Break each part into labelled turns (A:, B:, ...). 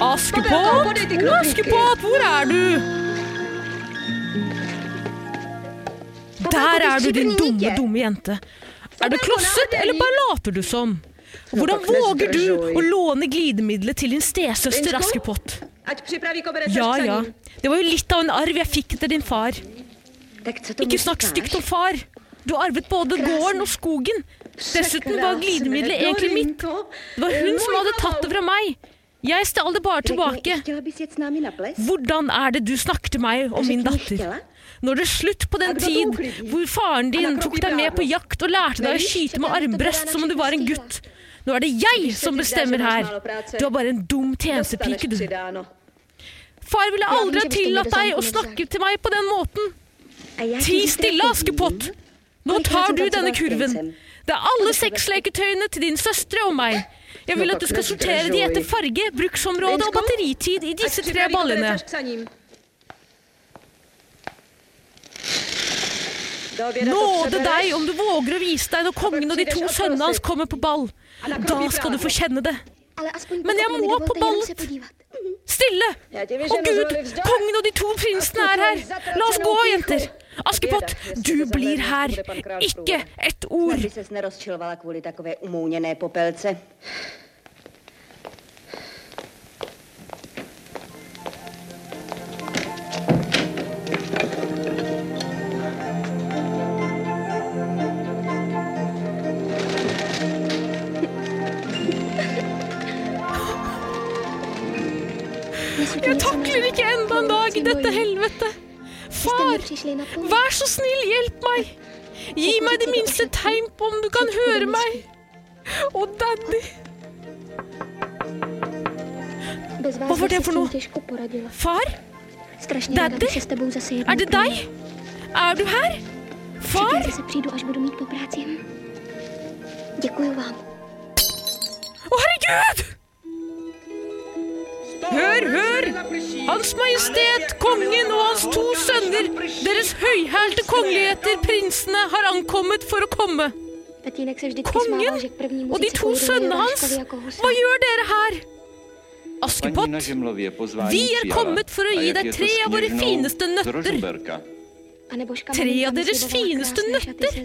A: Askepott! Askepott, hvor er du? Der er du, din dumme, dumme jente. Er det klosset, eller bare later du som? Hvordan våger du å låne glidemiddelet til din stesøster Askepott? Ja, ja. Det var jo litt av en arv jeg fikk etter din far. Ikke snakk stygt om far. Du har arvet både gården og skogen. Dessuten var glidemiddelet egentlig mitt. Det var hun som hadde tatt det fra meg. Jeg stjal det bare tilbake. Hvordan er det du snakker til meg om min datter? Når det er slutt på den tid hvor faren din tok deg med på jakt og lærte deg å skyte med armbrøst som om du var en gutt. Nå er det jeg som bestemmer her. Du er bare en dum tjenestepike, du. Far ville aldri ha tillatt deg å snakke til meg på den måten. Ti stille, Askepott! Nå tar du denne kurven. Det er alle sexleketøyene til din søstre og meg. Jeg vil at du skal sortere de etter farge, bruksområde og batteritid i disse tre ballene. No, Nåde deg om du våger å vise deg når kongen og de to sønnene hans kommer på ball. Da skal du få kjenne det. Men jeg må på ballet. Stille! Å gud, kongen og de to prinsene er her! La oss gå, jenter! Askepott, du blir her! Ikke et ord!
B: Aby ses nerozčilovala kvůli takové umouněné popelce.
A: Jeg takler ikke enda en dag i dette helvete. Far, vær så snill, hjelp meg. Gi meg det minste tegn på om du kan høre meg. Å, daddy.
C: Hva var det for noe?
A: Far,
C: Daddy?
A: er det deg? Er du her? Far?
C: Hm.
A: Å, herregud! Hør, hør! Hans Majestet Kongen og hans to sønner, deres høyhælte kongeligheter, prinsene, har ankommet for å komme. Kongen og de to sønnene
C: jako
A: hans, hva gjør dere her?
D: Pani
A: Askepott,
D: na Ziemlowie pozwali
A: Vi er
D: przyjara,
A: kommet for å
D: a
A: gi
D: jak
A: deg
D: je to
A: tre av våre
D: śnieżną
A: fineste nøtter.
D: drożdżberka.
C: Tre av deres fineste nøtter?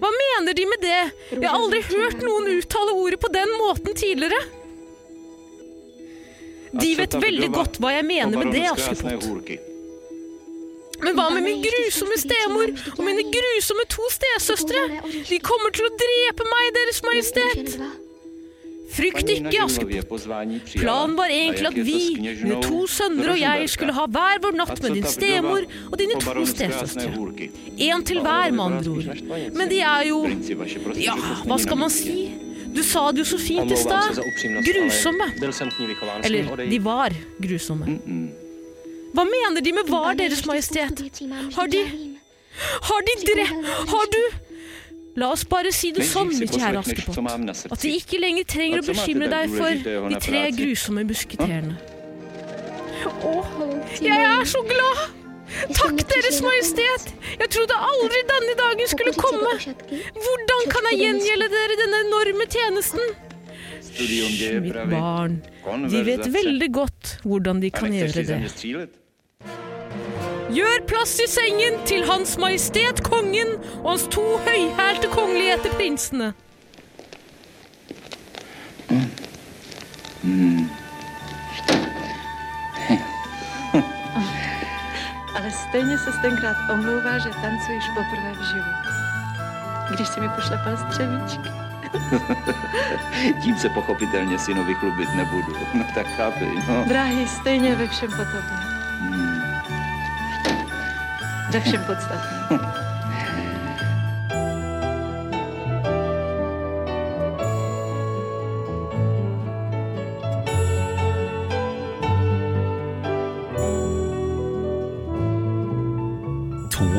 A: hva mener de med det? Jeg har aldri hørt noen uttale ordet på den måten tidligere. De vet veldig godt hva jeg mener med det,
D: Pobarone z Krasnej
A: Askepott.
D: Górki.
A: Men hva med min grusomme stemor og mine grusomme to stesøstre? De kommer til å drepe meg, Deres Majestet! Frykt
D: Pani na
A: ikke,
D: Ziemlowie
A: Askepott.
D: pozwani przyjara,
A: Planen var
D: a
A: egentlig
D: jak
A: at
D: je to
A: vi,
D: śnieżną
A: mine to sønner og jeg,
D: drożdżberka.
A: skulle ha hver vår
D: A
A: natt
D: co
A: med din
D: ta
A: stemor
D: wdowa?
A: og dine to
D: Pobarone z Krasnej
A: stesøstre.
D: Górki.
A: Én til hver, med andre ord. Men de er jo
D: Princi vaši prostě,
A: Ja,
D: že prostě
A: hva skal man
D: nenávidíte.
A: si? Du sa det jo så fint i
E: Omlouvám se
A: stad.
E: za upřímnost,
A: Grusomme.
E: ale byl jsem k ní vychován. Smím
A: Eller,
E: odejít.
A: de var grusomme. Hva mener de med 'var, Deres Majestet? Har de Har de dre... Har du La oss bare si det sånn,
D: Nejdřív si
A: mitt kjære
D: poslechneš, co
A: Askepott.
D: mám na
A: At de
D: srdci.
A: ikke lenger trenger å
D: At som at det
A: bekymre
D: er
A: deg for
D: uleggelig å ha
A: de tre
D: nefrazi.
A: grusomme musketerene. Jeg er så glad! Takk, Deres Majestet! Jeg trodde aldri denne dagen skulle komme. Hvordan kan jeg gjengjelde dere denne enorme tjenesten?
D: Studium děje
A: Mitt
D: pravy.
A: barn, de vet
D: Konverzace.
A: veldig godt hvordan de
D: A
A: kan
D: nechceš
A: gjøre
D: si ze
A: det.
D: mě střílet?
A: Gjør plass i sengen til Hans Majestet Kongen og hans to høyhælte kongeligheter prinsene.
F: Ale stejně se tenkrát omlouvá, že tancuješ poprvé v životě. Když si mi pošlepal střevíčky.
D: Tím se pochopitelně synovi chlubit nebudu. No tak chápej, no.
F: Dráhy stejně ve všem podobné. Ve všem podstatné.
G: To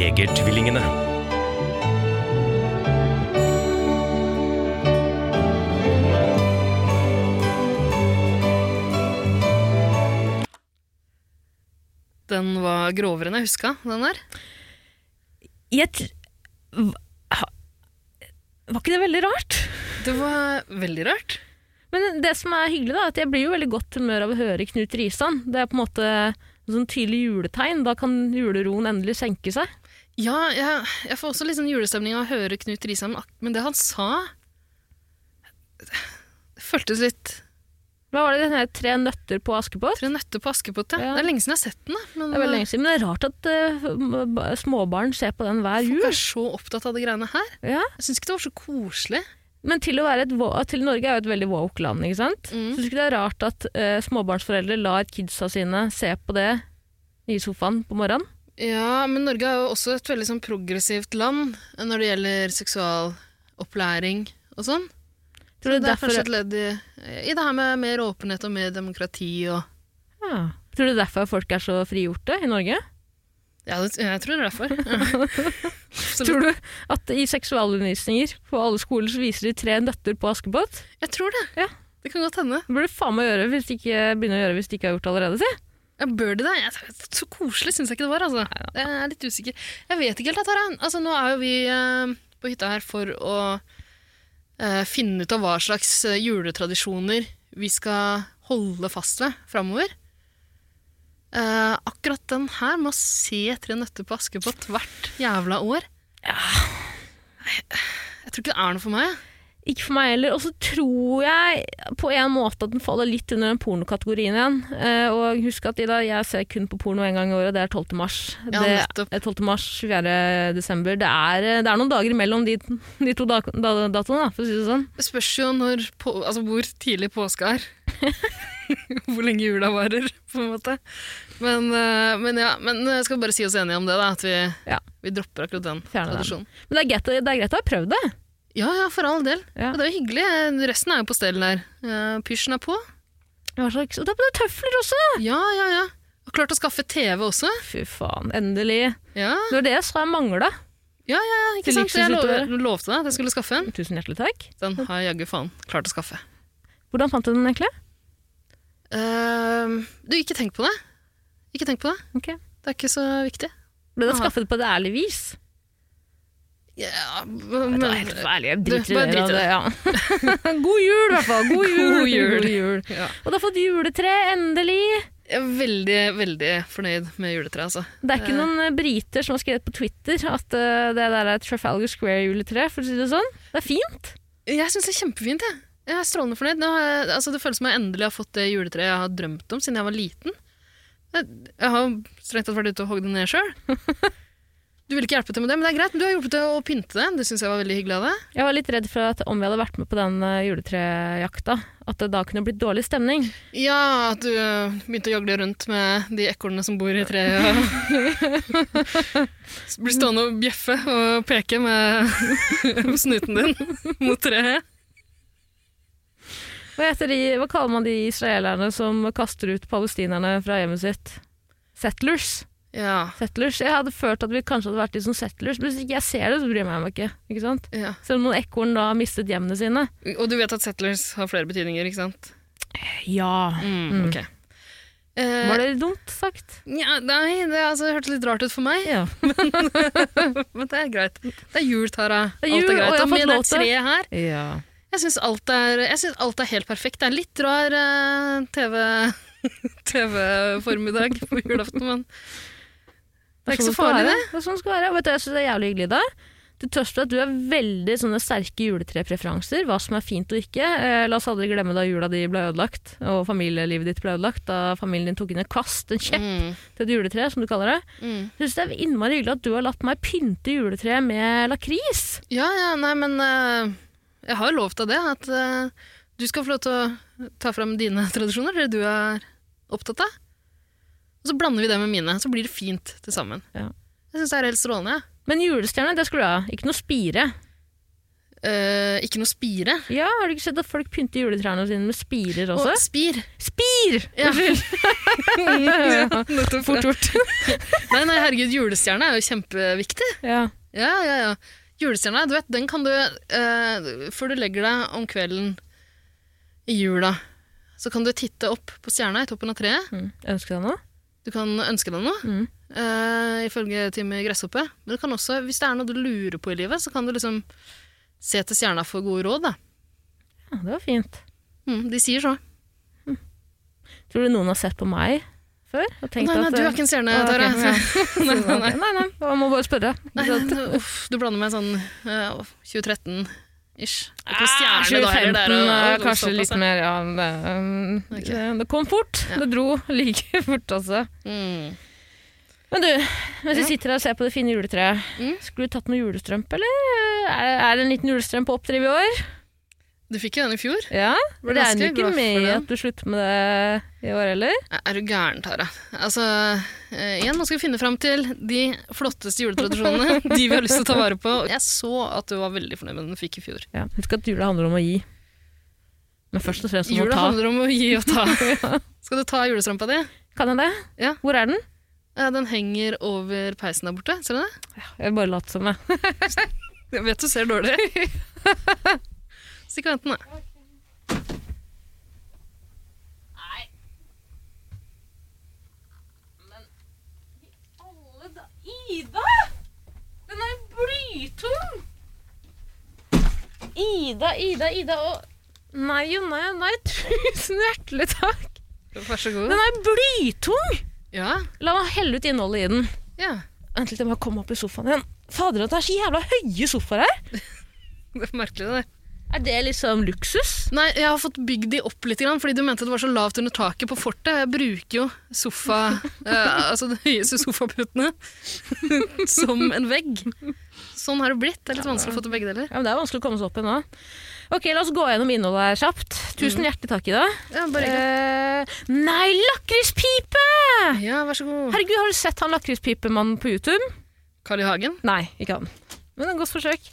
G: Jegertvillingene.
H: Den var grovere enn jeg huska, den der.
A: Jeg tr... Hva- ha- Var ikke det veldig rart?
H: Det var veldig rart.
A: Men det som er hyggelig, da, er at jeg blir jo veldig godt humør av å høre Knut Risan. Det er på en måte et sånn tydelig juletegn. Da kan juleroen endelig senke seg.
H: Ja, jeg, jeg får også litt sånn julestemning av å høre Knut Risheim, ak- men det han sa Det føltes litt
A: Hva var det den her Tre nøtter på Askepott?
H: Tre nøtter på Askepott,
A: Ja.
H: ja. Det er lenge siden jeg har sett den, da, men
A: Det er veldig lenge siden, men det er rart at eh, ba- småbarn ser på den hver
H: eh, folk
A: jul.
H: er så opptatt av de greiene her.
A: Ja.
H: Jeg syns ikke det var så koselig.
A: Men til, å være et, wo- til Norge er jo et veldig woke land, ikke sant?
H: Mm.
A: Syns ikke det er rart at eh, småbarnsforeldre lar kidsa sine se på det i sofaen på morgenen?
H: Ja, men Norge er jo også et veldig sånn progressivt land eh, når det gjelder seksualopplæring og sånn.
A: Tror du
H: Det er
A: derfor,
H: kanskje et ledd i, i det her med mer åpenhet og mer demokrati og
A: ja. Tror du derfor folk er så frigjorte i Norge?
H: Ja, det, jeg tror det er derfor. Absolutt.
A: Tror du at i seksualundervisninger på alle skoler så viser de tre nøtter på Askepott?
H: Jeg tror det.
A: Ja.
H: Det kan godt hende.
A: Det burde du faen meg gjøre hvis de ikke begynner å gjøre hvis de ikke har gjort det allerede, si.
H: Ja, bør de det? Jeg, så koselig syns jeg ikke det var. Altså. Jeg er litt usikker. Jeg vet ikke helt, dette her. jeg. Altså, nå er jo vi eh, på hytta her for å eh, finne ut av hva slags eh, juletradisjoner vi skal holde fast ved framover. Eh, akkurat den her med å se Tre nøtter på Askepott hvert jævla år Jeg, jeg tror ikke det er noe for meg.
A: Ikke for meg heller. Og så tror jeg på en måte at den faller litt under den pornokategorien igjen. Eh, og husk at Ida, jeg ser kun på porno én gang i året, det er 12. mars.
H: Ja,
A: det,
H: nettopp.
A: eh, 12. mars, 4. desember. Det er, eh, det er noen dager imellom de, de to da, da, datoene, da, for å si det sånn.
H: Det spørs jo når på, altså hvor tidlig påske er. hvor lenge jula varer, på en måte. Men, eh, men ja, men jeg skal bare si oss enige om det, da, at vi,
A: Ja.
H: vi dropper akkurat den
A: Fjerner den.
H: tradisjonen.
A: Men det er greit, det er greit å ha prøvd det.
H: Ja, ja, for all del.
A: Ja.
H: Og Det er jo hyggelig. Resten er jo på stell der. Eh, Pysjen er på.
A: Hva slags- Og det er tøfler også!
H: Ja, ja, ja. Og klart å skaffe TV også.
A: Fy faen, endelig.
H: Ja,
A: Det var det jeg sa jeg mangla.
H: ja ikke
A: Til
H: sant?
A: luksus
H: Jeg lov,
A: utover.
H: lovte deg at jeg skulle skaffe en.
A: Tusen hjertelig takk.
H: Den har jeg jaggu faen klart å skaffe.
A: Hvordan fant du den egentlig?
H: Eh, du, ikke tenk på det. Ikke tenk på det.
A: Ok.
H: Det er ikke så viktig.
A: Ble den
H: Aha.
A: skaffet på et ærlig vis?
H: Ja,
A: Men,
H: men,
A: det er helt ærlig, jeg
H: Du,
A: driter i
H: bare
A: det.
H: drit i
A: da, ja. God jul, i hvert fall. God jul.
H: God jul.
A: God jul.
H: Ja.
A: Og du har fått juletre, endelig.
H: Jeg er veldig, veldig fornøyd med juletreet, altså.
A: Det er ikke
H: Eh.
A: noen eh, briter som har skrevet på Twitter at eh, det der er Trafalgar Square-juletre, for å si det sånn. Det er fint.
H: Jeg syns det er kjempefint, jeg. Jeg er strålende fornøyd. Nå har jeg, altså, det føles som jeg endelig har fått det juletreet jeg har drømt om siden jeg var liten. Jeg, jeg har jo strengt tatt vært ute og hogd det ned sjøl. Du ville ikke hjelpe til med det, men det er greit. Men du har hjulpet til å pynte det. Det syns jeg var veldig hyggelig av deg.
A: Jeg var litt redd for at om vi hadde vært med på den eh, juletrejakta, at det da kunne blitt dårlig stemning.
H: Ja, at du øh, begynte å jagle rundt med de ekornene som bor i treet. Og Blir stående og bjeffe og peke med snuten din mot treet.
A: Hva, heter de, hva kaller man de israelerne som kaster ut palestinerne fra hjemmet sitt? Settlers.
H: Ja,
A: Settlers. Jeg hadde følt at vi kanskje hadde vært litt som settlers, men hvis ikke jeg ser det, så bryr jeg meg ikke. ikke sant?
H: ja.
A: Selv om noen ekorn da har mistet hjemmene sine.
H: Og du vet at settlers har flere betydninger, ikke sant?
A: Ja.
H: Mm, ok. Eh,
A: Var det dumt sagt?
H: Nja, nei, det altså, hørtes litt rart ut for meg,
A: Ja.
H: men det er greit. Det er jul, Tara.
A: Det er jul, og jeg
H: alt er greit.
A: har
H: Og
A: fått
H: med det
A: lov til-
H: treet her,
A: ja.
H: jeg syns alt, er- jeg synes alt er helt perfekt. Det er litt rar eh, TV, TV-formiddag på julaften, men det er ikke så farlig, det.
A: Det er sånn det skal være. Og Vet du, jeg synes det er jævlig hyggelig i dag. Du tørster at du har veldig sånne sterke juletrepreferanser, hva som er fint og ikke. Eh, la oss aldri glemme da jula di ble ødelagt, og familielivet ditt ble ødelagt, da familien din tok inn et kast, en kjepp,
H: Mm,
A: til et juletre, som du kaller det.
H: mm.
A: Jeg synes det er innmari hyggelig at du har latt meg pynte juletreet med lakris.
H: Ja, ja, nei, men eh, jeg har jo lov til det. At eh, Du skal få lov til å ta fram dine tradisjoner, det du er opptatt av. Og så blander vi det med mine, så blir det fint til sammen.
A: Ja.
H: Jeg syns det er helt strålende. jeg.
A: Men julestjerne, det skulle du ha. Ikke noe spire.
H: Eh, ikke noe spire.
A: Ja, Har du ikke sett at folk pynter juletrærne sine med spirer
H: Og
A: også?
H: spir.
A: Spir!
H: Ja.
A: Ja.
H: Nettopp.
A: Fort gjort.
H: Nei, nei, herregud, julestjerne er jo kjempeviktig.
A: ja.
H: Ja, ja, ja. Julestjerna, du vet, den kan du eh, Før du legger deg om kvelden i jula, så kan du titte opp på stjerna i toppen av treet.
A: Mm. Ønsker deg noe?
H: Du kan ønske deg noe,
A: Mm.
H: eh, ifølge Team Gresshoppe. Men du kan også, hvis det er noe du lurer på i livet, så kan du liksom se til stjerna for gode råd. Da.
A: Ja, det var fint.
H: Mm, de sier så.
A: Tror du noen har sett på meg før? Og tenkt
H: Nei, nei,
A: at, eh,
H: du er ikke en stjerne,
A: Å, ok,
H: Tara.
A: ja.
H: nei, nei,
A: Nei,
H: nei.
A: nei, nei. Jeg må bare spørre.
H: Nei, nei, uff, du blander med sånn eh, 2013-ish. Det er ikke noe
A: Ah,
H: stjerne da heller, det er jo-
A: 2015, eh,
H: det er jo
A: kanskje
H: såpass,
A: litt
H: ja.
A: mer. Ja, det, um,
H: altså. Ok.
A: det- det kom fort.
H: Ja.
A: Det dro like fort, altså.
H: Mm.
A: Men du, mens vi sitter her og ser på det fine juletreet,
H: Mm.
A: skulle du tatt noe julestrømpe, eller? Er, er det en liten julestrømpe å oppdrive i år?
H: Du fikk jo den i fjor.
A: Ja,
H: Ble
A: for det er
H: ganske
A: jo ikke
H: glad for
A: med
H: den.
A: at du slutter med det i år heller.
H: Er du gæren, Tara? Altså, eh, igjen, nå skal vi finne fram til de flotteste juletradisjonene. De vi har lyst til å ta vare på. Jeg så at du var veldig fornøyd med den du fikk i fjor.
A: Ja, husk at jula handler om å gi. Men først og fremst om å
H: Jula
A: ta.
H: handler om å gi og ta. Skal du ta julestrampa di?
A: Kan jeg det?
H: Ja.
A: Hvor er den?
H: Eh, Den henger over peisen der borte. Ser du det?
A: Jeg bare later som jeg.
H: Jeg vet du ser dårlig. Stikk og hent den, da.
A: Ida! Den er blytung! Ida, Ida, Ida og Nei og nei og nei, tusen hjertelig takk!
H: Vær så god.
A: Den er blytung!
H: Ja.
A: La meg helle ut innholdet i den.
H: ja.
A: Vent litt, jeg må komme opp i sofaen igjen. Fader, at det er så jævla høye sofaer her!
H: Det er merkelig, det.
A: Er det liksom luksus?
H: Nei, jeg har fått bygd de opp litt, grann, fordi du mente det var så lavt under taket på fortet. Jeg bruker jo sofa, eh, altså de høyeste sofaputene som en vegg. Sånn har det blitt. Det er litt vanskelig å få til begge deler.
A: Ja, men Det er vanskelig å komme seg opp igjen nå. Ok, La oss gå gjennom innholdet her kjapt. Tusen hjertelig takk, Ida.
H: Ja, Mm. bare
A: Eh, nei, lakrispipe!
H: hyggelig. Eh, ja vær så god.
A: Herregud, har du sett han lakrispipemannen på YouTube?
H: Carl I. Hagen?
A: Nei, ikke han. Men et godt forsøk.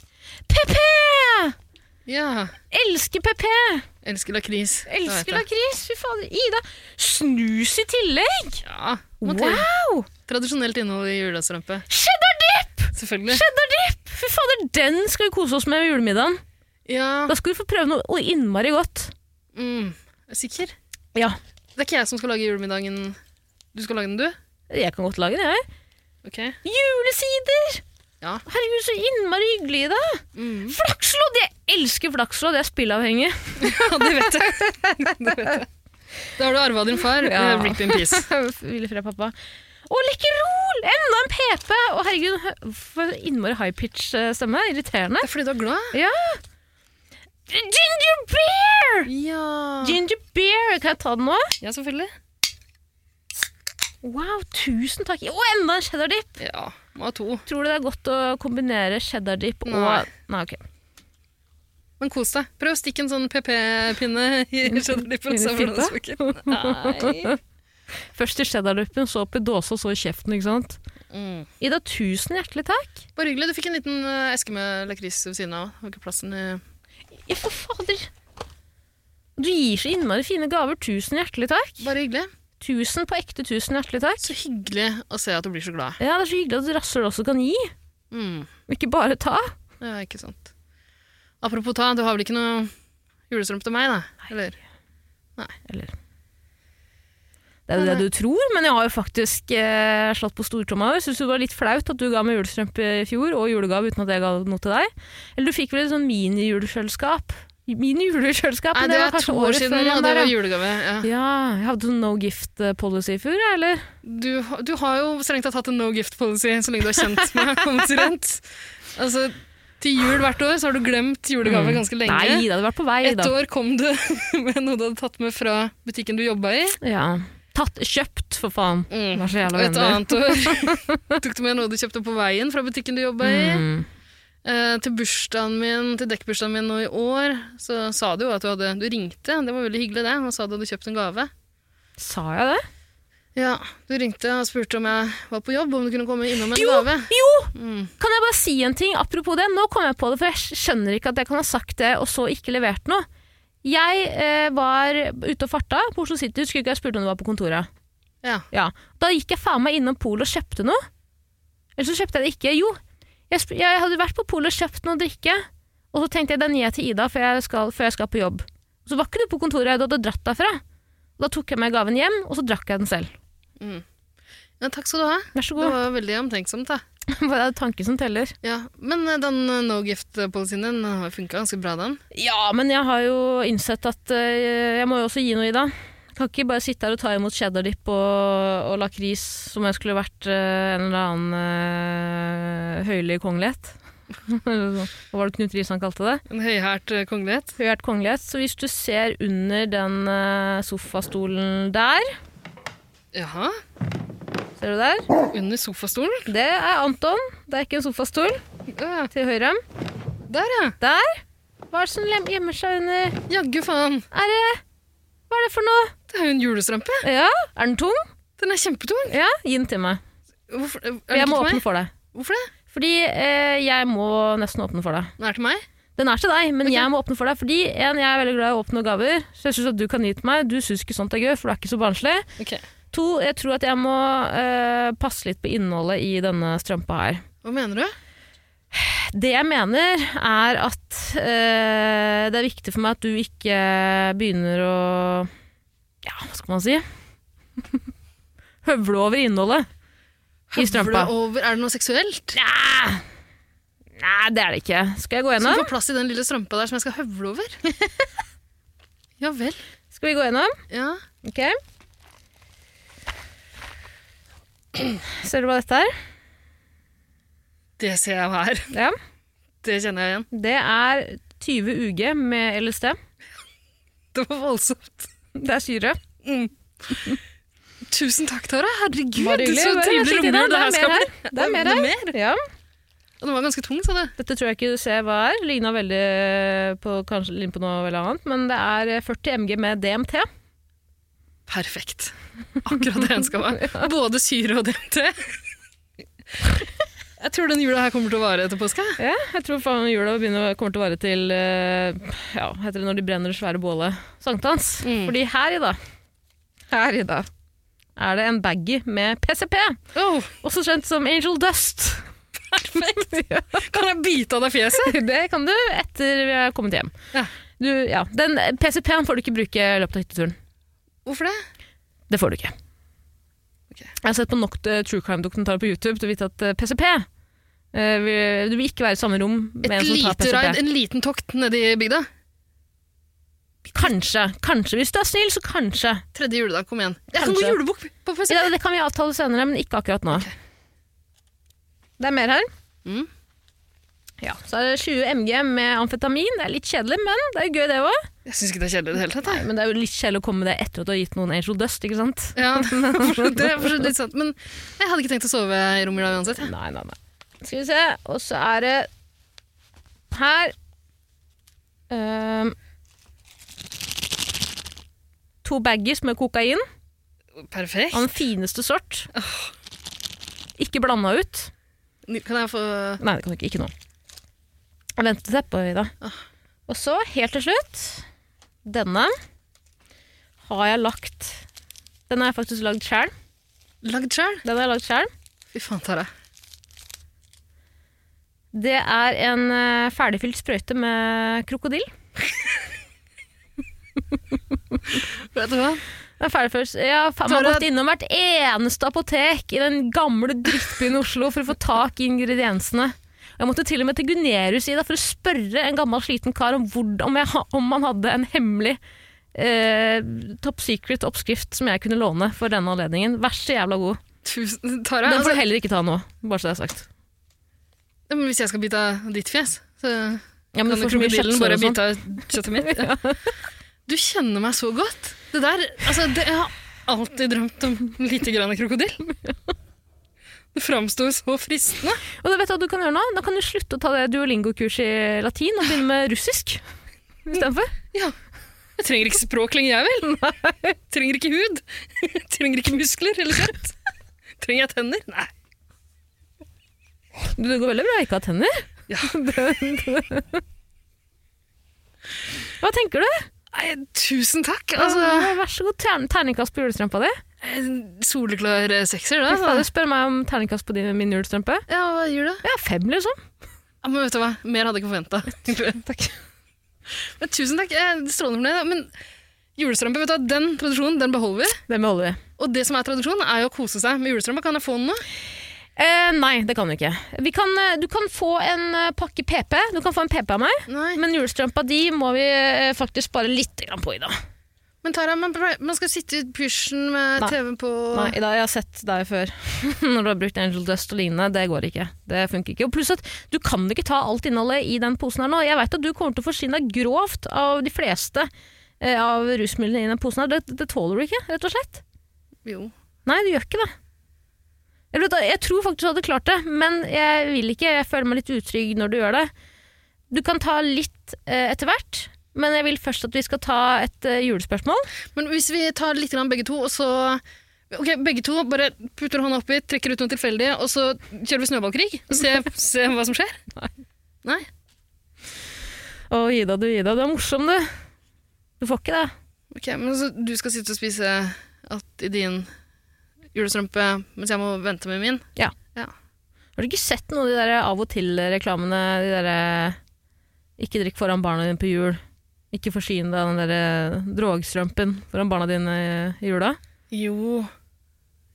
A: PP!
H: Ja.
A: Elsker PP!
H: Elsker lakris. Det vet
A: Elsker
H: jeg.
A: lakris! Fy fader. Ida, snus i tillegg!
H: Ja. må til.
A: Wow!
H: Tradisjonelt innhold i julestrømpe.
A: Cheddar dip!
H: Selvfølgelig.
A: Cheddar dip! Fy fader, den skal vi kose oss med ved julemiddagen.
H: Ja.
A: Da skal du få prøve noe å innmari godt.
H: Mm. Er du Sikker?
A: Ja,
H: Det er ikke jeg som skal lage julemiddagen. Du skal lage den, du?
A: jeg kan godt lage det, jeg.
H: Ok.
A: Julesider!
H: Ja.
A: Herregud, så innmari hyggelig, Ida.
H: Mm.
A: Flakslodd! Jeg elsker flakslodd, jeg er spilleavhengig.
H: Ja, det vet jeg. Det vet jeg. Da har du arva din far.
A: Ja.
H: Eh, Rip in peace.
A: Ville fra pappa. Og Lekkerol! Enda en PP! Å herregud, hø- for innmari high pitch eh, stemme. Irriterende.
H: Det er fordi du er glad?
A: Ginger beer!
H: Ja.
A: Ginger beer! Kan jeg ta den nå?
H: Ja, selvfølgelig.
A: Wow, tusen takk. Og enda en cheddar dip!
H: Ja, må ha to.
A: Tror du det er godt å kombinere cheddar dip og
H: Nei.
A: Nei, ok.
H: Men kos deg. Prøv å stikke en sånn PP-pinne i cheddar-dippen. og se hvordan det smaker. Nei.
A: Først i cheddardippen, så opp i dåsa, så i kjeften, ikke sant?
H: Mm.
A: Ida, tusen hjertelig takk.
H: Bare hyggelig. Du fikk en liten eh, eske med lakris ved siden av. Har ikke plassen i
A: Ja, for fader! Du gir så innmari fine gaver. Tusen hjertelig takk.
H: Bare hyggelig.
A: Tusen på ekte tusen hjertelig takk.
H: Så hyggelig å se at du blir så glad.
A: Ja, Det er så hyggelig at rasshøl også kan gi,
H: Mm.
A: og ikke bare ta.
H: Ja, ikke sant. Apropos ta, du har vel ikke noe julestrøm til meg, da? Eller?
A: Det er jo det du tror, men jeg har jo faktisk eh, slått på stortromma. Jeg syns det var litt flaut at du ga meg julestrømpe i fjor, og julegave uten at jeg ga noe til deg. Eller du fikk vel et sånn mini-julekjøleskap? Mini-julekjøleskap?
H: Nei,
A: men
H: det
A: var
H: var
A: kanskje
H: to år
A: året
H: siden,
A: før
H: og
A: igjen
H: det
A: der,
H: var
A: ja.
H: julegave. Ja.
A: Ja, jeg hadde sånn no gift eh, policy i fjor, jeg, eller?
H: du, ha- du har jo strengt tatt hatt en no gift policy så lenge du har kjent meg omtrent. Altså, til jul hvert år så har du glemt julegaver ganske lenge.
A: Mm. Nei, det hadde vært på vei,
H: Et
A: da.
H: år kom du med noe du hadde tatt med fra butikken du jobba i.
A: Ja. Tatt, kjøpt, for faen.
H: Mm.
A: Vær så
H: Og
A: jævla
H: et
A: vennlig.
H: annet år tok du med noe du kjøpte på veien fra butikken du jobba i.
A: Mm.
H: Eh, til bursdagen min, til dekkbursdagen min nå i år, så sa du jo at du hadde Du ringte, det var veldig hyggelig, det, og sa du hadde kjøpt en gave.
A: Sa jeg det?
H: Ja, du ringte og spurte om jeg var på jobb, om du kunne komme innom med en
A: Jo!
H: gave.
A: Jo!
H: Mm.
A: Kan jeg bare si en ting apropos det? Nå kom jeg på det, for jeg skjønner ikke at jeg kan ha sagt det og så ikke levert noe. Jeg eh, var ute og farta på Oslo City, husker ikke jeg spurte om du var på kontoret.
H: Ja.
A: Da gikk jeg faen meg innom Polet og kjøpte noe. Eller så kjøpte jeg det ikke. Jo, jeg, sp- jeg hadde vært på Polet og kjøpt noe å drikke, og så tenkte jeg den gir jeg til Ida før jeg, skal, før jeg skal på jobb. Så var ikke du på kontoret, du hadde dratt derfra. Da tok jeg med gaven hjem, og så drakk jeg den selv.
H: ja, takk skal du ha.
A: Vær så
H: Det
A: god.
H: var veldig omtenksomt, da.
A: Bare det er tanken som teller.
H: Ja, Men eh, den eh, no gift-policyen din eh, har funka ganske bra, den.
A: Ja, men jeg har jo innsett at eh, jeg må jo også gi noe, Ida. Jeg kan ikke bare sitte her og ta imot cheddar dip og, og lakris som om jeg skulle vært eh, en eller annen eh, høylig kongelighet. Hva var det Knut Risan kalte det?
H: En høyhært eh, kongelighet.
A: Høyhært kongelighet. Så hvis du ser under den eh, sofastolen der,
H: Jaha.
A: ser du der?
H: Under sofastolen.
A: Det er Anton. Det er ikke en sofastol.
H: Ja,
A: Til høyre.
H: der, ja.
A: Der. Hva er det som lem- gjemmer seg under
H: Jaggu faen.
A: Er det Hva er det for noe?
H: Det er jo en julestrømpe.
A: Ja, er den tung?
H: Den er kjempetung.
A: Ja, gi den til meg.
H: Hvorfor, er
A: For
H: det
A: jeg må
H: ikke til
A: åpne
H: meg?
A: for deg.
H: Hvorfor det?
A: Fordi eh, jeg må nesten åpne for deg.
H: Den er til meg.
A: Den er til deg, men
H: Ok.
A: jeg må åpne for deg fordi en, jeg er veldig glad i å åpne gaver. Så jeg syns at du kan gi til meg. Du syns ikke sånt er gøy, for du er ikke så barnslig.
H: Ok.
A: To, jeg tror at jeg må eh, passe litt på innholdet i denne strømpa her.
H: Hva mener du?
A: Det jeg mener, er at eh, det er viktig for meg at du ikke begynner å Ja, hva skal man si? Høvle over innholdet i strømpa.
H: Høvler Over, er det noe seksuelt?
A: Nei. Nei, det er det ikke. Skal jeg gå
H: Skal du
A: gjennom?
H: få plass i den lille strømpa der som jeg skal høvle over? ja vel.
A: Skal vi gå gjennom?
H: Ja.
A: Ok. Ser du hva dette er?
H: Det ser jeg her.
A: Ja.
H: Det kjenner jeg igjen.
A: Det er 20 UG med LSD.
H: Det var voldsomt.
A: Det er syre.
H: Tusen takk, Tara. Herregud,
A: Bare hyggelig.
H: så
A: Bare
H: trivelig
A: sitt i det.
H: romjul
A: Det er
H: det her
A: mer
H: skal
A: her.
H: bli.
A: Det er mer her. Ja.
H: Og den var ganske tung, sa du.
A: Dette tror jeg ikke du ser hva er. Ligna veldig eh, på, kanskje ligner på noe veldig annet, men det er eh, 40 MG med DMT.
H: Perfekt. Akkurat det jeg ønska meg. Både syre og DMT. Jeg tror den jula her kommer til å vare etter påske.
A: Ja, jeg tror faen jula begynner, kommer til å vare til eh, ja, hva heter det når de brenner det svære bålet sankthans.
H: Mm.
A: Fordi her i dag her i dag er det en baggy med PCP,
H: Oh,
A: også kjent som Angel Dust. Perfekt! ja,
H: kan jeg bite av deg fjeset?
A: det kan du etter vi har kommet hjem.
H: Ja.
A: Du, ja, den PCP-en får du ikke bruke i løpet av hytteturen.
H: Hvorfor det?
A: Det får du ikke.
H: Ok.
A: Jeg har sett på nok eh, true crime-dokumentarer på YouTube til å vite at eh, PCP eh, vil, Du vil ikke være i samme rom med
H: Et
A: en sånn som tar
H: lite
A: PCP.
H: raid, en liten tokt nede i bygda.
A: Kanskje. kanskje. Hvis du er snill, så kanskje.
H: Tredje juledag, kom igjen. Jeg kan
A: Kanskje.
H: gå julebukk på PC.
A: Ja, det kan vi avtale senere, men ikke akkurat nå. Det er mer her.
H: Mm.
A: Ja, Så er det 20 MG med amfetamin. Det er litt kjedelig, men det er jo gøy, det òg.
H: Jeg syns ikke det er kjedelig i det hele tatt. Jeg.
A: Men det er jo litt kjedelig å komme med det etter at du har gitt noen Angel Dust, ikke sant?
H: Ja, det er for- det er for så vidt litt sant. Men jeg hadde ikke tenkt å sove i rommet i dag uansett. jeg.
A: Nei, nei, nei. Skal vi se. Og så er det her Ehm. To baggies med kokain
H: Perfekt.
A: av den fineste sort. Ikke blanda ut.
H: Kan jeg få
A: Nei, det kan du ikke. Ikke nå. Vent til teppet, Ida. Og så, helt til slutt, denne har jeg lagt Den har jeg faktisk lagd sjøl.
H: lagd sjøl?
A: Den har jeg lagd selv.
H: Fy faen, Tara.
A: Det er en eh, ferdigfylt sprøyte med krokodille.
H: Vet du hva?
A: Det er ferdigfylt- Jeg har faen meg
H: Tara-
A: gått innom hvert eneste apotek i den gamle drittbyen Oslo for å få tak i ingrediensene. Og Jeg måtte til og med til Gunerius Ida, for å spørre en gammel sliten kar om, hvor, om, jeg, ha- om han hadde en hemmelig eh, top secret oppskrift som jeg kunne låne for denne anledningen. Vær så jævla god.
H: Tusen, Tara,
A: Den får du
H: altså,
A: heller ikke ta nå, bare så det er sagt.
H: ja, men hvis jeg skal bite av ditt fjes, så
A: Ja, men
H: kan
A: du
H: jo
A: får så mye kjøttsår
H: krokodillen bare
A: og sånn.
H: bite av kjøttet mitt. Ja. Du kjenner meg så godt. Det der, altså, det, jeg har alltid drømt om lite grann krokodille. Det framsto så fristende.
A: Og da vet du hva du kan gjøre nå? Da kan du slutte å ta det duolingo-kurs i latin og begynne med russisk istedenfor.
H: Jeg trenger ikke språk lenger, jeg vel? Trenger ikke hud. Trenger ikke muskler eller kjøtt. Trenger jeg tenner? Nei.
A: Det går veldig bra å ikke ha tenner.
H: Ja.
A: Hva tenker du?
H: Nei, tusen takk. Altså,
A: Vær så god, tern- terningkast på julestrømpa di.
H: en soleklar eh, sekser,
A: Ah. Fy
H: da.
A: fader, Spør meg om terningkast på din, min julestrømpe.
H: Ja, hva gjør det?
A: Ja, fem, liksom.
H: Ja, men vet du hva? Mer hadde jeg ikke forventa. takk. Men tusen takk. Jeg er Strålende fornøyd. da. Men julestrømpe, vet du hva? den tradisjonen den beholder vi.
A: Det beholder vi.
H: Og det som er tradisjonen, er jo å kose seg med julestrømpe. Kan jeg få den nå?
A: Eh, nei, det kan du ikke. Vi kan, eh, du kan få en eh, pakke PP. Du kan få en PP av meg.
H: Nei.
A: Men julestrømpa di må vi eh, faktisk spare litt grann på i dag.
H: Men Tara, man, man skal sitte i pysjen med
A: Nei.
H: TV-en på
A: Nei, i dag jeg har sett deg før. Når du har brukt Angel Dust og lignende. Det går ikke. Det funker ikke. Og pluss at du kan ikke ta alt innholdet i den posen her nå. Jeg vet at du kommer til å forsyne deg grovt av de fleste eh, av rusmidlene i den posen her. Det, det tåler du ikke, rett og slett.
H: Jo.
A: Nei, du gjør ikke det. Eller vet du hva, jeg tror faktisk du hadde klart det, men jeg vil ikke. Jeg føler meg litt utrygg når du gjør det. Du kan ta litt eh, etter hvert, men jeg vil først at vi skal ta et eh, julespørsmål.
H: Men hvis vi tar litt grann begge to, og så Ok, begge to bare putter hånda oppi, trekker ut noe tilfeldig, og så kjører vi snøballkrig. og Se, se hva som skjer. Nei.
A: Å, Ida, du Ida, du er morsom, du. Du får ikke det.
H: Ok, men så du skal sitte og spise alt i din julestrømpe, mens jeg må vente med min?
A: Ja. Har du ikke sett noen av de der av og til-reklamene? De der eh, 'ikke drikk foran barna dine på jul', 'ikke forsyn deg av den der eh, drogstrømpen foran barna dine i- i jula'.
H: Jo.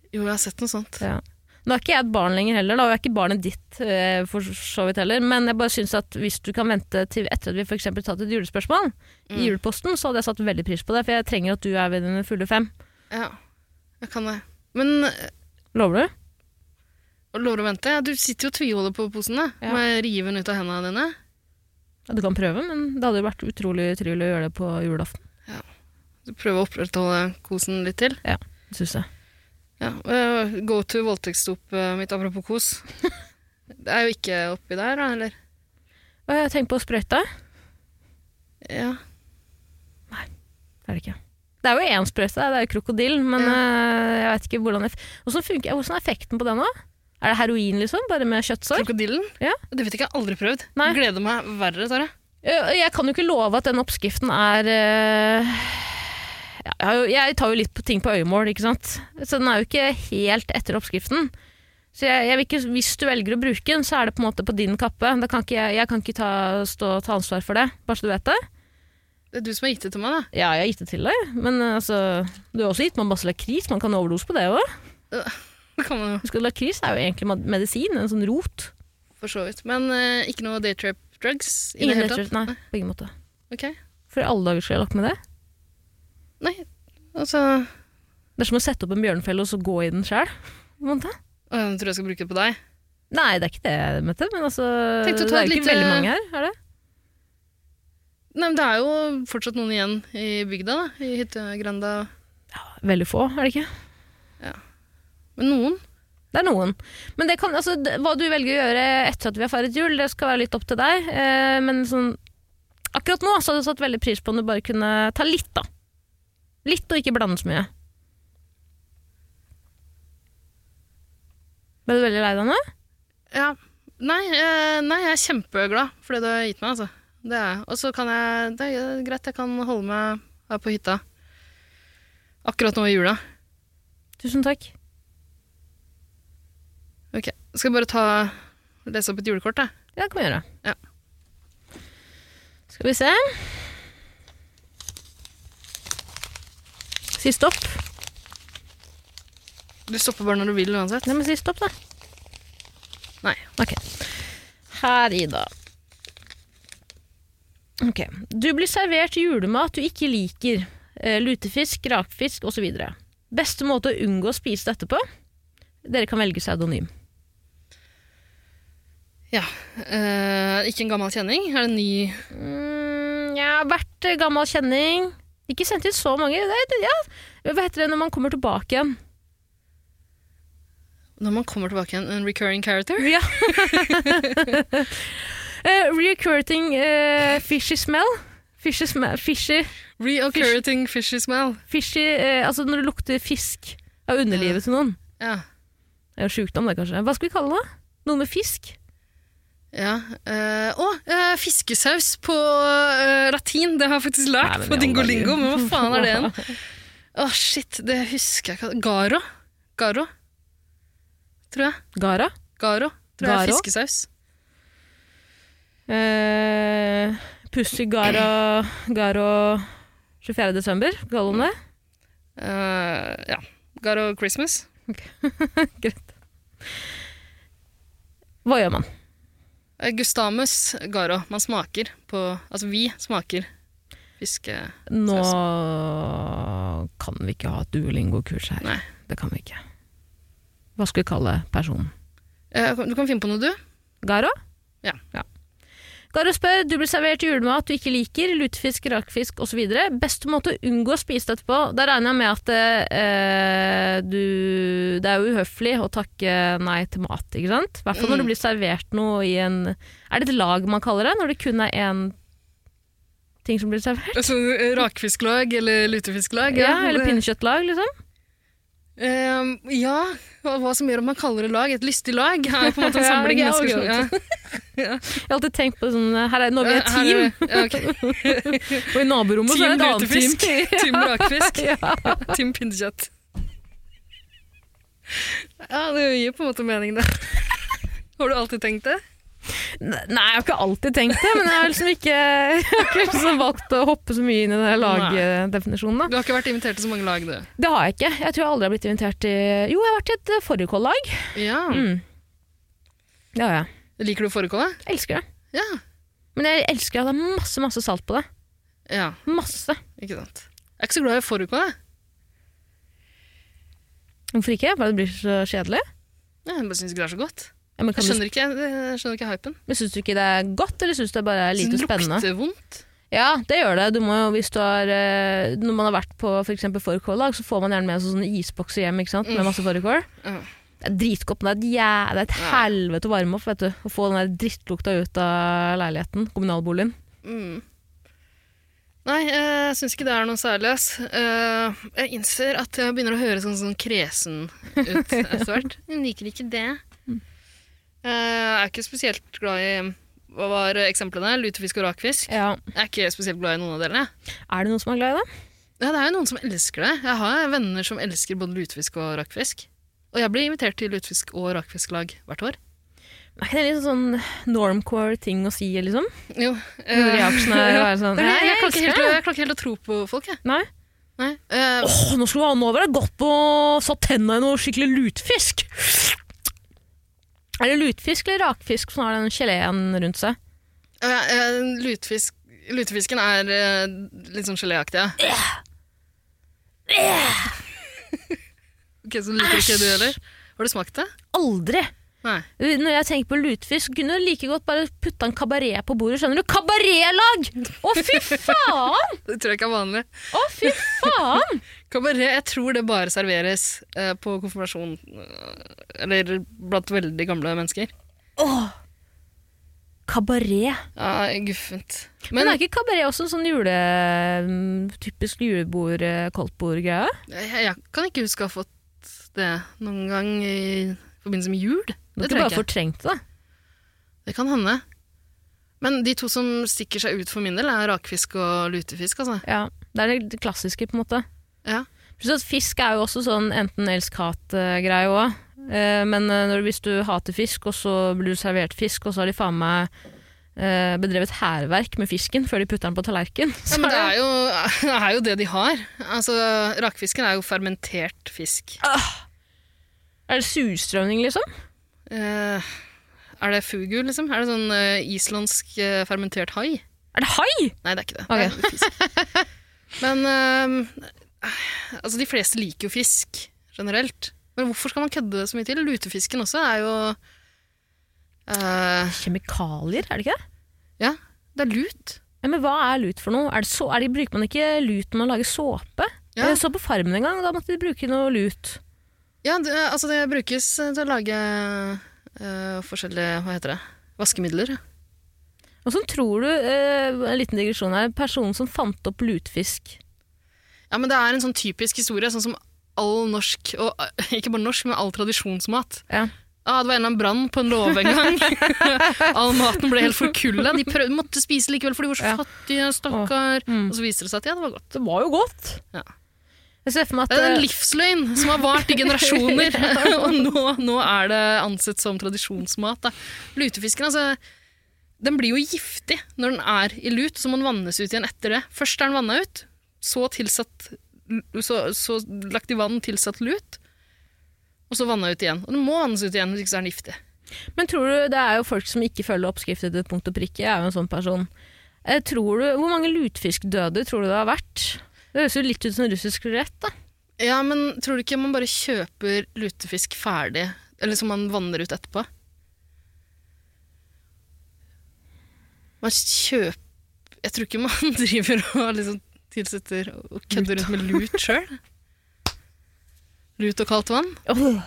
H: Jo, jeg har sett noe sånt.
A: Ja. Nå er ikke jeg et barn lenger heller, da, og jeg er ikke barnet ditt eh, for så vidt heller, men jeg bare syns at hvis du kan vente til etter at vi f.eks. tatt et julespørsmål i juleposten, så hadde jeg satt veldig pris på det, for jeg trenger at du er ved dine fulle fem.
H: Ja, jeg kan det. Men eh,
A: Lover du?
H: lover å vente? Ja, Du sitter jo og tviholder på posen. da.
A: Ja.
H: Må jeg rive den ut av hendene dine?
A: Ja, du kan prøve, men det hadde jo vært utrolig utrolig å gjøre det på julaften,
H: Så Prøve å opprettholde kosen litt til?
A: syns jeg.
H: Ja, øh, Go to voldtektsdop øh, mitt apropos kos. Det er jo ikke oppi der, da, eller?
A: Hva har jeg tenkt på å sprøyte?
H: Ja.
A: Det er det ikke. Det er jo én sprøyte, det er jo krokodille, men
H: Ja.
A: eh, jeg vet ikke hvordan eff hvordan, funker, hvordan er effekten på den nå? Er det heroin, liksom? Bare med kjøttsår?
H: Krokodillen?
A: Ja.
H: Det vet jeg ikke, jeg har aldri prøvd.
A: Nei.
H: Gleder meg verre, Tara.
A: Eh, Jeg kan jo ikke love at den oppskriften er eh, ja, jeg har jo- Jeg tar jo litt på ting på øyemål, ikke sant? Så den er jo ikke helt etter oppskriften. Så jeg, jeg vil ikke, hvis du velger å bruke den, så er det på en måte på din kappe. Da kan ikke jeg, jeg kan ikke ta, stå og ta ansvar for det, bare så du vet det.
H: Det er du som har gitt det til meg, da.
A: Ja, jeg har gitt det til deg, men eh, altså Du har også gitt meg masse lakris, man kan overdose på det òg.
H: Det kan man jo
A: Husk at lakris er jo egentlig med- medisin, en sånn rot.
H: for så vidt. Men øh, ikke noe daytrip drugs? i det
A: Ingen
H: hele tatt?
A: lettelse, nei, på ingen måte.
H: Ok.
A: For i alle dager skulle jeg lagt med det.
H: Nei, altså
A: Det er som å sette opp en bjørnefelle og så gå i den sjæl.
H: Å, jeg tror jeg skal bruke det på deg.
A: Nei, det er ikke det, Mette. Men altså, det
H: Tenkte å
A: er
H: ta
A: jo
H: et
A: ikke
H: lite-
A: veldig mange her, er det?
H: Nei, men Det er jo fortsatt noen igjen i bygda, da. I hyttegrenda.
A: Veldig få, er det ikke?
H: Men noen.
A: Det er noen. Men det kan, altså, det, hva du velger å gjøre etter at vi har feiret jul, det skal være litt opp til deg. Eh, men sånn, akkurat nå så hadde jeg satt veldig pris på om du bare kunne ta litt, da. Litt, og ikke blande så mye. Ble du veldig lei deg nå?
H: Ja. Nei, eh, nei, jeg er kjempeglad for det du har gitt meg. Altså. Det er jeg. Og så kan jeg Det er greit, jeg kan holde meg her på hytta akkurat nå i jula.
A: Tusen takk.
H: Ok, Skal jeg bare ta lese opp et julekort, jeg?
A: Ja, det kan vi gjøre.
H: Ja.
A: Skal vi se. Si stopp.
H: Du stopper bare når du vil uansett.
A: Nei, men si stopp, da.
H: Nei.
A: Ok. Her, Ida. Ok. Du blir servert julemat du ikke liker. Eh, Lutefisk, rakfisk osv. Beste måte å unngå å spise dette på? Dere kan velge pseudonym.
H: Ja. eh, ikke en gammel kjenning? Er det en ny
A: Mm, jeg har vært eh, gammel kjenning. Ikke sendt inn så mange. Det, er- ja. Hva heter det når man kommer tilbake igjen?
H: Når man kommer tilbake igjen, en recurring character.
A: Ja. Eh, recurring eh, fishy smell. Fishy, smell, fishy,
H: Reoccurring fishy smell.
A: fishy eh, Altså når det lukter fisk av underlivet til noen.
H: Ja.
A: Det er jo sjukdom, det, kanskje. Hva skal vi kalle det? Noe med fisk?
H: Ja. eh, å, eh, fiskesaus på eh, latin. Det har jeg faktisk
A: Nei, men i
H: lært på
A: all
H: dingolingo,
A: verden.
H: men hva faen er det igjen? Å, shit, det husker jeg ikke. Garo. Garo, tror jeg.
A: Gara?
H: Garo, tror jeg er
A: Garo?
H: fiskesaus.
A: Eh, Pussy Gara Garo 24. desember, kaller hun det.
H: Eh, ja. Garo Christmas.
A: Greit. Hva gjør man?
H: Eh, Gustamus Garo. Man smaker på Altså, vi smaker fiske...
A: Nå kan vi ikke ha et duolingo-kurs her.
H: Nei.
A: Det kan vi ikke. Hva skal vi kalle personen?
H: Eh, du kan finne på noe, du.
A: Garo?
H: Ja.
A: Garo spør du blir servert julemat du ikke liker, lutefisk, rakfisk osv. Beste måte å unngå å spise det etterpå. Da regner jeg med at eh, du Det er jo uhøflig å takke nei til mat, ikke sant? I hvert fall
H: Mm.
A: når det blir servert noe i en Er det et lag man kaller det? Når det kun er én ting som blir servert?
H: Altså, eh, rakfisklag eller lutefisklag.
A: Ja, eller
H: det-
A: pinnekjøttlag, liksom?
H: Ehm, ja, hva hva som gjør om man kaller det lag et lystig lag, er på en måte en
A: Ja,
H: samling
A: ja,
H: mennesker
A: ok,
H: som ja. Eh,
A: Jeg har alltid tenkt på det sånn her er, Når vi er et
H: Her
A: team,
H: vi- ja, ok.
A: og i naborommet så er
H: Team
A: det et annet team.
H: lutefisk, team rakfisk, team pinnekjøtt. Ja, det gir på en måte mening, det. Har du alltid tenkt det?
A: Nei, jeg har ikke alltid tenkt det, men jeg har liksom ikke, jeg har ikke liksom valgt å hoppe så mye inn i den her lagdefinisjonen.
H: Du har ikke vært invitert til så mange lag, du.
A: Da. Det har jeg ikke. Jeg tror jeg aldri har blitt invitert til Jo, jeg har vært i et fårikållag.
H: Ja.
A: Ja, ja.
H: Liker du fårikål?
A: Jeg elsker det.
H: Ja.
A: Men jeg elsker at det er masse, masse salt på det.
H: ja.
A: Masse.
H: Ikke sant. Jeg er ikke så glad i fårikål, jeg.
A: Hvorfor ikke? Bare det blir så kjedelig.
H: Ja, Jeg bare syns ikke det er så godt.
A: Ja, men
H: Jeg
A: kan du,
H: skjønner ikke, jeg skjønner ikke hypen.
A: men syns du ikke det er godt, eller syns du det bare er lite
H: Synes det
A: spennende?
H: Lukter vondt.
A: Ja, det gjør det. Du må jo, hvis du har, eh, når man har vært på for eksempel fårikållag, så får man gjerne med seg sånne isbokser hjem ikke sant? med masse fårikål.
H: Ja.
A: Det er dritgodt, men det er et, jæ- det er et helvete å varme opp. vet du. Å få den der drittlukta ut av leiligheten, kommunalboligen.
H: Mm. Nei, eh, jeg syns ikke det er noe særlig. ass. Eh, jeg innser at jeg begynner å høre sånn, sånn kresen ut etter hvert. Jeg liker ikke det. Eh, jeg er ikke spesielt glad i Hva var eksemplene? Lutefisk og rakfisk.
A: Ja.
H: Jeg er ikke spesielt glad i noen av delene.
A: Er det noen som er glad i det?
H: Ja, det er jo noen som elsker det. Jeg har venner som elsker både lutefisk og rakfisk. Og jeg blir invitert til lutefisk- og rakfisklag hvert år.
A: Er ikke det litt sånn normcore ting å si, liksom?
H: Jo. eh,
A: Når reaksjonen er å være
H: det
A: sånn
H: er det,
A: «Nei,
H: jeg, klarer ikke
A: elsker
H: helt, å-
A: det».
H: jeg klarer ikke helt å tro på folk, jeg.
A: Nei?
H: Nei. Eh,
A: Åh, nå skulle han over ha gått på satt tenna i noe skikkelig lutfisk! Er det lutfisk eller rakfisk som har den geleen rundt seg?
H: Ja, eh, lutefisk, lutefisken er eh, litt sånn geléaktig, ja. ok, så liker ikke du heller? Har du smakt det?
A: Aldri!
H: Nei.
A: Når jeg tenker på lutefisk, kunne du like godt bare putta en kabaret på bordet, skjønner du? Kabaretlag! Å, fy faen!
H: Det tror jeg ikke er vanlig.
A: Å, fy faen!
H: Kabaret, jeg tror det bare serveres eh, på konfirmasjon, eh, eller blant veldig gamle mennesker.
A: Kabaret.
H: Ja, guffent.
A: Men,
H: Men
A: er ikke kabaret også en sånn jule... mm, Typisk julebord, eh, koldtbord-greie?
H: jeg, jeg kan ikke huske å ha fått det noen gang i forbindelse med jul.
A: Du har
H: Det
A: ikke
H: tror jeg
A: bare
H: ikke.
A: fortrengt det?
H: Det kan hende. Men de to som stikker seg ut for min del, er rakfisk og lutefisk, altså.
A: Ja, Det er det klassiske, på en måte.
H: Ja.
A: Pluss at fisk er jo også sånn enten-elsk-hat-greie òg. Men eh, når, hvis du hater fisk, og så blir du servert fisk, og så har de faen meg eh, bedrevet hærverk med fisken før de putter den på tallerken
H: Ja, men det er, jo, det er jo det de har. Altså, Rakfisken er jo fermentert fisk.
A: Er det surstrømning, liksom?
H: Eh, er det fugu, liksom? Er det sånn eh, islandsk eh, fermentert hai?
A: Er det hai?!
H: Nei, det er ikke det.
A: Ok.
H: det er fisk. Men eh, altså, de fleste liker jo fisk generelt. Men hvorfor skal man kødde så mye til? Lutefisken også er jo eh,
A: Kjemikalier, er det ikke det?
H: Ja, det er lut.
A: Ja, men hva er lut for noe? Er det så, er det, bruker man ikke lut når man lager såpe?
H: Ja.
A: Jeg så på Farmen en gang, da måtte de bruke noe lut.
H: Ja, det, altså det brukes til å lage eh, forskjellige Hva heter det? Vaskemidler.
A: Og så tror du, eh, en liten digresjon her, personen som fant opp lutfisk.
H: Ja, men Det er en sånn typisk historie, sånn som all norsk, og eh, ikke bare norsk, men all tradisjonsmat.
A: Ja.
H: Ah, det var en eller annen brann på en låve en gang. all maten ble helt forkulla. De prøvde, måtte spise likevel, for de var så
A: Ja.
H: fattige. stakkar.
A: mm.
H: Og så viser det seg at ja, det var godt.
A: Det var jo godt.
H: Ja.
A: Jeg ser for meg
H: Det er en
A: at eh,
H: livsløgn som har vart i generasjoner, og nå, nå er det ansett som tradisjonsmat. Da. Lutefisken, altså, den blir jo giftig når den er i lut, så må den vannes ut igjen etter det. Først er den vanna ut, så, tilsatt, så, så lagt i vann, tilsatt lut, og så vanna ut igjen. Og den må vannes ut igjen, hvis ikke så er den giftig.
A: Men tror du det er jo folk som ikke følger oppskrifter til punkt og prikke? Jeg er jo en sånn person. Eh, tror du, hvor mange lutfiskdøde tror du det har vært? Det høres jo litt ut som russisk rett, da.
H: Ja, men tror du ikke man bare kjøper lutefisk ferdig, eller som man vanner ut etterpå? Man kjøper Jeg tror ikke man driver og liksom tilsetter og kødder rundt med lut sjøl. Lut og kaldt vann?
A: Åh.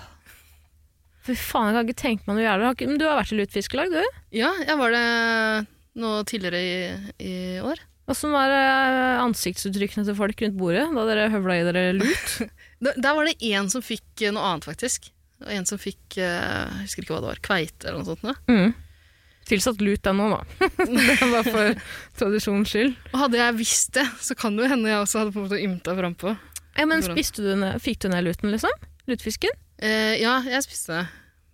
A: Fy faen, jeg kan ikke tenke meg noe jævlig. Har ikke- Men du har vært i lutfiskelag, du?
H: Ja, jeg var det nå tidligere i, i år.
A: Åssen var eh, ansiktsuttrykkene til folk rundt bordet da dere høvla i dere lut?
H: Der der var det én som fikk eh, noe annet, faktisk. Og en som fikk eh, Jeg husker ikke hva det var. Kveite eller noe sånt. nå.
A: Mm. Tilsatt lut der nå, da. det er bare for tradisjonens skyld.
H: Og hadde jeg visst det, så kan det jo hende jeg også hadde på en måte ymta frampå.
A: Ja, men
H: Hvordan?
A: spiste du ned, Fikk du ned luten, liksom? Lutfisken?
H: Eh, ja, jeg spiste det.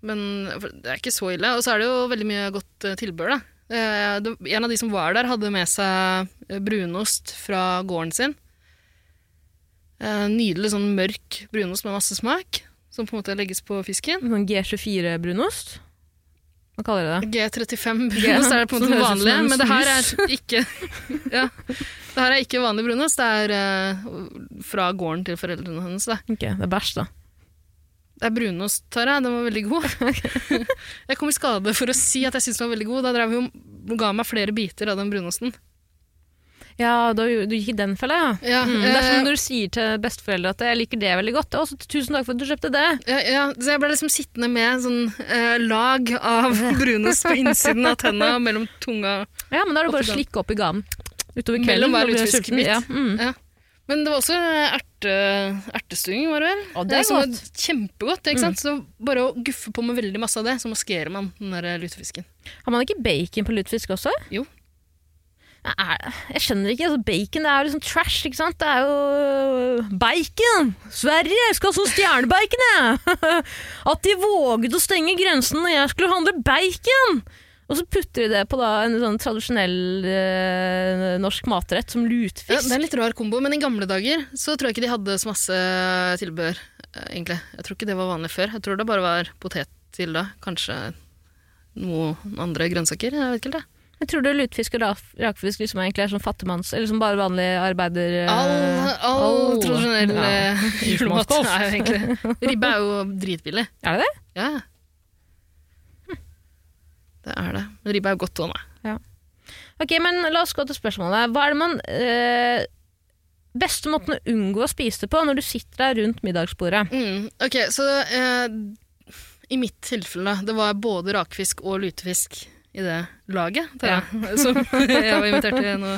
H: Men for det er ikke så ille. Og så er det jo veldig mye godt eh, tilbør, da. Eh, det, en av de som var der, hadde med seg eh, brunost fra gården sin. Eh, nydelig sånn mørk brunost med masse smak, som på en måte legges på fisken.
A: Sånn G24-brunost? Hva kaller de det?
H: G35 brunost er det på en
A: som
H: måte
A: høres ut som
H: vanlig,
A: en
H: men det her
A: snus.
H: er ikke ja, Det her er ikke vanlig brunost. Det er eh, fra gården til foreldrene hennes. Da.
A: Ok, det er bæsj, da.
H: Det er brunost, Tara. Den var veldig god. jeg kom i skade for å si at jeg syntes den var veldig god. Da drev hun og ga meg flere biter av den brunosten.
A: Ja, da, du gikk i den fella, ja.
H: Ja,
A: Mm. Det er
H: eh,
A: som når du sier til besteforeldre at 'jeg liker det veldig godt'. Å, så tusen takk for at du kjøpte det.
H: ja, ja, så jeg ble liksom sittende med sånn eh, lag av brunost på innsiden av tenna mellom tunga.
A: Ja, men da er det bare å
H: Oppi
A: slikke opp i ganen. Utover kvelden.
H: Mellom hver
A: da blir jeg sulten.
H: lutefisken mitt.
A: Ja, mm.
H: Ja. Men det var også eh, erte, ertestuing, var det vel?
A: Å, det er
H: som var
A: godt. Mm.
H: Kjempegodt. ikke sant? Så bare å guffe på med veldig masse av det, så maskerer man den der eh, lutefisken.
A: Har man ikke bacon på lutfisk også?
H: Jo.
A: Nei, er- Jeg skjønner ikke. Altså, bacon det er jo liksom trash, ikke sant? Det er jo Bacon! Sverige! Jeg skal ha sånn stjernebacon, jeg! At de våget å stenge grensen når jeg skulle handle bacon! Og så putter de det på da, en sånn tradisjonell eh, norsk matrett som
H: Ja,
A: lutfisk.
H: det er en litt rar kombo, men i gamle dager så tror jeg ikke de hadde så masse tilbehør, eh, egentlig. Jeg tror ikke det var vanlig før. Jeg tror det bare var potet til da, kanskje noen andre grønnsaker, jeg vet ikke det.
A: Jeg tror det er lutfisk og rak- rakfisk liksom egentlig er sånn fattigmanns... Eller som bare vanlig arbeider... eh,
H: All, all
A: all-
H: tradisjonell
A: Ja.
H: eh, julemat
A: Husmannskost.
H: er jo egentlig Ribbe er jo dritbillig.
A: Er det det?
H: Ja. Det er det. Men ribbe er jo godt òg, nei.
A: Ok, men la oss gå til spørsmålet. Hva er det man eh, Beste måten å unngå å spise det på når du sitter der rundt middagsbordet?
H: Mm, ok, så eh, i mitt tilfelle, det var både rakfisk og lutefisk i det laget, Tara, som jeg var invitert til nå.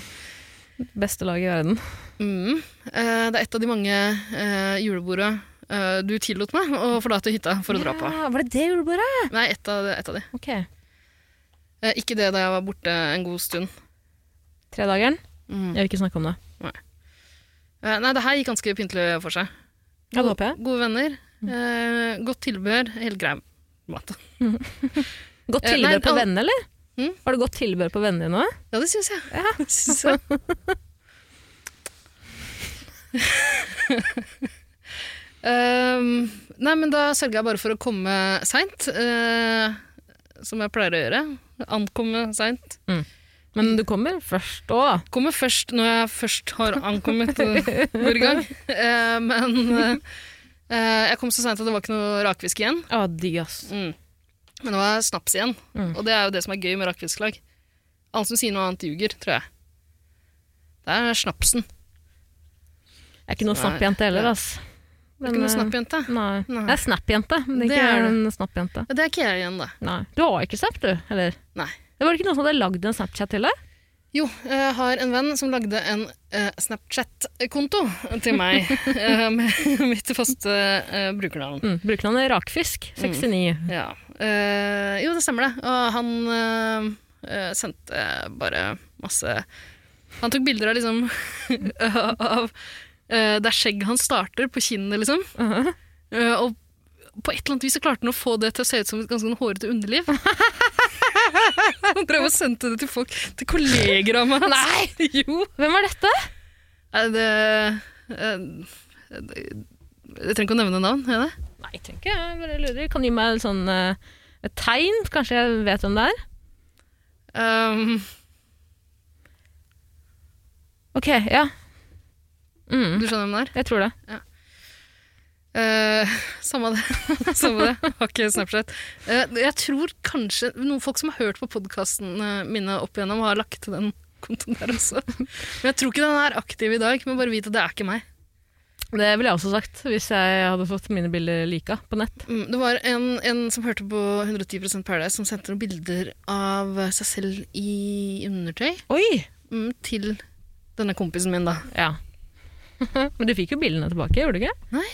A: Beste lag i verden.
H: Mm, eh, det er et av de mange eh, julebordene eh, du tillot meg å forlate hytta for å dra på.
A: Ja, var det det julebordet?
H: Nei, et av, et av de.
A: Ok.
H: Eh, ikke det da jeg var borte en god stund.
A: Tredageren?
H: Mm.
A: Jeg vil ikke snakke om det.
H: Eh, nei, det her gikk ganske pyntelig for seg.
A: Ja, det håper jeg.
H: Gode venner, eh, godt tilbehør, helt grei mat.
A: Godt
H: Eh,
A: tilbehør
H: nei,
A: på
H: al-
A: vennene, eller?
H: Mm?
A: Var det godt tilbehør på vennene dine òg?
H: Ja, det syns jeg. Det Synes jeg. Ehm, nei, men da sørger jeg bare for å komme seint, eh, som jeg pleier å gjøre. Ankomme seint.
A: Men
H: Mm.
A: du kommer først òg.
H: Kommer først når jeg først har ankommet eh, hver gang. Eh, men eh, eh, jeg kom så seint at det var ikke noe rakfisk igjen.
A: Å, digg, ass.
H: Mm. Men det var snaps igjen, og det er jo det som er gøy med rakfisklag. Alle som sier noe annet, ljuger, tror jeg. Det er snapsen.
A: Jeg er ikke noe
H: Nei.
A: snappjente heller, ass. eh,
H: Det er ikke noe snappjente.
A: Nei.
H: Nei.
A: Jeg er snap-jente, men det er
H: Det
A: ikke
H: er det.
A: en snap-jente.
H: Det er ikke jeg igjen, da.
A: Nei. Du har ikke snap, du? Eller?
H: Nei.
A: Det var ikke noen som hadde lagd en Snapchat til deg?
H: Jo, jeg har en venn som lagde en eh, Snapchat-konto til meg eh, med mitt faste eh, brukernavn.
A: Mm. Brukernavnet Rakfisk. 69.
H: Ja. Eh, jo, det stemmer det. Og han eh, eh, sendte bare masse Han tok bilder av liksom av eh, der skjegget hans starter, på kinnet, liksom. Eh, og på et eller annet vis så klarte han å få det til å se ut som et ganske sånn hårete underliv. Han drev og sendte det til folk, til kolleger av meg. Nei! Jo!
A: Hvem var dette?
H: Nei, det, eh, det Jeg trenger ikke å nevne navn, gjør jeg det?
A: Nei, jeg tenker jeg bare lurer. Kan du gi meg en sånn, eh, et tegn? Kanskje jeg vet hvem det er?
H: Um,
A: Ok, ja. Mm,
H: du skjønner hvem det er?
A: jeg tror det.
H: Eh, samme det. samme det. Har ikke Snapchat. Eh, jeg tror kanskje noen folk som har hørt på podkastene mine opp igjennom, har lagt til den kontoen der også. Men jeg tror ikke den er aktiv i dag, men bare vit at det er ikke meg.
A: Det ville jeg også sagt hvis jeg hadde fått mine bilder lika på nett.
H: Mm, det var en, en som hørte på 110 Paradise, som sendte noen bilder av seg selv i undertøy
A: Oi!
H: mm, til denne kompisen min, da.
A: Ja. Men du fikk jo bildene tilbake, gjorde du ikke?
H: Nei.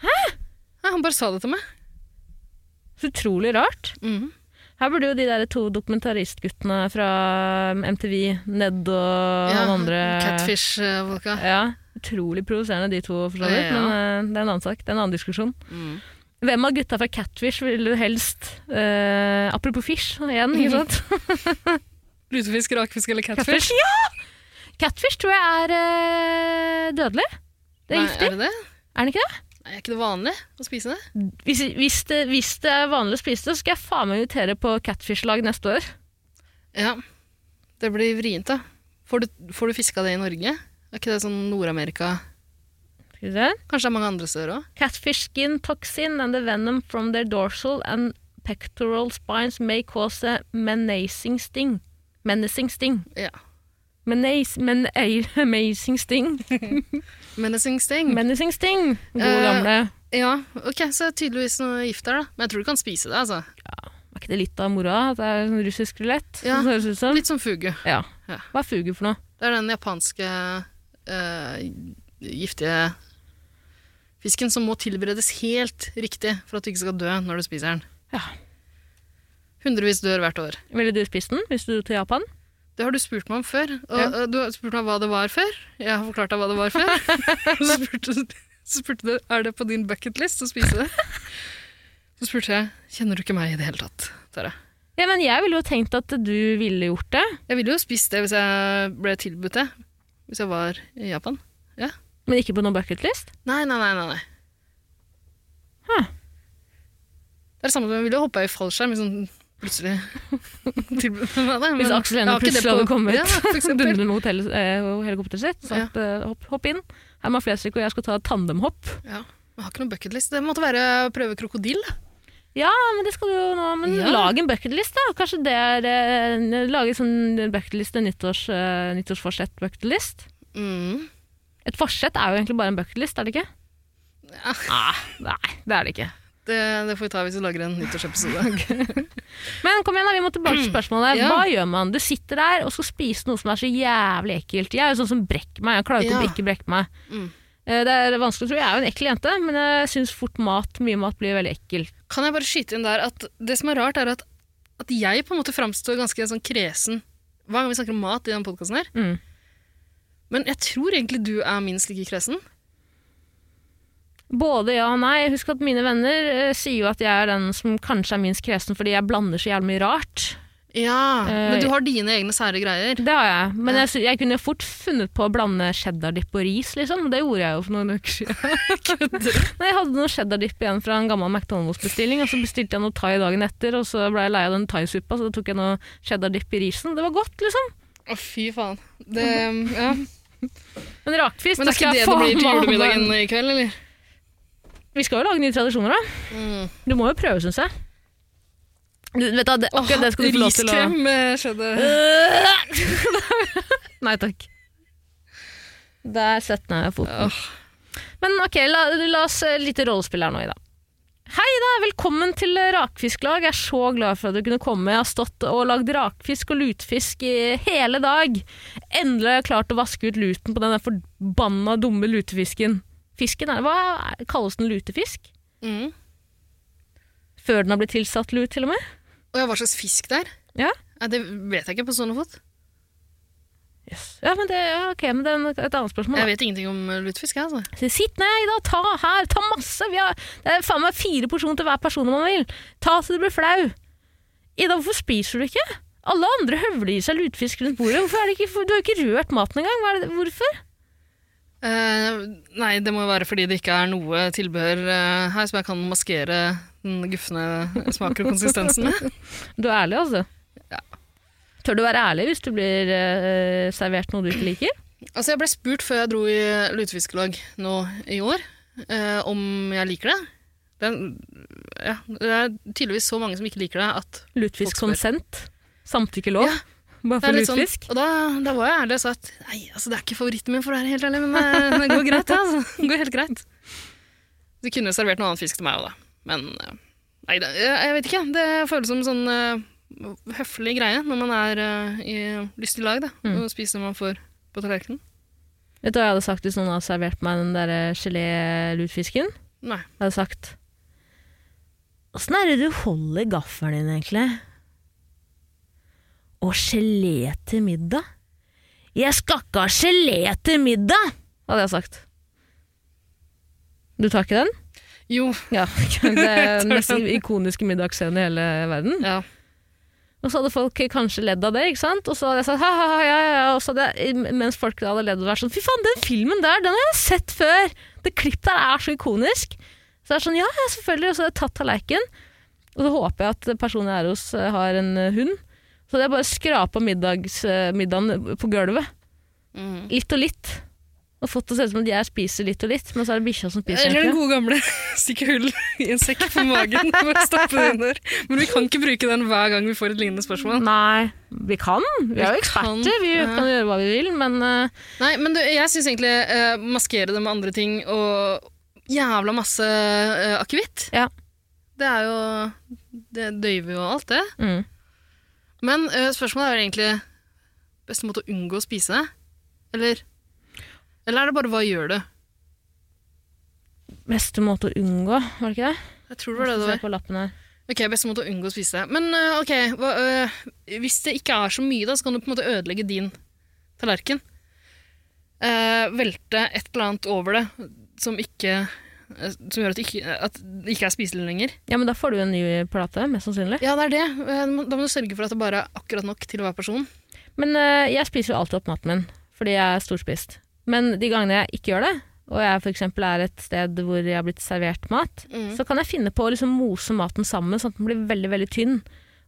H: Hæ? Nei, han bare sa det til meg.
A: Så utrolig rart.
H: Mhm.
A: Her burde jo de der to dokumentaristguttene fra MTV, Ned og
H: Ja, eh,
A: han andre
H: Catfish-folka.
A: Ja, Utrolig provoserende, de to, for så vidt.
H: Ja.
A: Men eh, det er en annen sak. Det er en annen diskusjon.
H: Mm.
A: Hvem av gutta fra Catfish vil du helst eh, Apropos fish igjen, ikke sant?
H: Lutefisk, rakfisk eller catfish?
A: Catfish, ja! Catfish tror jeg er eh, dødelig. Det er
H: Nei,
A: giftig.
H: Er det det?
A: Er den ikke det?
H: Nei, er ikke det vanlig å spise det?
A: Hvis, hvis det? hvis det er vanlig å spise det, så skal jeg faen meg invitere på Catfish-lag neste år.
H: Ja, det blir vrient da. Får du, får du fiska det i Norge? Er ikke det sånn Nord-Amerika?
A: Skal vi se.
H: Kanskje det er mange andre steder òg?
A: Catfish skin toxin and the venom from their dorsal and pectoral spines may cause a menacing sting. Menacing sting.
H: Ja.
A: Menace, men, amazing sting.
H: Menacing sting.
A: Menacing sting. Gode
H: Eh,
A: gamle.
H: ja, ok, så er det tydeligvis noe gift der, da. Men jeg tror du kan spise det, altså.
A: Var ikke det litt av moroa? At det er sånn russisk rulett?
H: Ja.
A: Som det høres ut som?
H: Litt som fugu.
A: Ja.
H: Ja.
A: Hva er fugu for noe?
H: Det er den japanske eh, giftige fisken som må tilberedes helt riktig for at du ikke skal dø når du spiser den.
A: Ja.
H: Hundrevis dør hvert år.
A: Ville du spist den hvis du dro til Japan?
H: Det har du spurt meg om før. Og
A: Ja.
H: og du har spurt meg hva det var før. Jeg har forklart deg hva det var før. så spurte du så spurte du, er det på din bucketlist å spise det. Så spurte jeg kjenner du ikke meg i det hele tatt. Tara?
A: Ja, men jeg ville jo tenkt at du ville gjort det.
H: Jeg ville jo spist det hvis jeg ble tilbudt det. Hvis jeg var i Japan.
A: Men ikke på noen bucketlist.
H: Nei, nei, nei. nei, nei.
A: Huh.
H: Det er det samme som jeg ville hoppa i fallskjerm. Liksom, plutselig tilbudt meg det.
A: Hvis
H: men
A: Aksel
H: jeg
A: Hennie
H: har ikke det
A: plutselig hadde
H: på-
A: kommet
H: Ja, for eksempel.
A: dundrende med hotell, eh, helikopteret sitt, sagt eh, hopp, hopp inn. Herman Flesvig og jeg skal ta tandemhopp.
H: Ja. Jeg har ikke noen bucketlist. Det måtte være å prøve krokodille.
A: Ja, men det skal du jo nå. Men
H: Ja.
A: lag en bucketlist, da. Kanskje det er eh, Lage sånn bucketlist, en nyttårs, eh, nyttårsforsett-bucketlist.
H: Mm.
A: Et forsett er jo egentlig bare en bucketlist, er det ikke?
H: Ja.
A: Ah, nei, det er det ikke.
H: Det, det får vi ta hvis vi lager en nyttårsepisode.
A: Men kom igjen, da, vi må tilbake til spørsmålet.
H: Ja.
A: Hva gjør man? Du sitter der og skal spise noe som er så jævlig ekkelt. Jeg er jo sånn som brekker meg. Jeg klarer ikke
H: Ja.
A: å ikke brekke meg.
H: Mm.
A: Eh, Det er vanskelig, tror jeg. Jeg er jo en ekkel jente, men jeg syns fort mat, mye mat, blir veldig ekkelt.
H: Kan jeg bare skyte inn der at det som er rart, er at, at jeg på en måte framstår ganske sånn kresen hver gang vi snakker om mat i den podkasten her.
A: Mm.
H: Men jeg tror egentlig du er minst like kresen.
A: Både ja og nei. Husk at mine venner eh, sier jo at jeg er den som kanskje er minst kresen fordi jeg blander så jævlig mye rart.
H: Ja,
A: Eh,
H: Men du har dine egne sære greier.
A: Det har jeg, men
H: Ja.
A: jeg, sy- jeg kunne fort funnet på å blande cheddardipp og ris, liksom. Det gjorde jeg jo for noen uker siden. Nei, jeg hadde noe cheddardipp igjen fra en gammel McDonald's-bestilling, og så bestilte jeg noe thai dagen etter, og så ble jeg lei av den thaisuppa, så da tok jeg noe cheddardipp i risen. Det var godt, liksom.
H: Å, fy faen. Det,
A: mm.
H: ja.
A: Men rakfisk,
H: Men det er ikke
A: skal
H: det
A: jeg
H: det blir
A: faen
H: til
A: meg-
H: julemiddagen i kveld, eller?
A: Vi skal jo lage nye tradisjoner, da.
H: Mm.
A: Du må jo prøve, syns jeg. Du, vet du, hva, det, akkurat det skal du få lov til å
H: Riskrem med cheddar.
A: Eh. Nei takk. Der setter jeg foten.
H: Åh.
A: Men ok, la, la oss eh, lite rollespill her nå, Ida. Hei, Ida! Velkommen til eh, Rakfisklag. Jeg er så glad for at du kunne komme. Jeg har stått og lagd rakfisk og lutefisk i hele dag. Endelig har jeg klart å vaske ut luten på den der forbanna dumme lutefisken. Fisken er, Hva er- kalles den? Lutefisk?
H: Mm.
A: Før den har blitt tilsatt lut, til og med?
H: Og ja, hva slags fisk det er?
A: Ja.
H: Nei, det vet jeg ikke på stående fot.
A: Yes. Ja, men det, ja, ok, men det er nok et annet spørsmål. da.
H: Jeg vet ingenting om eh, lutefisk, jeg, altså.
A: Så Sitt ned, Ida. Ta her. Ta masse. Vi har, det er faen meg fire porsjoner til hver person om man vil. Ta så du blir flau. Ida, hvorfor spiser du ikke? Alle andre høvler i seg lutefisk rundt bordet. Hvorfor er det ikke, du har ikke rørt maten engang. Hva er det, hvorfor?
H: Eh, nei, det må jo være fordi det ikke er noe tilbehør eh, her som jeg kan maskere den gufne smaken og konsistensen med.
A: Du er ærlig, altså.
H: Ja.
A: Tør du være ærlig hvis du blir eh, servert noe du ikke liker?
H: Altså, jeg ble spurt før jeg dro i lutefiskelag nå i år, eh, om jeg liker det. Det er, ja, det er tydeligvis så mange som ikke liker det at
A: Lutefisk
H: Folk
A: konsent? Samtykkelov?
H: Ja.
A: Bare
H: det er
A: for
H: litt sånn,
A: lutefisk?
H: Og da, da var jeg ærlig og sa at nei, altså, det er ikke favoritten min, for å være helt ærlig, men eh, det går greit. ja, Altså. Det går helt greit. De kunne jo servert noe annen fisk til meg òg, da. Men eh, nei, det, jeg, jeg vet ikke. Det føles som en sånn eh, høflig greie når man er eh, i lystig lag, da,
A: Mm.
H: og spiser det man får på tallerkenen.
A: Vet du hva jeg hadde sagt hvis noen hadde servert meg den der eh, gelé-lutefisken?
H: Nei.
A: Jeg hadde sagt Åssen er det du holder gaffelen din, egentlig? Og gelé til middag? Jeg skal ikke ha gelé til middag! Hadde jeg sagt. Du tar ikke den?
H: Jo.
A: Ja. Det er den mest ikoniske middagsscenen i hele verden.
H: Ja.
A: Og så hadde folk kanskje ledd av det, ikke sant? Og så hadde jeg sagt ha-ha-ha, ja, ja, ja. Og så hadde jeg, mens folk da hadde ledd og vært sånn fy faen, den filmen der, den har jeg sett før! Det klippet der er så ikonisk! Så det er sånn ja, ja, selvfølgelig. Og så hadde jeg tatt tallerkenen. Og så håper jeg at personen jeg er hos, eh, har en eh, hund. Så hadde jeg bare skrapa middags, eh, middagen på gulvet.
H: Mm.
A: Litt og litt. Og fått det til å se ut som at jeg spiser litt og litt, men så er det bikkja som spiser.
H: Eller den
A: egentlig.
H: gode gamle stikke hull i en sekk på magen for å stappe det inn der. Men vi kan ikke bruke den hver gang vi får et lignende spørsmål.
A: Nei, vi kan. Vi er jo
H: Vi kan,
A: eksperter. Vi
H: ja.
A: kan gjøre hva vi vil, men eh,
H: Nei, men du, jeg syns egentlig eh, maskere det med andre ting og jævla masse eh, akevitt.
A: Ja.
H: Det er jo Det døyver jo alt, det.
A: mm.
H: Men eh, spørsmålet er jo egentlig beste måte å unngå å spise det? Eller Eller er det bare hva gjør du?
A: Beste måte å unngå, var det ikke det?
H: Jeg tror det var det det
A: Se
H: var.
A: på lappen her.
H: Ok, Beste måte å unngå å spise det. Men øh, ok, hva, øh, hvis det ikke er så mye, da, så kan du på en måte ødelegge din tallerken. Eh, velte et eller annet over det som ikke eh, Som gjør at det ikke, at det ikke er spiselig lenger.
A: Ja, men da får du en ny plate, mest sannsynlig.
H: Ja, det er det. Eh, Da må du sørge for at det bare er akkurat nok til hver person.
A: Men eh, jeg spiser jo alltid opp maten min, fordi jeg er storspist. Men de gangene jeg ikke gjør det, og jeg for eksempel er et sted hvor jeg har blitt servert mat,
H: Mm.
A: så kan jeg finne på å liksom mose maten sammen, sånn at den blir veldig, veldig tynn.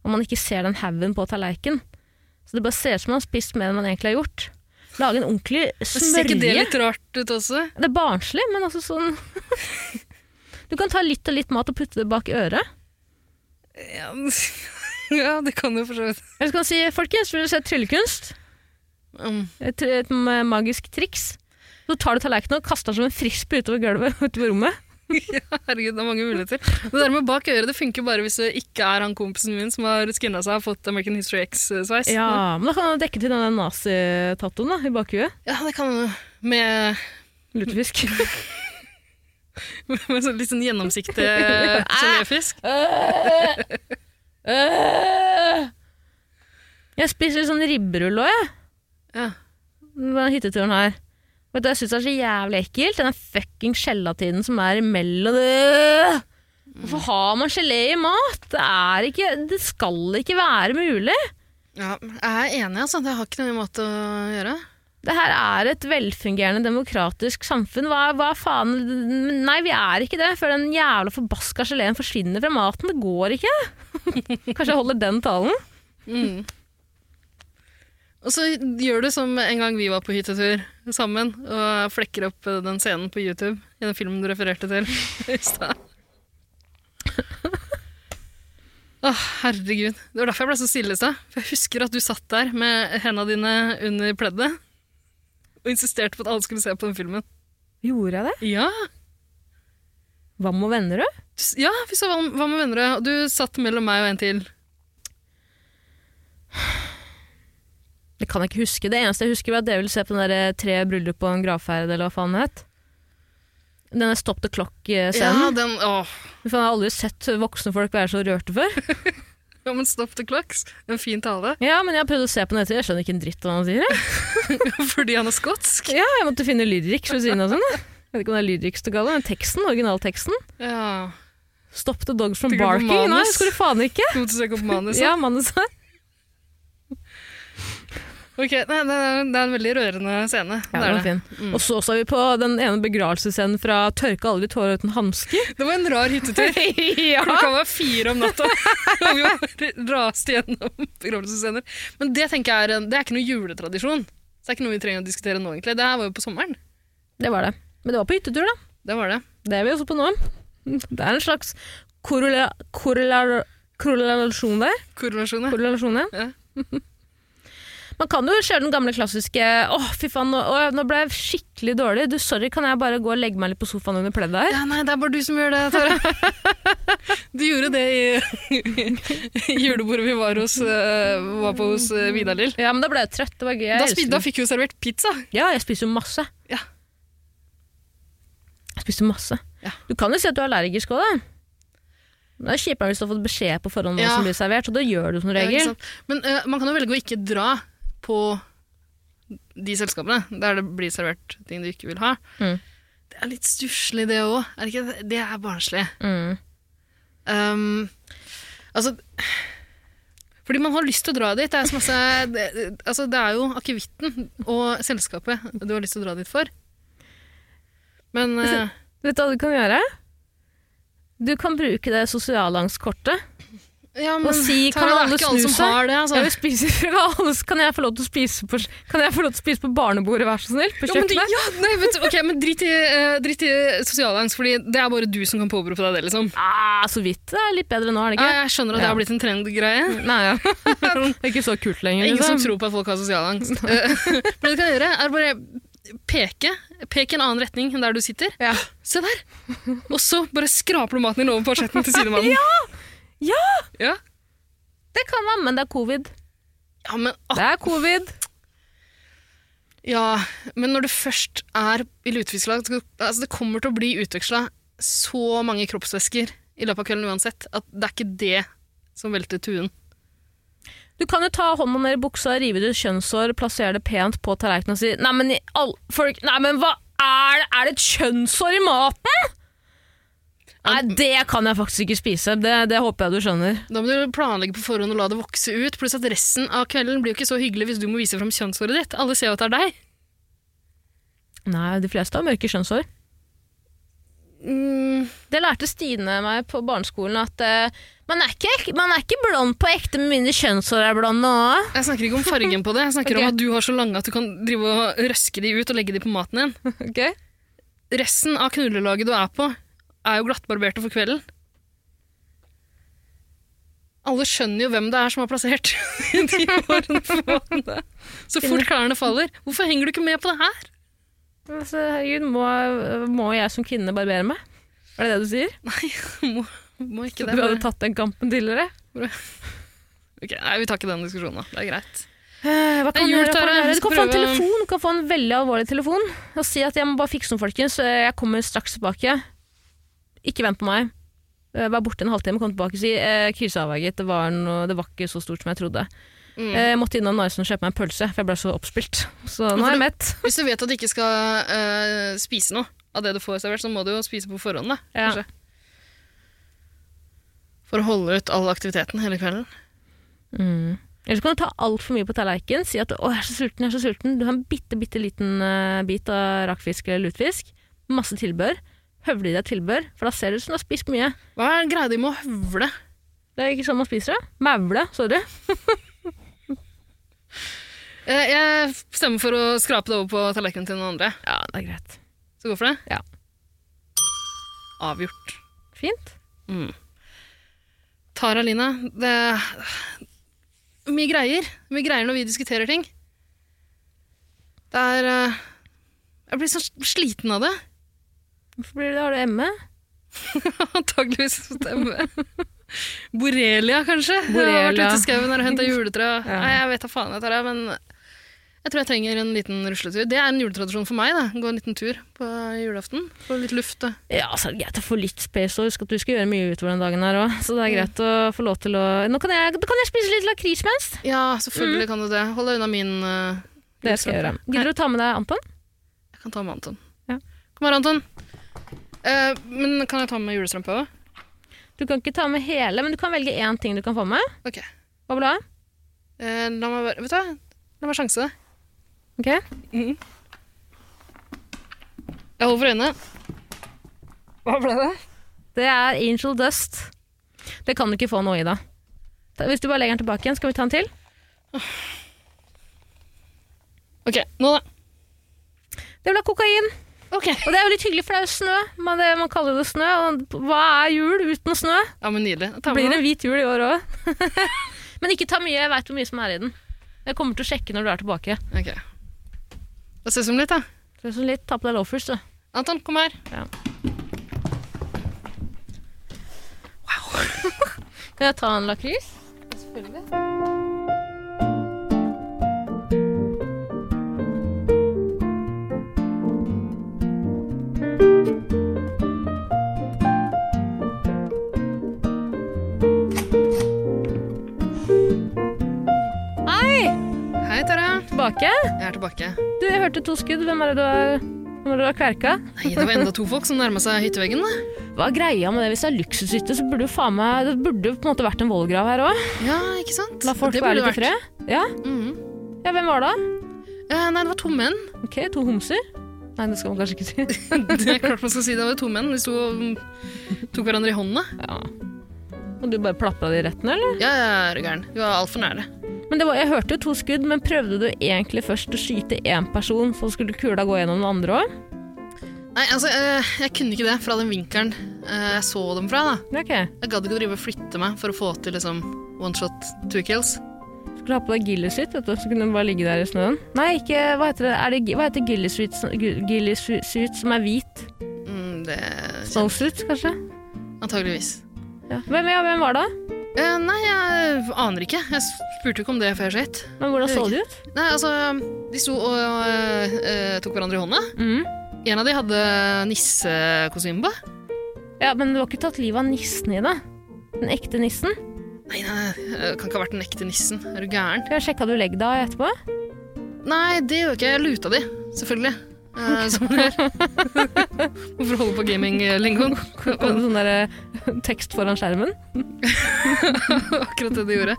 A: Og man ikke ser den haugen på tallerkenen. Så det bare ser ut som man har spist mer enn man egentlig har gjort. Lage en ordentlig
H: Men Ser ikke det
A: smørje.
H: litt rart ut også?
A: Det er barnslig, men altså sånn Du kan ta litt og litt mat og putte det bak øret.
H: Ja, ja det kan jo for så vidt
A: Eller så kan du si 'folkens, vil dere se tryllekunst'?
H: Mm.
A: Et, et ma- magisk triks. Så tar du tallerkenen og kaster den som en frisbee utover gulvet utover rommet.
H: Herregud, det er mange muligheter. Det der med bak øret det funker bare hvis det ikke er han kompisen min som har skinna seg og fått American History X-sveis.
A: Ja, Men da kan du dekke til den nazitatoen da, i bakhuet.
H: Ja, det kan man jo. Med,
A: Lutefisk.
H: med sånn litt sånn gjennomsiktig eh, geléfisk.
A: jeg Eh! spiser sånn ribberull òg, jeg.
H: Ja.
A: På den hytteturen her. Vet du, jeg syns det er så jævlig ekkelt. Den der fucking gelatinen som er imellom det. Hvorfor har man gelé i mat? Det, er ikke, det skal ikke være mulig.
H: ja. Jeg er enig, altså. Det har ikke noe med mat å gjøre.
A: Det her er et velfungerende demokratisk samfunn. Hva, hva faen Nei, vi er ikke det før den jævla forbaska geleen forsvinner fra maten. Det går ikke. Kanskje jeg holder den talen?
H: Mm. Og så gjør du som en gang vi var på hyttetur sammen, og flekker opp eh, den scenen på YouTube i den filmen du refererte til i stad. Å, herregud. Det var derfor jeg ble så stille i stad. For jeg husker at du satt der med hendene dine under pleddet og insisterte på at alle skulle se på den filmen.
A: Gjorde jeg det?
H: Ja,
A: Hva med Vennerød?
H: S- ja vi så hva, hva med venner. og Du satt mellom meg og en til.
A: Det kan jeg ikke huske. Det eneste jeg husker, var at dere ville se på den der eh, Tre bryllup og en gravferd, eller hva faen det het. Denne Stop the
H: Ja,
A: Clock-scenen.
H: den, åh.
A: Jeg har aldri sett voksne folk være så rørte før.
H: Ja, men Stop the Clocks. En fin tale.
A: Ja, men jeg har prøvd å se på den etter. Jeg skjønner ikke en dritt av hva han sier. jeg.
H: Fordi han er skotsk.
A: Ja, jeg måtte finne lyrics ved siden av sånn. jeg. Jeg vet ikke om det er lyrics til gale, men teksten, originalteksten.
H: Ja.
A: Stop the dogs from
H: Tenker du på
A: barking. Nei,
H: manus?
A: skulle faen ikke.
H: God til å søke opp manuset.
A: Ja, manuset.
H: Ok, nei, det, er- det er en veldig rørende scene.
A: Ja,
H: det,
A: den
H: er
A: var
H: det. Mm.
A: fin. Og så så vi på den ene begravelsesscenen fra 'Tørka aldri tårer uten hansker'.
H: det var en rar hyttetur. Klokka var fire om natta, og vi var raste gjennom begravelsesscener. Men det tenker jeg er, en- det er ikke noe juletradisjon. Så det er ikke noe vi trenger å diskutere nå, egentlig. Det her var jo på sommeren.
A: Det var det. Men det var på hyttetur, da.
H: Det var det.
A: Det er vi også på nå. Det er en slags korrela... korrela korrelasjon der.
H: Korrelasjoner.
A: Korrelasjon, ja.
H: Ja.
A: Man kan jo kjøre den gamle klassiske 'Å, fy faen, nå, å, nå ble jeg skikkelig dårlig'. Du, sorry, kan jeg bare gå og legge meg litt på sofaen under pleddet her?
H: Ja, nei, det er bare du som gjør det, Tara. Du gjorde det i, i julebordet vi var, hos, eh, var på hos eh, Vidar-Lill.
A: Ja, men da ble jeg trøtt. Det var gøy. Jeg
H: Da,
A: elsker
H: spi-
A: den.
H: da fikk vi jo servert pizza.
A: Ja, jeg spiser jo masse.
H: Ja.
A: Jeg spiser masse.
H: Ja.
A: Du kan jo si at du er allergisk òg, da. Det er kjipere hvis du har fått beskjed på forhånd om hva
H: Ja.
A: som blir servert, og det gjør du som
H: Ja, ikke
A: regel.
H: sant? Men eh, man kan jo velge å ikke dra på de selskapene der det blir servert ting du ikke vil ha.
A: Mm.
H: Det er litt stusslig, det òg. Er det ikke? Det er barnslig.
A: Mm.
H: Um, altså Fordi man har lyst til å dra dit. Det er, så masse, det, altså, det er jo akevitten og selskapet du har lyst til å dra dit for. Men eh,
A: Vet du hva du kan gjøre? Du kan bruke det sosialangstkortet.
H: ja, men,
A: si,
H: Tara,
A: kan alle
H: det er ikke alle
A: snu
H: som
A: seg?
H: har det.
A: Jeg
H: Altså.
A: vil spise fra alles. Kan jeg få lov til å spise på, kan jeg få lov til å spise på barnebordet, vær så snill? På
H: Ja, men, du-
A: kjøkkenet?
H: ja, nei, vet du, ok, men drit i, eh, drit i sosialangst, Fordi det er bare du som kan påberope deg det. liksom
A: Ah, så vidt. Det er litt bedre nå, er det ikke?
H: Ja, jeg skjønner at det
A: Ja.
H: har blitt en trendgreie.
A: Nei, ja. Det er ikke så kult
H: Det
A: lenger.
H: er Ingen som
A: liksom.
H: tror på at folk har sosial angst. Men det du kan gjøre, er bare peke Pek i en annen retning enn der du sitter.
A: Ja.
H: Se der! Og så bare skraper du maten din over parsetten til sidemannen. ja!
A: Ja!
H: Ja.
A: Det kan man, men det er covid.
H: men, ah,
A: Det er covid.
H: ja, men når det først er i lutefiskelag så- altså Det kommer til å bli utveksla så mange kroppsvæsker i løpet av kvelden uansett, at det er ikke det som velter tuen.
A: Du kan jo ta hånda ned i buksa, rive ut et kjønnshår, plassere det pent på tallerkenen og si Nei, men, i all, folk, nei, men hva er det? Er det et kjønnshår i maten? Nei, det kan jeg faktisk ikke spise. Det, det håper jeg du skjønner.
H: Da må du planlegge på forhånd og la det vokse ut, pluss at resten av kvelden blir jo ikke så hyggelig hvis du må vise fram kjønnshåret ditt. Alle ser jo at det er deg.
A: Nei, de fleste har mørke kjønnshår.
H: Mm,
A: Det lærte Stine meg på barneskolen, at eh, man, er ikke, man er ikke blond på ekte med mindre kjønnshår er blonde òg.
H: Jeg snakker ikke om fargen på det. Jeg snakker
A: Ok.
H: om at du har så lange at du kan drive og røske de ut og legge de på maten din. Resten av knullelaget du er på, er jo glattbarberte for kvelden. Alle skjønner jo hvem det er som har plassert de hårene på maten. din. Så fort klærne faller. Hvorfor henger du ikke med på det her?
A: Altså, herregud, må, må jeg som kvinne barbere meg? Er det det du sier?
H: Må, må ikke
A: Du
H: det.
A: hadde tatt den kampen tidligere?
H: Ok, nei, vi tar ikke den diskusjonen, da. Det er greit.
A: Eh, Hva kan
H: Det er
A: du
H: jul,
A: gjøre? Hva kan du
H: Tara.
A: gjøre?
H: Vi
A: Du kan
H: skal
A: få en
H: prøve-
A: telefon, du kan få en veldig alvorlig telefon og si at jeg må bare fikse noe, folkens. Eh, Jeg kommer straks tilbake. Ikke vent på meg. Eh, Vær borte en halvtime, kom tilbake og si eh, krisa avverget. Det, var noe- det var ikke så stort som jeg trodde.
H: Mm.
A: Eh, Jeg måtte innom Narvesen og kjøpe meg en pølse, for jeg ble så oppspilt. Så nå er jeg mett.
H: Hvis du vet at du ikke skal eh, spise noe av det du får servert, så må du jo spise på forhånd, da.
A: Ja.
H: kanskje. For å holde ut all aktiviteten hele kvelden.
A: Mm. Eller så kan du ta altfor mye på tallerkenen. Si at 'å, jeg er så sulten', jeg er så sulten. Du har en bitte, bitte liten eh, bit av rakfisk eller lutefisk. Masse tilbør. Høvle i deg tilbør, for da ser det ut som du har spist mye.
H: Hva er greia di med å høvle?
A: Det er ikke sånn man spiser det. Maule, sorry.
H: Eh, jeg stemmer for å skrape det over på tallerkenen til noen andre.
A: Ja, det er greit.
H: Så gå for det?
A: Ja.
H: Avgjort. Mm.
A: Fint.
H: Tara Lina, det er mye greier. Mye greier når vi diskuterer ting. Det er eh, Jeg blir så sliten av det.
A: Hvorfor blir det, har du ME?
H: Antakeligvis stemme. Borelia, kanskje? Jeg har vært
A: Borrelia.
H: ute i skauen og henta juletre.
A: Ja.
H: Nei, jeg vet da faen, jeg tar det, men jeg tror jeg trenger en liten rusletur. Det er en juletradisjon for meg. da. Gå en liten tur på julaften. Få litt luft. Da.
A: Ja, så er det greit å få litt space og huske at du skal gjøre mye utover den dagen her òg. Så det er greit å få lov til å Nå kan jeg, da kan jeg spise litt lakris mens.
H: Ja, selvfølgelig kan du det. Hold deg unna min eh,
A: Mm. Det skal jeg gjøre. Gidder du å ta med deg Anton?
H: Jeg kan ta med Anton.
A: Ja.
H: Kom her, Anton. Eh, men kan jeg ta med julestrømpe òg?
A: Du kan ikke ta med hele, men du kan velge én ting du kan få med.
H: Ok.
A: Hva vil du ha?
H: Eh, la meg bare Vet du hva? La meg ha sjanse.
A: Ok?
H: Jeg holder for øynene. Hva ble det?
A: Det er Angel Dust. Det kan du ikke få noe i, da. Ta- Hvis du bare legger den tilbake igjen, skal vi ta en til?
H: Ok, nå da.
A: Det vil ha kokain.
H: Ok.
A: Og det er jo litt hyggelig, for det er jo snø. Man, det, man kaller det snø. Og hva er jul uten snø?
H: Ja, men nydelig. Jeg
A: Det
H: tar med
A: blir
H: den.
A: en hvit jul i år òg. Men ikke ta mye. Jeg veit hvor mye som er i den. Jeg kommer til å sjekke når du er tilbake.
H: Ok. Da ses vi om litt, da.
A: Så sånn litt, Ta på deg loafers, du.
H: Anton, kom her.
A: Kan jeg ta en lakris?
H: Hei, Tara.
A: Tilbake?
H: Jeg er tilbake.
A: Du, jeg hørte to skudd. Hvem er det du har, hvem er det du har kverka?
H: Nei, det var enda to folk som nærma seg hytteveggen. da.
A: Hva er greia med det? Hvis det er luksushytte, så burde jo faen meg Det burde jo på en måte vært en vollgrav her òg.
H: Ja, ikke sant?
A: La folk
H: Det
A: være litt
H: burde
A: i
H: vært.
A: fred. Ja.
H: Mhm.
A: ja, hvem var det?
H: Eh, nei, det var to menn.
A: Ok, to homser? Nei, det skal man kanskje ikke si.
H: Det er klart man skal si det var to menn. De sto og mm, tok hverandre i hånda.
A: Ja. Og du bare plapra det i retten, eller?
H: Ja, ja, er du gæren. Vi var altfor nære.
A: Men det var, Jeg hørte jo to skudd, men prøvde du egentlig først å skyte én person, så skulle kula gå gjennom den andre òg?
H: Nei, altså, eh, jeg kunne ikke det fra den vinkelen eh, jeg så dem fra. da.
A: Ok.
H: Jeg gadd ikke å drive og flytte meg for å få til liksom one shot, two kills.
A: Skulle ha på deg gillishytt, vet du, så kunne du bare ligge der i snøen. Nei, ikke Hva heter det? Er det gi- hva heter gillishytt som- gi- gillishytt som er hvit?
H: Mm, det
A: Snowsuit, kanskje?
H: Antageligvis.
A: Ja. Hvem, ja, hvem var det?
H: Eh, nei, jeg aner ikke. Jeg spurte jo ikke om det før jeg så hit.
A: Men hvordan så de ut?
H: Nei, altså, de sto og eh, tok hverandre i hånda.
A: Mm.
H: En av de hadde nissekostyme på.
A: Ja, men du har ikke tatt livet av nissen i det? Den ekte nissen?
H: Nei, nei, nei, kan ikke ha vært den ekte nissen. Er du gæren?
A: Jeg sjekka du legg deg etterpå.
H: Nei, det gjør ikke jeg. Jeg luta de, selvfølgelig. Eh, som det er. Hvorfor holde på eh, gaming-lingoen?
A: Kom det sånn der eh, tekst foran skjermen.
H: Akkurat det de gjorde.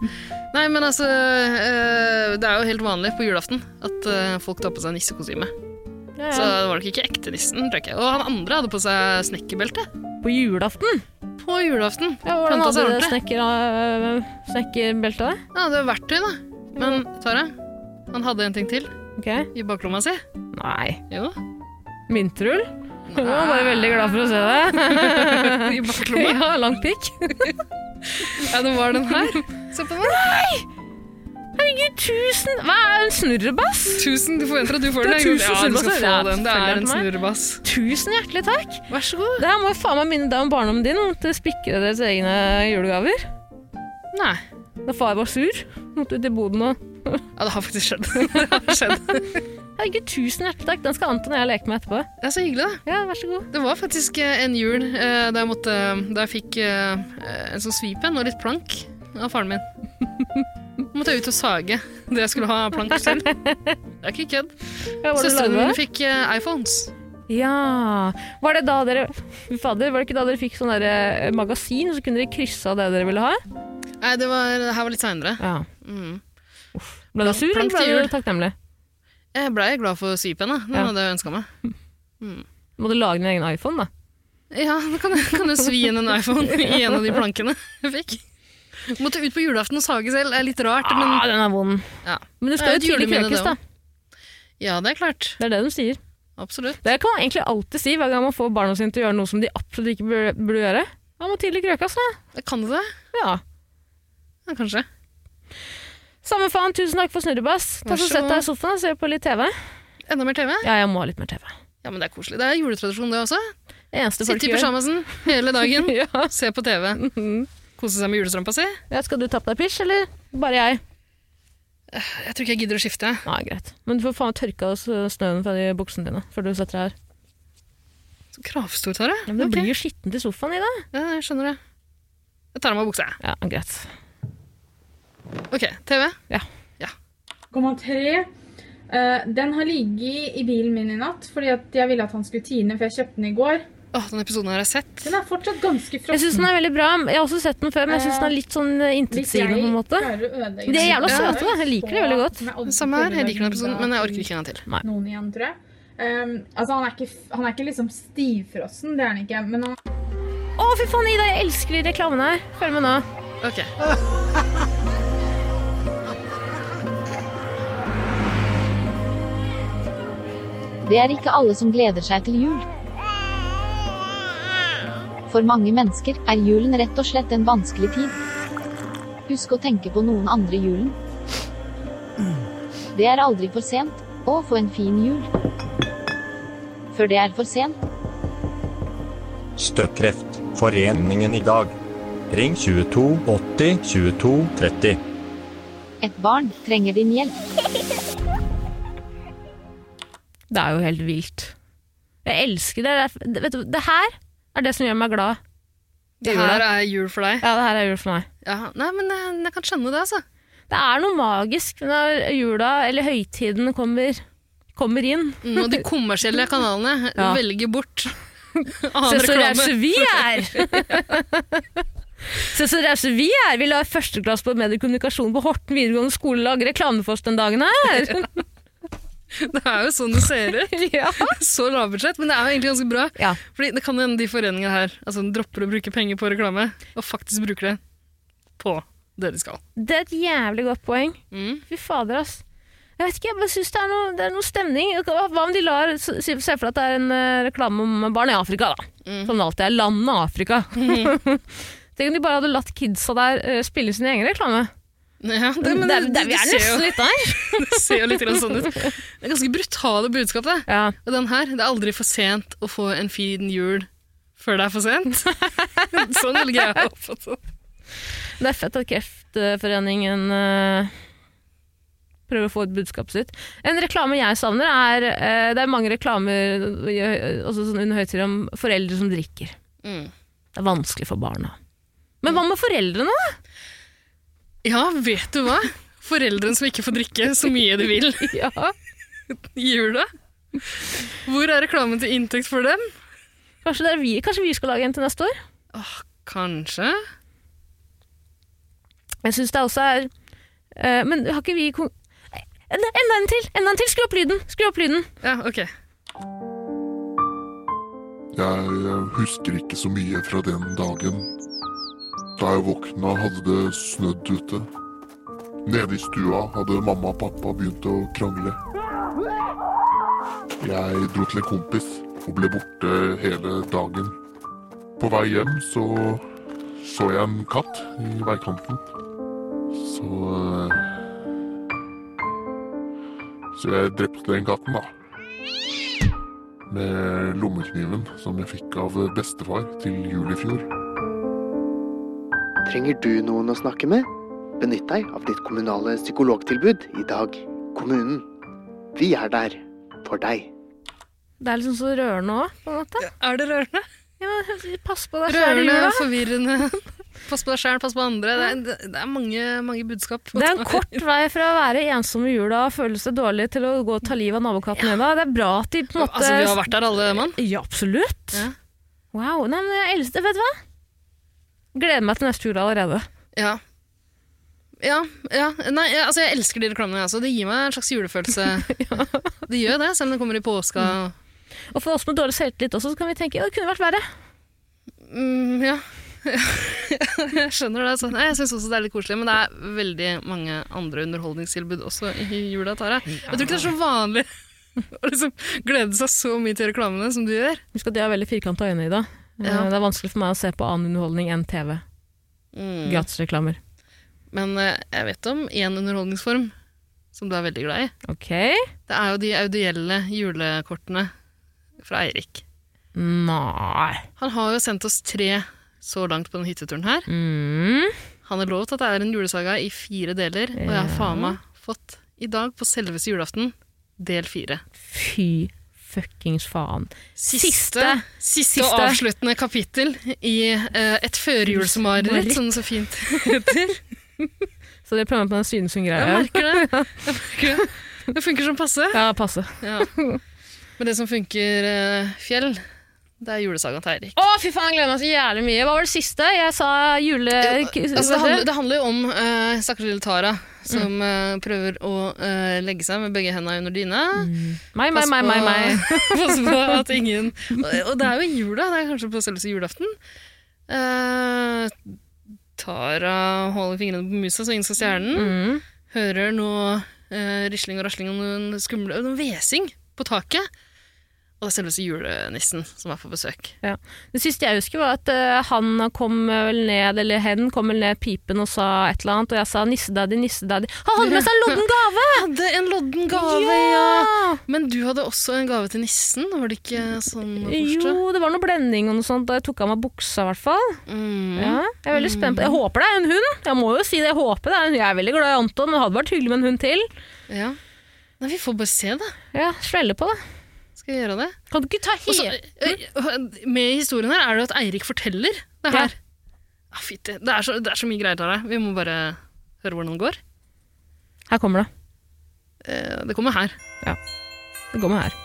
H: Nei, men altså eh, Det er jo helt vanlig på julaften at eh, folk tar på seg nissekostyme.
A: Ja,
H: Så
A: ja.
H: det var nok ikke ekte nissen, tror jeg ikke. Og han andre hadde på seg snekkerbelte.
A: På julaften?
H: På julaften.
A: Ja, hvordan
H: Planta seg
A: hadde det
H: ordentlig.
A: snekker, uh, snekkerbeltet der?
H: Ja, det var verktøy, da. Men Tara, han hadde en ting til
A: Ok.
H: i baklomma si.
A: Nei.
H: Jo.
A: Myntrull? Jeg var bare veldig glad for å se det.
H: I baklomma.
A: ja, lang pikk.
H: Ja, det var den her. Se på den.
A: Herregud, tusen Hva er en snurrebass?
H: Tusen, du forventer at du får
A: Det er
H: den. jeg.
A: tusen
H: Ja, du skal
A: snurrebasser.
H: få
A: Ja,
H: den. Det
A: selvfølgelig er
H: er en
A: det meg.
H: snurrebass.
A: Tusen hjertelig takk.
H: Vær så god.
A: Det her må jo faen meg minne deg om barndommen din. Måtte spikre deres egne julegaver.
H: Nei.
A: Da far var sur, måtte ut i boden og
H: Ja, det har faktisk skjedd. Det har skjedd.
A: Herregud, tusen hjertelig takk. Den skal Anton og jeg leke med etterpå.
H: Det er så hyggelig, da.
A: Ja, vær så god.
H: Det var faktisk eh, en jul eh, da jeg, måtte, da jeg fikk eh, en sånn svip igjen og litt plank av faren min. Måtte jeg ut og sage det jeg skulle ha plank til. Det er ikke kødd.
A: Ja, var det
H: Søstrene
A: lagde?
H: mine fikk eh, iPhones.
A: Ja. Var det da dere Fy Fader, var det ikke da dere fikk sånn der eh, magasin, så kunne dere krysse av det dere ville ha?
H: Nei, det, var, det her var litt seinere.
A: Ja.
H: Mm.
A: Ble du
H: Plank-
A: sur,
H: plank
A: eller
H: til
A: ble
H: jul.
A: du takknemlig?
H: Jeg blei glad for svipen, da. Den
A: Ja.
H: hadde jeg ønska meg.
A: Må du lage din egen iPhone, da?
H: Ja, da kan jeg, kan jeg svi inn en iPhone i en av de plankene jeg fikk. Måtte ut på julaften og sage selv. Det er litt rart, men
A: ah, den er vond.
H: Ja.
A: Men du
H: Det er
A: skal
H: et
A: jo tidlig
H: juleminne,
A: krøkes,
H: det
A: da.
H: ja, det er klart.
A: Det er det de sier.
H: Absolutt.
A: Det kan man egentlig alltid si hver gang man får barna sine til å gjøre noe som de absolutt ikke burde, burde gjøre. Ja, må tidlig krøkes, da.
H: Jeg Kan du det?
A: Ja.
H: Ja, kanskje.
A: Samme faen, tusen takk for snurrebass. Ta
H: Vær
A: så
H: så
A: Sett deg
H: god.
A: i sofaen og se på litt TV.
H: Enda mer TV?
A: Ja, jeg må ha litt mer TV.
H: Ja, men det er koselig. Det er juletradisjon, det også.
A: Det eneste folk
H: Sitte i
A: gjør.
H: pysjamasen hele dagen,
A: Ja. Mm-hmm.
H: se på TV, kose seg med julestrømpa si.
A: Ja, skal du ta på deg pysj, eller bare jeg?
H: Jeg tror ikke jeg gidder å skifte.
A: Nei, greit. Men du får faen tørka oss eh, snøen fra de buksene dine før du setter deg her.
H: Så kravstor, Tara.
A: Ja, men det
H: Ok.
A: blir jo skittent i sofaen i dag.
H: Ja, jeg skjønner det. Jeg tar av meg buksa. jeg.
A: Ja, greit.
H: Ok, TV.
I: komma tre. Eh, den har ligget i bilen min i natt fordi at jeg ville at han skulle tine, for jeg kjøpte den i går.
H: Åh, denne episoden her har jeg sett.
I: Den er fortsatt ganske
A: Jeg syns
I: frossen.
A: den er veldig bra. Jeg har også sett den før, men jeg syns den er litt sånn eh,
I: Hvis
A: intetsigende på en måte.
I: klarer å ødelegge
A: De er
I: den
A: jævla
I: selv,
A: søte, da. Jeg liker det
I: så
A: veldig godt.
I: kommer Odd
H: Samme her, jeg liker denne
I: til å bli
H: episoden, sånn, men jeg
I: glad
H: orker ikke en gang til.
I: i Noen igjen, tror jeg. Ehm, altså, han er ikke, f- han er ikke liksom stivfrossen, det er han ikke, men han
A: Å, fy faen, Ida, jeg elsker de reklamene her. Følg med nå.
H: Ok.
F: Det er ikke alle som gleder seg til jul. For mange mennesker er julen rett og slett en vanskelig tid. Husk å tenke på noen andre i julen. Det er aldri for sent å få en fin jul. Før det er for sent,
J: Støttkreftforeningen i dag. Ring 22 80 22 30.
F: et barn trenger din hjelp.
A: Det er jo helt vilt. Jeg elsker det. Det, er, vet du, det her er det som gjør meg glad.
H: Det her er jul for deg.
A: Ja, det her er jul for meg.
H: Ja, nei, men jeg, jeg kan skjønne det, altså.
A: Det er noe magisk når jula, eller høytiden, kommer, kommer inn.
H: Mm, Og de kommersielle kanalene eh,
A: Ja.
H: velger bort
A: Se
H: annen
A: så rause
H: reklame.
A: vi er! Se så rause vi er! Vi la førsteklasse på mediekommunikasjon på Horten videregående skole lage reklame for oss den dagen her!
H: Det er jo sånn det ser ut.
A: ja.
H: Så lavbudsjett, men det er jo egentlig ganske bra.
A: Ja.
H: Fordi det kan jo hende de foreningene her altså, de dropper å bruke penger på reklame, og faktisk bruker det på det de skal.
A: Det er et jævlig godt poeng.
H: Mm.
A: Fy fader, ass. Jeg vet ikke, jeg bare syns det, er noe- det er noe stemning. Hva hva om de lar se se for deg at det er en eh, reklame om barn i Afrika, da.
H: Mm.
A: Som det alltid er. Landet Afrika. Tenk om de bare hadde latt kidsa der eh, spille sin egen reklame.
H: Ja, det, men
A: det,
H: det,
A: er-
H: det,
A: det, vi er
H: ser jo,
A: nesten litt der.
H: det ser jo litt grann sånn ut. Det er ganske brutale budskap, det.
A: Ja.
H: Og den her, det er aldri for sent å få en fin jul før det er for sent. sånn velger jeg å oppfatte det.
A: Det er fett at Kreftforeningen eh, prøver å få ut budskapet sitt. En reklame jeg savner, er eh, Det er mange reklamer eh, også sånn under høytider om foreldre som drikker. Det er vanskelig for barna. Men hva med foreldrene? da?
H: Ja, vet du hva? Foreldrene som ikke får drikke så mye de vil i jula. Hvor er reklamen til inntekt for dem?
A: Kanskje, det er vi, kanskje vi skal lage en til neste år?
H: Åh, kanskje.
A: Jeg synes det også er eh, Men har ikke vi kon- Enda enda en til! Enda en til! Skru opp lyden! Skru opp lyden!
H: Ja, ok.
J: Jeg husker ikke så mye fra den dagen. Da jeg våkna, hadde det snødd ute. Nede i stua hadde mamma og pappa begynt å krangle. Jeg dro til en kompis og ble borte hele dagen. På vei hjem så så jeg en katt i veikanten. Så eh, Så jeg drepte den katten, da med lommekniven som jeg fikk av bestefar til jul i fjor.
B: Trenger du noen å snakke med? Benytt deg av ditt kommunale psykologtilbud i dag. Kommunen. Vi er der. For deg.
A: Det er liksom så rørende òg, på en måte.
H: Er det rørende?
A: Ja, men pass på deg sjæl i
H: Rørende,
A: jula.
H: forvirrende. Pass på deg sjæl, pass på andre. Det er, det- det er mange, mange budskap.
A: Det er en kort vei fra å være ensom i jula og føle seg dårlig til å gå og ta livet av nabokatten din. da. Det er bra at de på en måte
H: Altså, vi har vært der alle, mann.
A: Ja, absolutt.
H: Ja.
A: Wow. Nei, men jeg elsker Vet du hva? Gleder meg til neste jul allerede.
H: Ja. Ja, ja. Nei, jeg- altså jeg elsker de reklamene. Altså. Det gir meg en slags julefølelse. Det gjør det, selv om det kommer i påska.
A: Og for oss med dårlig selvtillit også, så kan vi tenke ja, det kunne vært verre.
H: Mm, ja. jeg skjønner det. Altså. Nei, jeg syns også det er litt koselig, men det er veldig mange andre underholdningstilbud også i jula. Tara. Jeg tror ikke det er så vanlig å liksom glede seg så mye til reklamene som du gjør.
A: Husk at jeg har veldig firkanta øyne, Ida.
H: Ja.
A: Eh, Det er vanskelig for meg å se på annen underholdning enn TV. Mm. Gratisreklamer.
H: Men eh, jeg vet om én underholdningsform som du er veldig glad i.
A: Ok.
H: Det er jo de audielle julekortene fra Eirik.
A: Nei.
H: Han har jo sendt oss tre så langt på den hytteturen her.
A: Mm.
H: Han har lovet at det er en julesaga i fire deler, og jeg har faen meg fått i dag på selveste julaften del fire.
A: Fy fuckings faen.
H: Siste, siste, og avsluttende kapittel i eh, et førjulsmareritt, som det så fint heter.
A: Så det prøver jeg på den Svinesund-greia.
H: Jeg merker det. Jeg merker det. det funker som passe.
A: Ja, passe.
H: Ja. Men det som funker eh, fjell, det er julesagaen til Eirik.
A: Å, fy faen, jeg gleder meg så jævlig mye. Hva var det siste? Jeg sa jule...
H: Altså, det, handler, det handler jo om uh, stakkars lille Tara, som eh, prøver å eh, legge seg med begge hendene under dyna.
A: Meg, meg,
H: Pass
A: meg,
H: på-
A: meg, meg.
H: Pass på at ingen og, og det er jo i jula, det er kanskje på selveste julaften. Eh, Tara holder fingrene på musa så ingen skal stjele den.
A: Mm.
H: Hører noe eh, risling og rasling og noen skumle og Noen hvesing på taket. Og det er selveste julenissen som er på besøk.
A: Ja. Det siste jeg husker var at eh, han kom vel ned, eller hen kom vel ned pipen og sa et eller annet, og jeg sa nissedaddy, nissedaddy. Han hadde med seg en lodden gave!
H: Hadde en lodden gave, ja. Men du hadde også en gave til nissen, var det ikke sånn? å forstå?
A: Jo, det var noe blending og noe sånt da jeg tok av meg buksa, i hvert fall.
H: Mm.
A: Ja, jeg er veldig spent på Jeg håper det er en hund. Jeg må jo si det. Jeg håper det er en Jeg er veldig glad i Anton, men det hadde vært hyggelig med en hund til.
H: Ja. Nei, vi får bare se, da.
A: Ja, svelle på, da.
H: Skal jeg gjøre det?
A: Kan du ikke ta
H: Og så,
A: hele
H: eh, med i historien her er det jo at Eirik forteller det her. Ah, fytti. Det, er så, det er så mye greier der. Vi må bare høre hvordan det går.
A: Her kommer det.
H: Eh, Det kommer her.
A: Ja. Det kommer her.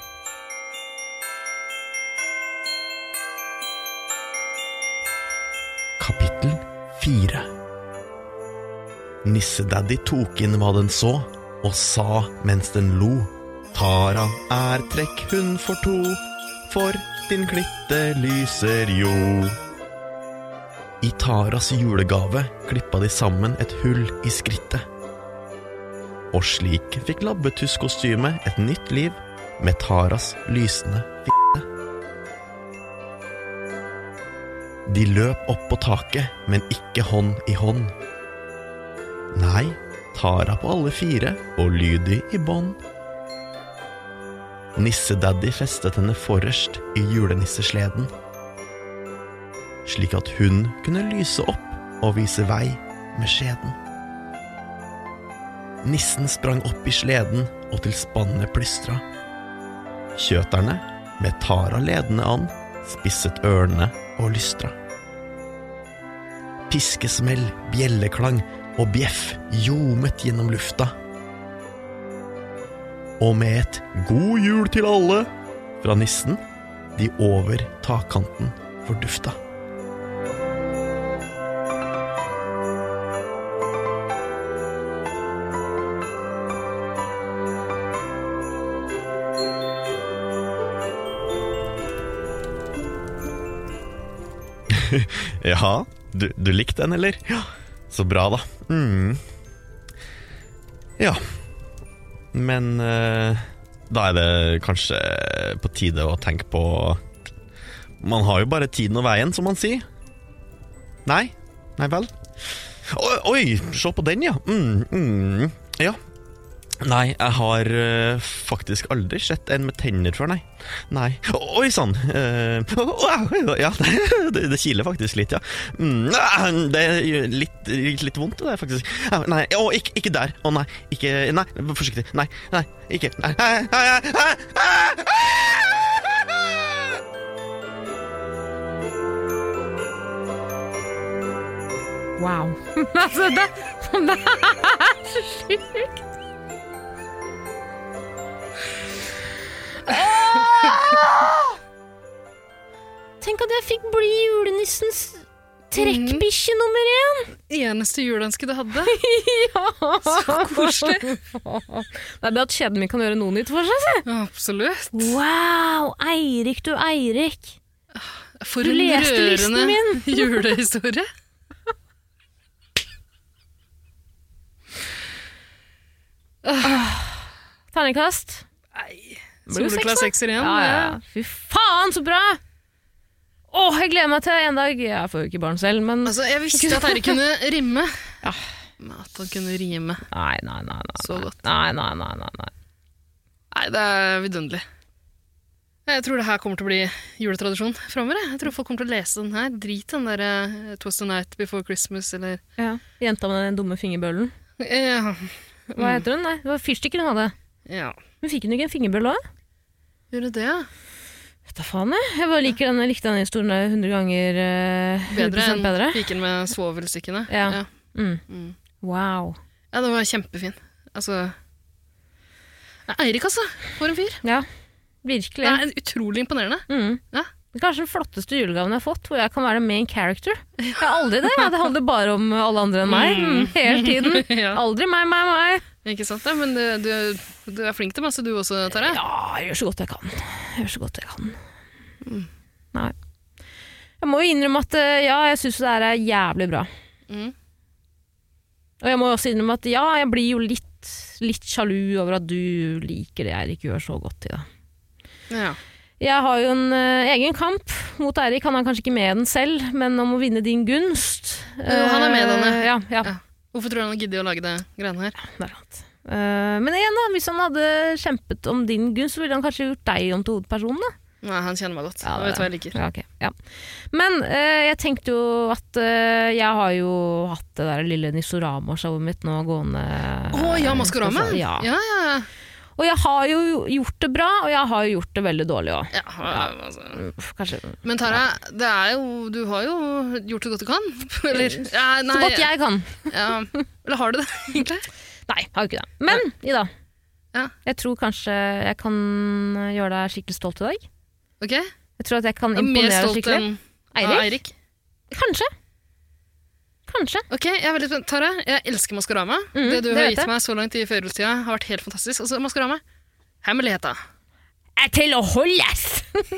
G: Kapittel 4 Nissedaddy tok inn hva den så, og sa mens den lo. Taran er trekkhund for to, for din klitte lyser jo. I Taras julegave klippa de sammen et hull i skrittet. Og slik fikk labbetusskostymet et nytt liv med Taras lysende fitte. De løp opp på taket, men ikke hånd i hånd. Nei, Tara på alle fire og Lydi i bånd. Nissedaddy festet henne forrest i julenissesleden, slik at hun kunne lyse opp og vise vei med skjeden. Nissen sprang opp i sleden, og til spannet plystra. Kjøterne, med Tara ledende an, spisset ørene og lystra. Piskesmell, bjelleklang og bjeff ljomet gjennom lufta. Og med et 'god jul til alle' fra nissen, de over takkanten fordufta. Ja, du, du likte den, eller? Ja. Så bra, da. Mm. Ja. Men eh, da er det kanskje på tide å tenke på Man har jo bare tiden og veien, som man sier. Nei? Nei vel? Oi, oi se på den, ja. Mm, mm, ja. Nei, jeg har eh, faktisk aldri sett en med tenner før, nei. Nei. Oi sann! Eh, au, au, ja, det, det kiler faktisk litt, ja. Mm, ah, det gjør litt, litt vondt, det der, faktisk. Au, Nei, å, ikke, ikke der. Å nei, ikke Nei, forsiktig. Nei, nei, ikke Nei. Ai, ai, ai, ai, ai, ai.
A: Wow. altså, det, det er så sjukt! Åh! Tenk at jeg fikk bli julenissens trekkbikkje nummer én!
H: Eneste juleønske du hadde.
A: ja!
H: Så koselig.
A: Det er det at kjeden min kan gjøre noe nytt for seg. se.
H: Absolutt.
A: Wow! Eirik, du Eirik.
H: For
A: Du
H: en
A: leste listen
H: rørende
A: min.
H: julehistorie.
A: Terningkast. Blir det
H: Soleklar
A: seks, da?
H: sekser igjen.
A: Ja, ja. ja. Fy faen, så bra! Å, jeg gleder meg til en dag Jeg får jo ikke barn selv, men
H: Altså, jeg visste at Eirik kunne rimme. Men at han kunne rime.
A: Nei, nei, nei. nei.
H: Så godt.
A: Nei, nei, nei, nei, nei.
H: Nei, det er vidunderlig. Jeg tror det her kommer til å bli juletradisjon framover. Jeg. jeg tror folk kommer til å lese den her. Drit i den der eh, 'Twas the Night Before Christmas' eller
A: Ja. Jenta med den dumme fingerbøllen.
H: Ja.
A: Hva heter hun? Nei, det var fyrstikker hun hadde.
H: Ja.
A: Men fikk hun ikke en fingerbølle òg?
H: Gjorde det, ja.
A: Vet da faen, jeg. Jeg bare liker den, jeg likte den historien der 100 ganger eh, 100
H: Bedre enn
A: bedre.
H: piken med svovelstikkene.
A: Ja.
H: Ja.
A: Mm.
H: Mm.
A: Wow.
H: ja, det var kjempefin. Altså Nei, Eirik, altså. For en fyr.
A: Ja, virkelig.
H: Det er utrolig imponerende.
A: Mm. Det er Kanskje den flotteste julegaven jeg har fått, hvor jeg kan være main character. Jeg er aldri det. jeg. Det handler bare om alle andre enn meg.
H: Mm.
A: Mm. Hele tiden.
H: Ja.
A: Aldri meg, meg, meg.
H: Ikke sant, ja? men du, du, du er flink til masse, du også, Tara.
A: Ja, jeg gjør så godt jeg kan. Jeg gjør så godt jeg kan.
H: Mm.
A: Nei. Jeg må jo innrømme at eh, ja, jeg syns det her er jævlig bra.
H: Mm.
A: Og jeg må jo også innrømme at ja, jeg blir jo litt, litt sjalu over at du liker det Eirik gjør så godt i det.
H: Ja.
A: Jeg har jo en eh, egen kamp mot Eirik. Han er kanskje ikke med den selv, men om å vinne din gunst.
H: Jo, han er med i denne.
A: Eh, Ja, ja.
H: Hvorfor tror du han gidder å lage det greiene her?
A: Det er sant. Eh, men igjen, da, hvis han hadde kjempet om din gunst, så ville han kanskje gjort deg om til hovedpersonen. da.
H: Nei, han kjenner meg godt.
A: Ja,
H: Han
A: det-
H: vet hva jeg liker.
A: Ja, ok, ja. Men eh, jeg tenkte jo at eh, jeg har jo hatt det der lille Nisorama-showet mitt nå gående. eh,
H: Å ja, Maskorama?
A: Ja.
H: ja, ja.
A: Og jeg har jo gjort det bra, og jeg har jo gjort det veldig dårlig òg.
H: Ja, altså.
A: Kanskje
H: Men Tara, det er jo, du har jo gjort så godt du kan. Eller, ja, nei,
A: Så godt jeg kan.
H: Ja. Eller har du det, egentlig?
A: Nei, jeg har jo ikke det. Men Ida,
H: Ja.
A: jeg tror kanskje jeg kan eh, gjøre deg skikkelig stolt i dag.
H: Ok?
A: Jeg tror at jeg kan
H: Og mer
A: imponere deg
H: stolt
A: skikkelig.
H: enn
A: Eirik?
H: av Eirik?
A: Kanskje. Kanskje.
H: Ok, jeg er veldig spent. Tara, jeg elsker Maskorama.
A: Mm,
H: det du
A: det
H: har
A: vet
H: gitt
A: jeg.
H: meg så langt i førjulstida, har vært helt fantastisk. Altså, Maskorama, hemmeligheta.
A: Er til å holdes!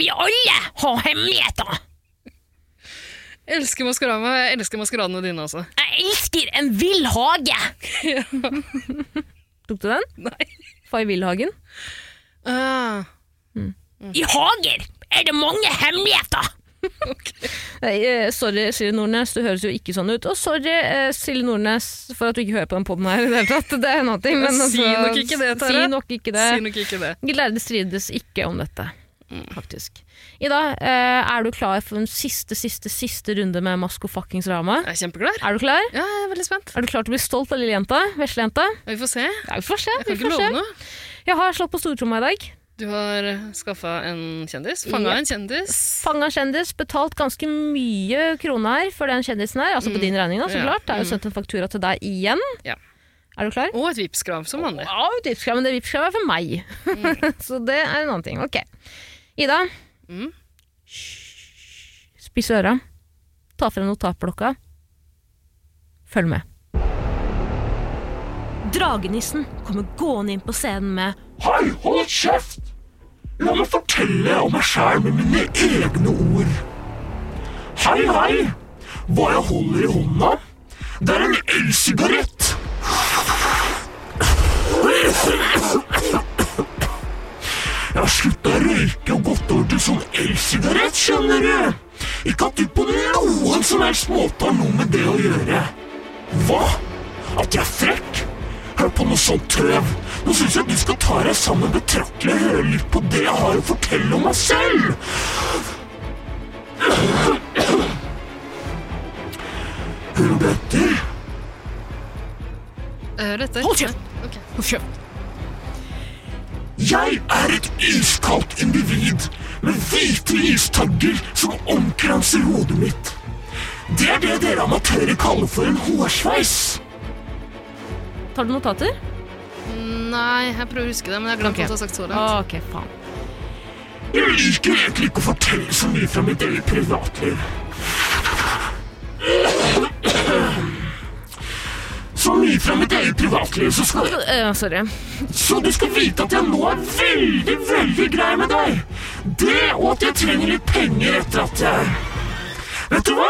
A: Vi alle har hemmeligheter!
H: Jeg elsker Maskorama. Jeg elsker maskeradene dine også.
A: Jeg elsker en vill hage! Tok du den?
H: Nei.
A: Fay Villhagen?
H: Ah.
A: I hager er det mange hemmeligheter! Nei, eh, sorry, Silje Nordnes, du høres jo ikke sånn ut. Og sorry, eh, Silje Nordnes, for at du ikke hører på den poden her i det hele tatt. Det er en annen ting. men
H: si
A: altså,
H: nok ikke det, Tara.
A: Si nok ikke det.
H: Si nok Mm. ikke det.
A: Lærde strides ikke om dette, faktisk. Ida, eh, er du klar for en siste, siste, siste runde med Masko fuckings Rama?
H: Jeg er kjempeklar.
A: Er du klar?
H: Ja, jeg er veldig spent.
A: Er du klar til å bli stolt av lillejenta? Veslejenta?
H: Ja, Vi får se.
A: Ja, vi får se.
H: Jeg kan
A: vi får
H: ikke
A: se.
H: love noe.
A: Jeg har slått på stortromma i dag.
H: Du har skaffa en kjendis. Fanga
A: Ja.
H: en kjendis.
A: Fanga kjendis, betalt ganske mye kroner for den kjendisen her. Altså på din regning, da, så
H: Mm. Ja.
A: klart. Det er jo
H: Mm.
A: sendt en faktura til deg igjen.
H: Ja.
A: Er du klar?
H: Og et Vipps-krav, som vanlig.
A: Ja, et Vipps-krav, men det Vipps-kravet er for meg. så det er en annen ting. Ok. Ida,
H: Mm.
A: spiss øra. Ta frem notatblokka. Følg med. Dragenissen kommer gående inn på scenen med
K: Hei, hold kjeft! La meg fortelle om meg sjæl med mine egne ord. Hei, hei! Hva jeg holder i hånda? Det er en elsigarett! Jeg har slutta å røyke og gått over til sånn elsigarett, skjønner du. Ikke at du på noen som helst måte har noe med det å gjøre. Hva? At jeg er frekk? Hør på noe sånt tøv. Nå syns jeg du skal ta deg sammen betraktelig og høre litt på det jeg har å fortelle om meg selv. Hører du etter?
H: Hør etter.
K: Hold kjeft!
H: Ok.
K: Jeg er et iskaldt individ med hvite istagger som omkranser hodet mitt. Det er det dere amatører kaller for en hårsveis.
A: Tar du notater?
H: Nei, jeg prøver å huske det, men jeg har glemt hva du har sagt så langt.
A: Ok, faen.
K: Jeg liker egentlig ikke å fortelle så mye fra mitt eget privatliv. Så mye fra mitt eget privatliv, så skal
A: Eh, sorry.
K: Så du skal vite at jeg nå er veldig, veldig grei med deg. Det og at jeg trenger litt penger etter at jeg Vet du hva?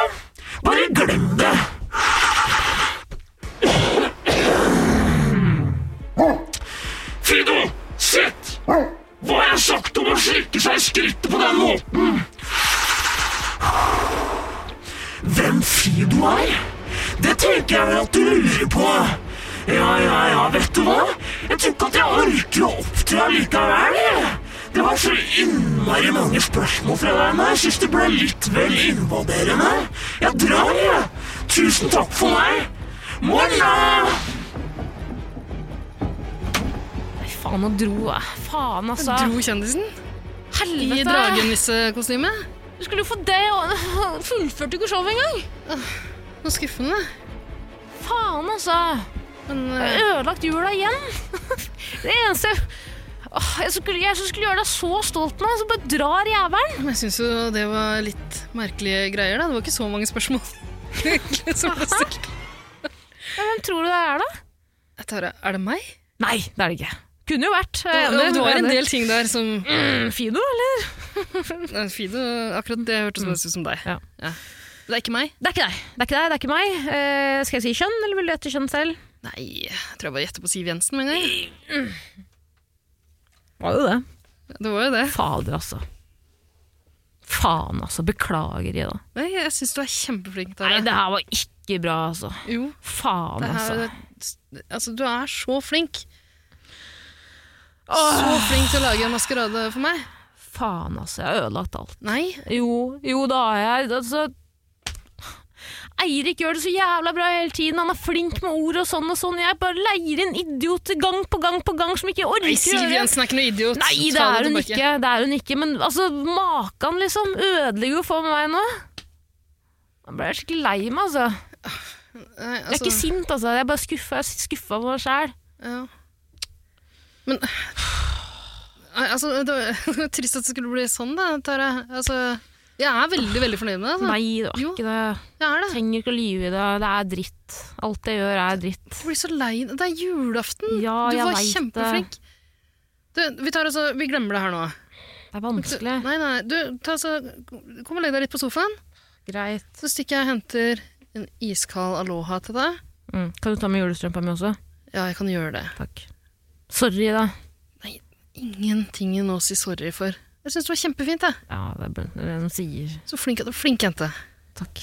K: Bare glem det. Fido, sitt! Hva har jeg sagt om å slikke seg i skrittet på den måten? Hvem Fido er? Det tenker jeg vel at du lurer på. Ja, ja, ja, vet du hva? Jeg tror ikke at jeg orker å opptre allikevel. jeg. Det var så innmari mange spørsmål fra deg nå. Jeg syns det ble litt vel invaderende. Jeg drar, jeg. Tusen takk for meg.
H: Altså,
K: Morna!
A: Nei, faen, nå dro jeg. Faen, altså.
H: Dro kjendisen? I
A: Helvete.
H: dragenissekostyme?
A: Du skulle jo få det og Fullførte ikke showet engang.
H: Nå skuffende. eh,
A: Faen, altså. Jeg har ødelagt jula igjen. Det eneste Åh, jeg som skulle, jeg som skulle gjøre deg så stolt nå, så bare drar jævelen.
H: Men jeg syns jo det var litt merkelige greier, da. Det var ikke så mange spørsmål. egentlig, som ble stilt.
A: Ja, hvem tror du det er, da?
H: Jeg tar det. Er det meg?
A: Nei, det er det ikke. Kunne jo vært. eh,
H: Det, det var en del ting der som
A: Mm, Fido, eller?
H: Nei, Fido, akkurat det hørtes mest ut som deg. Mm. Ja. Det er ikke meg?
A: Det er ikke deg. Det er ikke deg, det er ikke meg. Eh, skal jeg si kjønn, eller vil du gjette kjønn selv?
H: Nei, jeg tror jeg bare gjetter på Siv Jensen med en gang.
A: Var jo det.
H: Det var jo det.
A: Fader, altså. Faen, altså. Beklager, Ida.
H: Nei, jeg syns du er kjempeflink,
A: Nei,
H: Tara.
A: det her var ikke bra, altså.
H: Jo.
A: Faen,
H: Det her,
A: altså.
H: altså, du er så flink. Så flink til å lage en maskerade for meg.
A: Faen, altså. Jeg har ødelagt alt.
H: Nei.
A: Jo, jo, da har jeg altså, Eirik gjør det så jævla bra hele tiden. Han er flink med ord og sånn og sånn. Jeg bare leier inn idioter gang på gang på gang som ikke orker
H: Nei, Siv Jensen er ikke noe idiot.
A: Nei, det
H: Ta
A: er hun
H: tilbake.
A: ikke. Det er hun ikke men altså, makan liksom ødelegger jo for meg nå. Nå ble jeg skikkelig lei meg, altså.
H: Nei,
A: Jeg er ikke sint, altså. Jeg er bare skuffa. Jeg er skuffa over meg sjæl.
H: Ja. Men Nei, altså, det var trist at det skulle bli sånn, da, Tara. Altså, jeg er veldig veldig fornøyd med det. Altså.
A: Nei, det var ikke det.
H: Jeg
A: trenger ikke å lyve i det. Det er dritt. Alt jeg gjør, er dritt.
H: Jeg blir så lei Det er julaften!
A: Ja,
H: du
A: jeg
H: var
A: vet det.
H: kjempeflink. Du, vi, tar altså, vi glemmer det her nå.
A: Det er vanskelig.
H: Nei, nei, du, ta altså, kom og legg deg litt på sofaen.
A: Greit.
H: Så stikker jeg og henter en iskald aloha til deg.
A: Mm. Kan du ta med julestrømpa mi også?
H: Ja, jeg kan gjøre det.
A: Takk. Sorry, da.
H: Ingenting å si sorry for. Jeg syns det var kjempefint. Jeg.
A: Ja, det er bare- det er det de sier.
H: Så flink, flink jente.
A: Takk.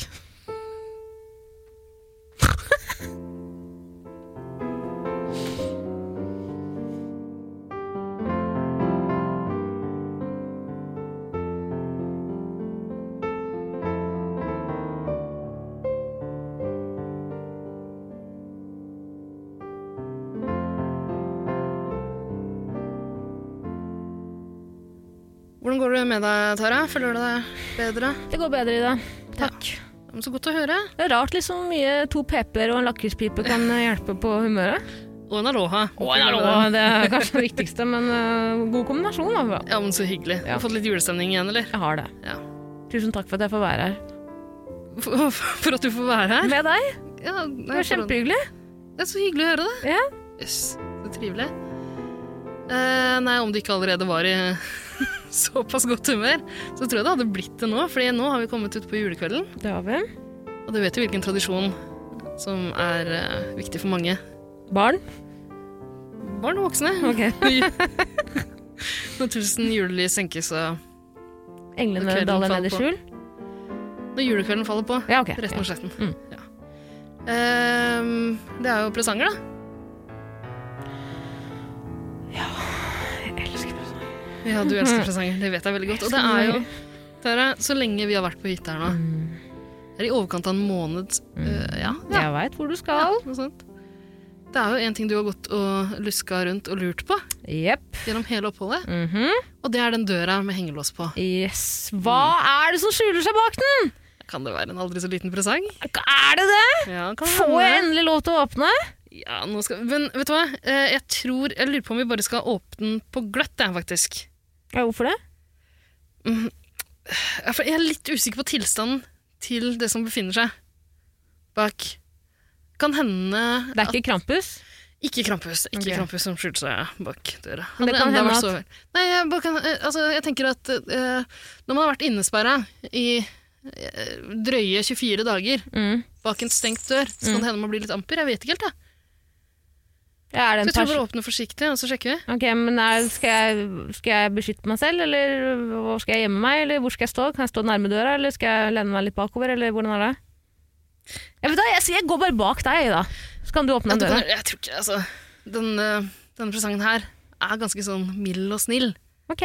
H: Hvordan går det med deg, Tara? Føler du deg bedre?
A: Det går bedre i det. Takk.
H: Men Så godt å høre.
A: Det er rart liksom hvor mye to p-er og en lakrispipe kan hjelpe på humøret.
H: Og en aloha.
A: Og en aloha, det er kanskje det viktigste, men øh, god kombinasjon. i hvert fall.
H: Ja, men så hyggelig. Du har fått litt julestemning igjen, eller?
A: Jeg har det.
H: Ja.
A: Tusen takk for at jeg får være her.
H: For, for at du får være her.
A: Med deg.
H: Ja,
A: Det var kjempehyggelig.
H: Det er så hyggelig å høre det.
A: Ja.
H: Jøss, så trivelig. Eh, nei, om du ikke allerede var i såpass godt humør, så tror jeg det hadde blitt det nå, Fordi nå har vi kommet ut på julekvelden.
A: Det har vi.
H: Og du vet jo hvilken tradisjon som er eh, viktig for mange.
A: Barn.
H: Mm. Barn og voksne.
A: Ok.
H: Når tusen julelys senkes og
A: Englene
H: Når kvelden
A: daler ned
H: faller
A: i
H: på.
A: skjul.
H: Når julekvelden faller på.
A: Ja, ok.
H: Retten
A: Ja. Mm.
H: og sletten. Ja. Ehm, det er jo presanger, da. Ja, du elsker presanger. Det vet jeg veldig godt. Og det er jo Tara, så lenge vi har vært på hytta her nå Det er i overkant av en måned. eh, ja, ja.
A: Jeg veit hvor du skal.
H: noe sånt. Det er jo en ting du har gått og luska rundt og lurt på
A: Jepp.
H: gjennom hele oppholdet,
A: Mhm.
H: og det er den døra med hengelås på.
A: Yes. Hva er det som skjuler seg bak den?
H: Kan det være en aldri så liten presang?
A: Er det det?
H: Ja, kan det
A: Får
H: være
A: jeg
H: det?
A: endelig lov til å åpne?
H: Ja, nå skal Men vet du hva? Eh, Jeg tror Jeg lurer på om vi bare skal åpne den på gløtt, jeg, faktisk.
A: Ja, hvorfor det?
H: Mm. Ja, for Jeg er litt usikker på tilstanden til det som befinner seg bak. Kan hende
A: Det er ikke Krampus?
H: Ikke Krampus. Ikke
A: Ok.
H: Krampus som skjulte seg bak døra.
A: Men det
H: Hadde
A: kan
H: enda
A: hende
H: vært
A: at-
H: så vel. Nei, jeg, bare kan, eh, altså, jeg tenker at eh, når man har vært innesperra i eh, drøye 24 dager bak en stengt dør, så kan
A: Mm.
H: det hende man blir litt amper. Jeg vet ikke helt, jeg.
A: Ja, er det en
H: Så jeg tror
A: pers-
H: bare åpne forsiktig, og så sjekker vi.
A: Ok, men er, skal, jeg, skal jeg beskytte meg selv, eller hvor skal jeg gjemme meg, eller hvor skal jeg stå? Kan jeg stå nærme døra, eller skal jeg lene meg litt bakover, eller hvordan er det? Jeg, vet, da, jeg, jeg går bare bak deg, da. Så kan du åpne
H: Ja,
A: den
H: du
A: døra.
H: kan, jeg tror ikke, altså den, eh, Denne presangen her er ganske sånn mild og snill.
A: Ok.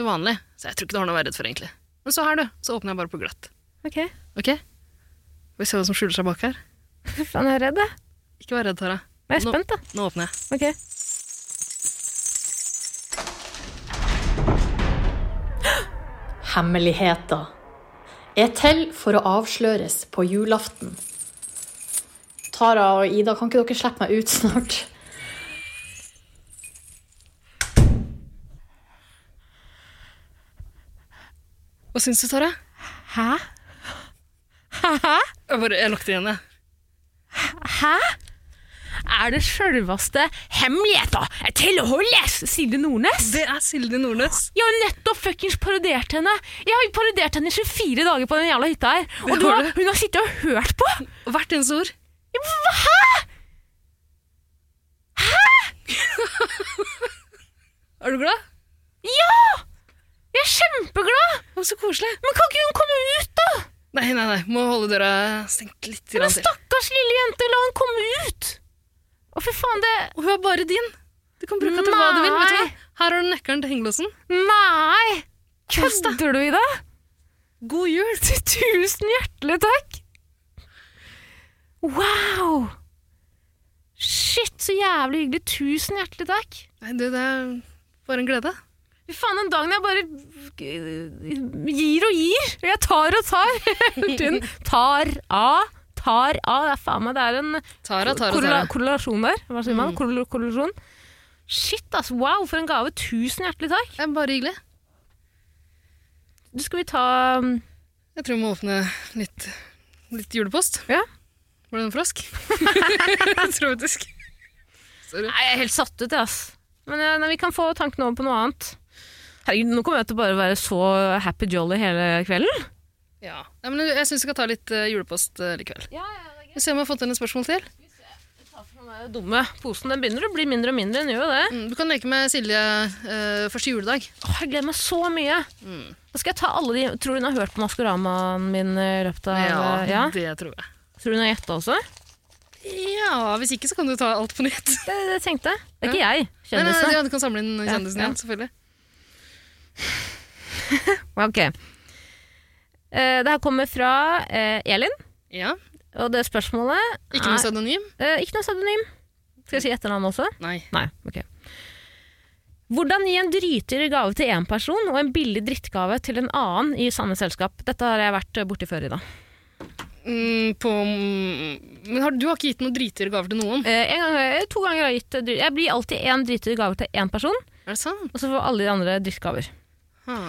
H: til vanlig, så jeg tror ikke du har noe å være redd for, egentlig. Men så her, du, så åpner jeg bare på glatt.
A: Ok.
H: Ok? Får vi se hva som skjuler seg bak her?
A: Fy faen, jeg er redd, jeg.
H: Ikke vær redd, Tara.
A: Nå er jeg spent, da.
H: Nå, nå åpner jeg.
A: Ok.
L: Hemmeligheter er til for å avsløres på julaften. Tara og Ida, kan ikke dere slippe meg ut snart?
H: Hva syns du, Tara?
A: Hæ? Hæ?
H: Jeg bare, jeg lukter igjen, jeg.
A: Hæ? Er det sjølveste hemmeligheta til å holdes, Silje Nordnes?
H: Det er Silje Nordnes.
A: Jeg har jo nettopp fuckings parodiert henne. Jeg har jo parodiert henne i 24 dager på den jævla hytta her.
H: Det
A: Og du
H: har
A: har,
H: du.
A: hun har sittet og hørt på!
H: Hvert eneste ord.
A: Hæ?!
H: Er du glad?
A: Ja! Jeg er kjempeglad!
H: Å, så koselig.
A: Men kan ikke hun komme ut, da?
H: Nei, nei, nei. Må holde døra stengt litt
A: Men
H: grann til.
A: stakkars lille jente, la hun komme ut! Å, fy faen, det
H: Hun er bare din. Du kan bruke henne til hva du vil. vet du hva? Her har du nøkkelen til hengelåsen.
A: Nei!
H: Kos deg.
A: Kødder du i det?
H: God jul!
A: Tusen hjertelig takk! Wow! Shit, så jævlig hyggelig. Tusen hjertelig takk.
H: Nei, du, det er bare en glede.
A: Fy faen, den dagen jeg bare gir og gir. Jeg tar og tar hele tiden. Tar av, tar av. Det er faen meg det er en
H: Tara, Tara,
A: korrela-
H: Tara.
A: korrelasjon der. Hva sier man?
H: Mm.
A: Korrel- Korrelasjon. Shit, altså. Wow, for en gave. Tusen hjertelig takk.
H: Det er bare hyggelig.
A: Du, skal vi ta um,
H: Jeg tror vi må åpne litt, litt julepost.
A: Ja.
H: Var det en frosk? Traumatisk. Sorry.
A: Nei, jeg er helt satt ut, jeg, ass. Men eh, nei, vi kan få tanken over på noe annet. Herregud, nå kommer jeg til å bare være så happy jolly hele kvelden.
H: Ja. Nei, men jeg syns vi skal ta litt eh, julepost eh, likevel.
A: Ja,
H: Vi ser om vi har fått inn et spørsmål til.
A: Den dumme posen den begynner å bli mindre og mindre. Den gjør jo det.
H: Mm, du kan leke med Silje eh, første juledag.
A: Åh, jeg gleder meg så mye.
H: Mm.
A: Da skal jeg ta alle de Tror du hun har hørt på Maskoramaen min eh, i løpet av
H: Ja,
A: ja?
H: det tror jeg.
A: Tror du hun har gjetta også?
H: Ja, hvis ikke så kan du ta alt på nytt.
A: Det, det tenkte jeg. Det er ikke jeg.
H: Nei, nei,
A: Kjendisene.
H: ja, du kan samle inn
A: Ja,
H: kjendisen
A: ja.
H: igjen, selvfølgelig.
A: Ok. Eh, det her kommer fra eh, Elin.
H: Ja.
A: Og det spørsmålet
H: Ikke noe
A: er-
H: pseudonym?
A: Eh, ikke noe pseudonym. Skal jeg si etternavn også?
H: Nei.
A: Nei, ok. Hvordan gi en dritdyr gave til én person og en billig drittgave til en annen i samme selskap? Dette har jeg vært eh, borti før i dag.
H: Mm, på, men har, du har ikke gitt noen dritdyre gaver til noen?
A: Eh, en gang, eh, to ganger har jeg gitt eh, dri- Jeg blir alltid én dritdyr gave til én person,
H: Er det sant?
A: og så får alle de andre drittgaver.
H: Ha.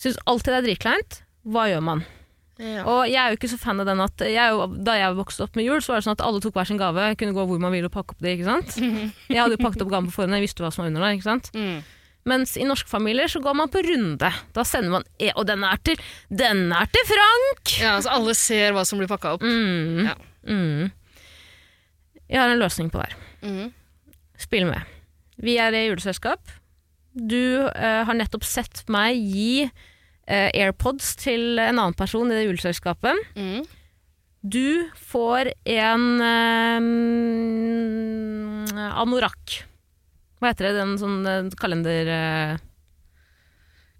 A: Syns alltid det er dritkleint. Hva gjør man?
H: Ja.
A: Og jeg er jo ikke så fan av den at jeg, er jo- Da jeg vokste opp med jul, så var det sånn at alle tok hver sin gave. Kunne gå hvor man ville og pakke opp det, ikke sant? Jeg hadde jo pakket opp gaven på forhånd, jeg visste hva som var under der, ikke sant?
H: Mm.
A: Mens i norske familier så går man på runde. Da sender man e- Og den er til Den er til Frank!
H: Ja, så alle ser hva som blir pakka opp.
A: Mm.
H: Ja.
A: Mm. Jeg har en løsning på det her.
H: Mm.
A: Spill med. Vi er i juleselskap. Du eh, har nettopp sett meg gi eh, AirPods til en annen person i det juleselskapet. Du får en eh, anorakk. Hva heter det? Den sånn eh, kalender... Eh,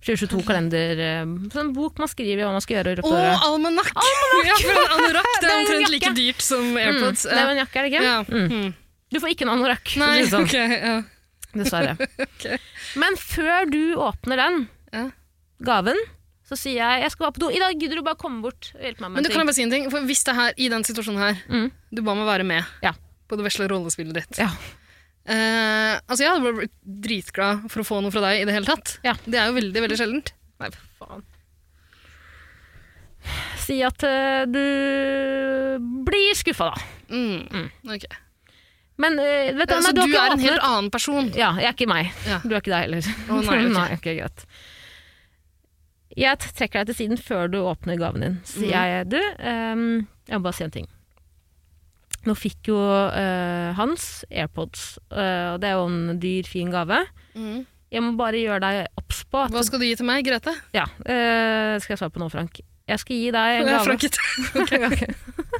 A: 2022-kalender. Eh, sånn bok man skriver i hva man skal gjøre i løpet
H: Å,
A: av året.
H: almanakk! Ja, for en anorakk det
A: Det er
H: er
A: en
H: omtrent like
A: jakke.
H: dyrt som AirPods.
A: Mm, det er jo en jakke, er det ikke?
H: Ja.
A: Mm. Du får ikke en anorakk. for å
H: Nei,
A: si det sånn.
H: ok. Ja.
A: Dessverre.
H: Ok.
A: Men før du åpner den gaven, så sier jeg jeg skal bare på do. I dag gidder du bare komme bort og hjelpe meg med
H: Men du kan jeg bare si en ting, for hvis det her, i den situasjonen her,
A: Mm.
H: du ba meg være med på det vesle rollespillet ditt. Eh, altså, jeg hadde bare blitt dritglad for å få noe fra deg i det hele tatt. Det er jo veldig, veldig sjeldent. Nei, faen.
A: Si at eh, du blir skuffa, da.
H: Mm. Ok.
A: Men eh, vet Mm. du, nei,
H: Ja, så
A: har
H: Altså, du
A: ikke
H: er en helt
A: åpnet-
H: annen person?
A: Ja, jeg er ikke meg.
H: Ja.
A: Du er ikke deg heller.
H: Å, nei, ok.
A: ok, greit. Jeg t- trekker deg til siden før du åpner gaven din.
H: Mm.
A: Sier jeg du, ehm, jeg må bare si en ting. Nå fikk jo eh, hans AirPods, eh, og det er jo en dyr, fin gave.
H: Mm.
A: Jeg må bare gjøre deg obs på at
H: Hva skal du gi til meg, Grete?
A: Ja, eh, skal jeg svare på nå, Frank? Jeg skal gi deg en
H: Jeg er
A: gave.
H: Franket.
A: Ok, ok.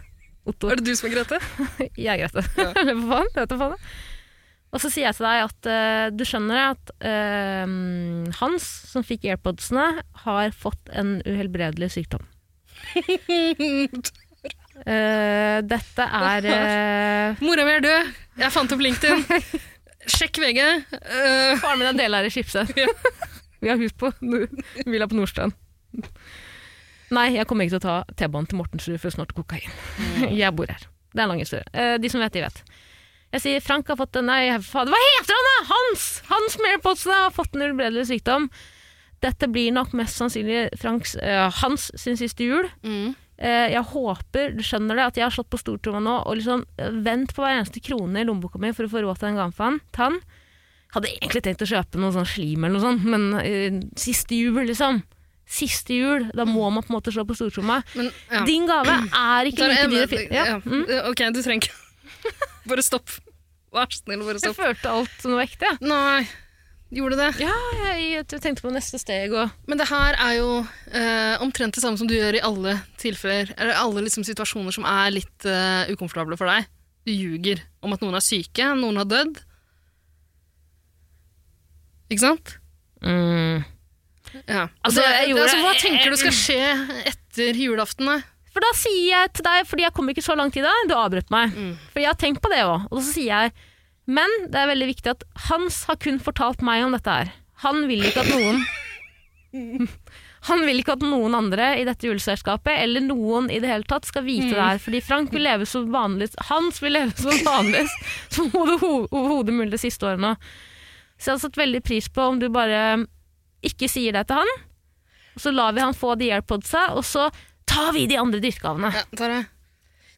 A: Otto.
H: Er det du som er Grete?
A: Jeg er Grete. Eller hva faen? Jeg vet da faen. jeg. Og så sier jeg til deg at eh, du skjønner at eh, Hans, som fikk airpodsene, har fått en uhelbredelig sykdom. Eh, dette er eh,
H: Mora mi er død. Jeg fant opp LinkedIn. Sjekk VG. Eh,
A: Faren min er deleier i Schibsted. Vi har hus på Nor- Villa på Nordstrand. Nei, jeg kommer ikke til å ta T-banen til Mortensrud for å snorte kokain. Jeg bor her. Det er en lang historie. Eh, De som vet, de vet. Jeg sier Frank har fått en Nei, fader, hva heter han da?! Hans! Hans Mairpotsen har fått en uhelbredelig sykdom. Dette blir nok mest sannsynlig Franks, eh, Hans sin siste jul.
H: mm.
A: Eh, jeg håper du skjønner det, at jeg har slått på stortromma nå og liksom eh, vent på hver eneste krone i lommeboka mi for å få råd til den gaven for han. Tann. Hadde egentlig tenkt å kjøpe noe sånn slim eller noe sånt, men eh, siste jul, liksom. Siste jul. Da må man på en måte slå på stortromma.
H: ja.
A: Din gave er ikke
H: Tara,
A: like
H: jeg-
A: dyr og fin. Ja. Mm.
H: ja. Eh, Ok, du trenger ikke Bare stopp. Vær så snill, bare
A: Jeg
H: stopp.
A: følte alt som noe ekte.
H: Nei. Gjorde det?
A: Ja, jeg, jeg tenkte på neste steg og
H: Men det her er jo eh, omtrent det samme som du gjør i alle tilfeller. Eller alle liksom, situasjoner som er litt eh, ukomfortable for deg. Du ljuger om at noen er syke, noen har dødd. Ikke sant?
A: Mm.
H: Ja.
A: Altså,
H: Altså,
A: jeg gjorde-
H: altså, hva tenker du skal skje etter julaften? da?
A: For da sier jeg til deg, fordi jeg kom ikke så langt i deg, du avbrøt meg. For jeg har tenkt på det òg. Og så sier jeg Men det er veldig viktig at Hans har kun fortalt meg om dette her. Han vil ikke at noen Han vil ikke at noen andre i dette juleselskapet, eller noen i det hele tatt, skal vite
H: Mm.
A: det her. Fordi Frank vil leve som vanlig Hans vil leve som vanlig som overho- overhodet mulig de siste årene. Så jeg hadde satt veldig pris på om du bare ikke sier det til han. Og så lar vi han få de airpodsa, og så tar vi de andre drittgavene.
H: Ja, Tara.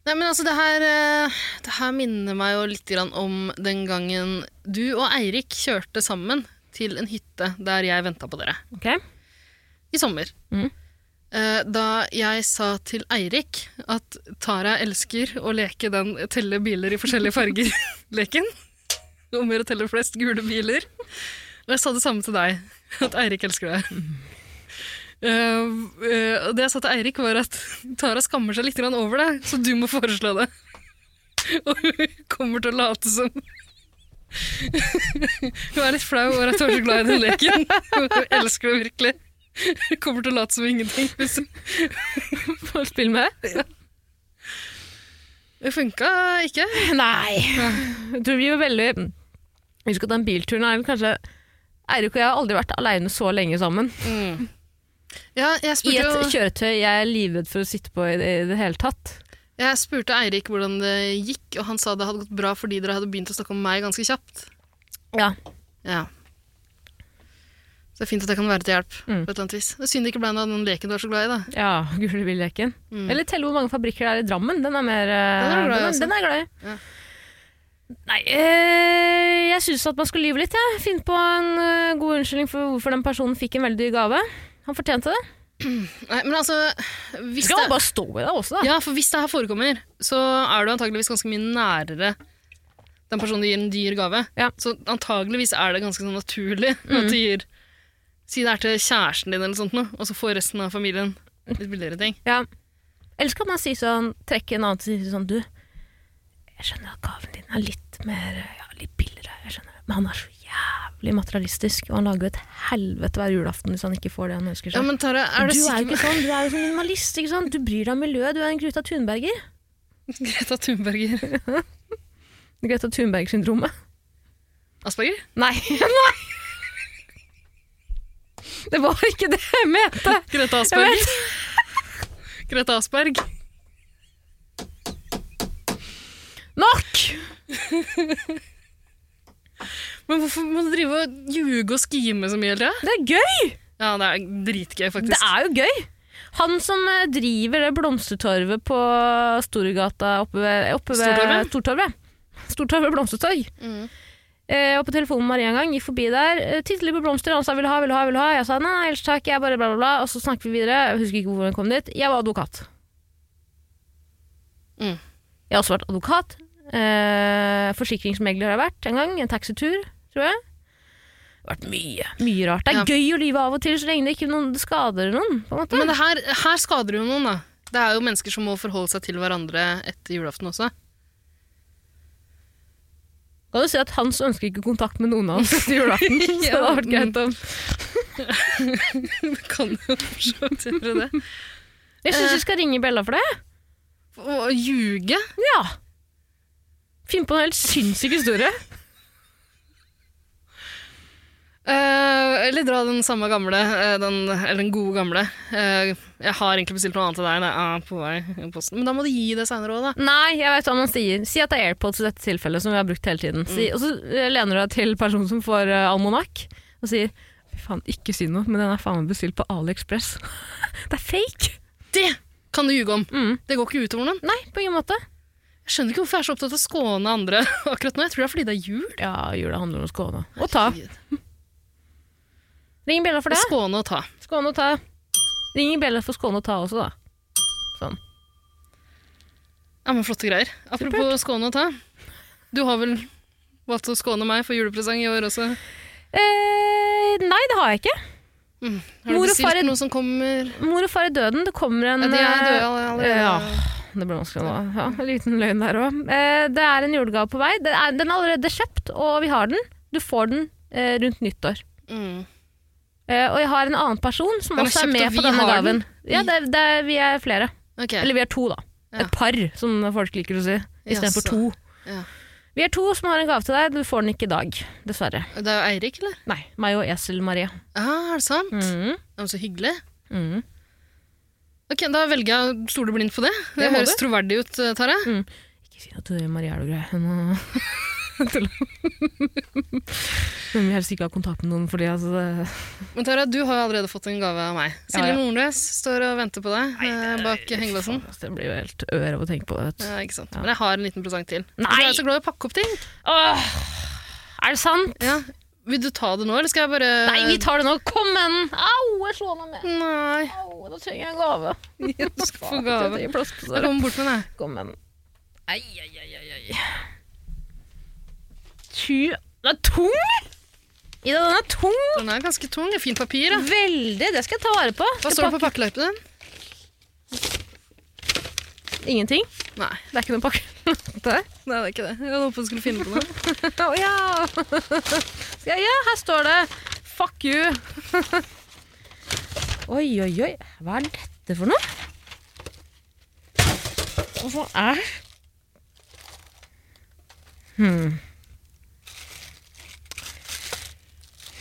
H: Nei, men altså, det her, eh, det her minner meg jo litt grann om den gangen du og Eirik kjørte sammen til en hytte der jeg venta på dere.
A: Ok.
H: I sommer. Eh, Da jeg sa til Eirik at Tara elsker å leke den telle biler i forskjellige farger-leken. Om å gjøre å telle flest gule biler. Og jeg sa det samme til deg, at Eirik elsker deg. Eh, eh, og det jeg sa til Eirik, var at Tara skammer seg litt grann over det, så du må foreslå det. Og hun kommer til å late som Hun er litt flau over at hun er så glad i den leken. Hun elsker det virkelig. Hun kommer til å late som ingenting. liksom. Hvis hun
A: får spille med.
H: Ja. Det funka ikke.
A: Nei. Jeg tror vi var veldig Jeg husker at den bilturen er vel kanskje Eirik og jeg har aldri vært aleine så lenge sammen.
H: Ja, jeg
A: I
H: spurte,
A: et
H: jo,
A: kjøretøy jeg er livredd for å sitte på i det, i det hele tatt.
H: jeg spurte Eirik hvordan det gikk, og han sa det hadde gått bra fordi dere hadde begynt å snakke om meg ganske kjapt.
A: Ja.
H: Ja. Så det er fint at jeg kan være til hjelp.
A: Mm.
H: på et eller annet vis. Det er Synd det ikke ble noe av den leken du er så glad i. da.
A: Ja, gule billeken.
H: Mm.
A: Eller telle hvor mange fabrikker det er i Drammen. Den er mer eh,
H: Den er du glad i,
A: den
H: altså.
A: den er jeg glad i.
H: Ja.
A: Nei, eh, jeg syns at man skulle lyve litt. Ja. Finne på en eh, god unnskyldning for hvorfor den personen fikk en veldig dyr gave. Han fortjente det.
H: Nei, men altså, hvis
A: Skal
H: det-
A: bare stå i det også.
H: Ja, for hvis det her forekommer, så er du antageligvis ganske mye nærere den personen du gir en dyr gave. Så antageligvis er det ganske sånn naturlig
A: Mm.
H: at du gir Si det er til kjæresten din, eller sånt noe, og så får resten av familien litt billigere ting.
A: Ja. Eller så kan man si sånn, trekke en annen til å si sånn Du, jeg skjønner at gaven din er litt mer ja, litt billigere, jeg skjønner det, men han er så jævlig materialistisk, og han lager jo et helvete hver julaften hvis han ikke får det han ønsker seg.
H: Ja, men Tara, er
A: du er
H: det
A: jo
H: sikker-
A: ikke sånn, du er jo sånn minimalist, ikke sant? Du bryr deg om miljøet, du er en Greta Thunberger.
H: Greta Thunberger.
A: Greta Thunberg-syndromet.
H: Asperger?
A: Nei, nei! Det var ikke det jeg mente!
H: Greta
A: Jeg
H: Asperger.
A: vet.
H: Greta Asperg.
A: Nok!
H: Men hvorfor må du drive og ljuge og skime så mye hele tida?
A: Det er gøy!
H: Ja, det er dritgøy, faktisk.
A: Det er jo gøy! Han som eh, driver det blomstertorvet på Storgata oppe ved, oppe ved
H: Stortorvet? Mm.
A: Stortorvet. Stortorvet blomstertorg. Eh, og på telefonen med Maria en gang, gikk forbi der, eh, tittet på blomster, han sa vil du ha, vil du ha, vil du ha. Jeg sa nei, nei, ellers takk, jeg bare bla, bla, bla. Og så snakket vi videre, jeg husker ikke hvor hun kom dit. Jeg var advokat.
H: Mm.
A: Jeg har også vært advokat. Eh, forsikringsmegler har jeg vært en gang, en taxitur, tror jeg. Det har vært mye, mye rart. Det er
H: Ja.
A: gøy å lyve av og til, så lenge det ikke noen, det skader noen, på en måte.
H: Men det her, her skader jo noen, da. Det er jo mennesker som må forholde seg til hverandre etter julaften også.
A: Kan du si at Hans ønsker ikke kontakt med noen av oss etter julaften. Så det hadde vært greit om
H: Du kan jo for så vidt gjøre det.
A: Jeg syns vi skal ringe Bella for det.
H: Å ljuge?
A: Ja. Finne på en helt sinnssyk historie.
H: Eh, eller dra den samme gamle, eh, den, eller den gode gamle. Eh, jeg har egentlig bestilt noe annet til deg, det er på vei i posten. Men da må du gi det seinere òg, da.
A: Nei, jeg vet hva man sier. Si at det er AirPods i dette tilfellet, som vi har brukt hele tiden. Si, og så eh, lener du deg til personen som får eh, almanakk, og sier Fy faen, ikke si noe, men den er faen meg bestilt på AliExpress. det er fake!
H: Det kan du ljuge om.
A: Mm.
H: Det går ikke utover noen.
A: Nei, på ingen måte.
H: Jeg skjønner ikke hvorfor jeg er så opptatt av å skåne andre akkurat nå. Jeg tror det er fordi det er jul.
A: Ja, jula handler om å skåne. Og ta. Ring bjella for det.
H: Skåne og ta.
A: Skåne og ta. Ring bjella for skåne og ta også, da. Sånn.
H: Ja, men flotte greier. Apropos skåne og ta. Du har vel valgt å skåne meg for julepresang i år også?
A: Eh, nei, det har jeg ikke.
H: Har du
A: Mor og
H: bestilt
A: far er-
H: noe som kommer
A: Mor og far er døden. Det kommer en
H: Ja, de er
A: eh,
H: døde alle- allerede.
A: Ja, det ble vanskelig nå. Ja, en liten løgn der òg. Eh, det er en julegave på vei. Den er, den er allerede kjøpt, og vi har den. Du får den eh, rundt nyttår.
H: Mm.
A: Eh, og jeg har en annen person som
H: Den er
A: også er
H: kjøpt,
A: med
H: og
A: på
H: vi
A: denne
H: har
A: gaven.
H: den?
A: Ja, det, er- det, er- vi er flere.
H: Ok.
A: Eller vi er to, da. Et par, som folk liker å si. Istedenfor
H: Jaså.
A: to.
H: Ja.
A: Vi er to som har en gave til deg. Du får den ikke i dag, dessverre.
H: Det er jo Eirik, eller?
A: Nei. Meg og Esel Marie.
H: Ah, er det sant? Ja, men så hyggelig.
A: Mm.
H: Ok, Da velger jeg å stole blindt på det. Det,
A: Det må du.
H: høres
A: Mm.
H: troverdig ut, eh, Tare.
A: Ikke si at du Marie er noe grei. Hun tuller. Hun vil helst ikke ha kontakt med noen fordi altså det...
H: Men Tara, du har jo allerede fått en gave av meg.
A: Ja, ja.
H: Silje Nordnes står og venter på deg eh, bak hengelåsen.
A: Faen, altså, Det blir jo helt ør av å tenke på det. Vet.
H: Ja, ikke sant. Men jeg har en liten presang til.
A: Nei!
H: Jeg er så glad i å pakke opp ting.
A: er det sant?
H: Ja. Vil du ta det nå, eller skal jeg bare
A: Nei, vi tar det nå! Kom med den! Au, jeg slo meg med.
H: Nei.
A: Au, da trenger jeg en gave.
H: Du skal få gave.
A: Jeg
H: Jeg
A: kommer
H: kommer bort med den. jeg.
A: Kom med den. Ai, ai, ai, ai, ai. Ty... Den er tung! Ida, den er tung!
H: Den er ganske tung. det er Fint papir. Da.
A: Veldig, det skal jeg ta vare på.
H: Hva
A: Skal
H: står det på
A: pakke-
H: pakkeløypen din?
A: Ingenting.
H: Nei,
A: Det er ikke noen pakke. Der.
H: det er ikke det. Jeg hadde håpet du skulle finne på noe.
A: Å ja. Skal jeg- ja, her står det 'fuck you'. oi, oi, oi. Hva er dette for noe? Hva er hmm.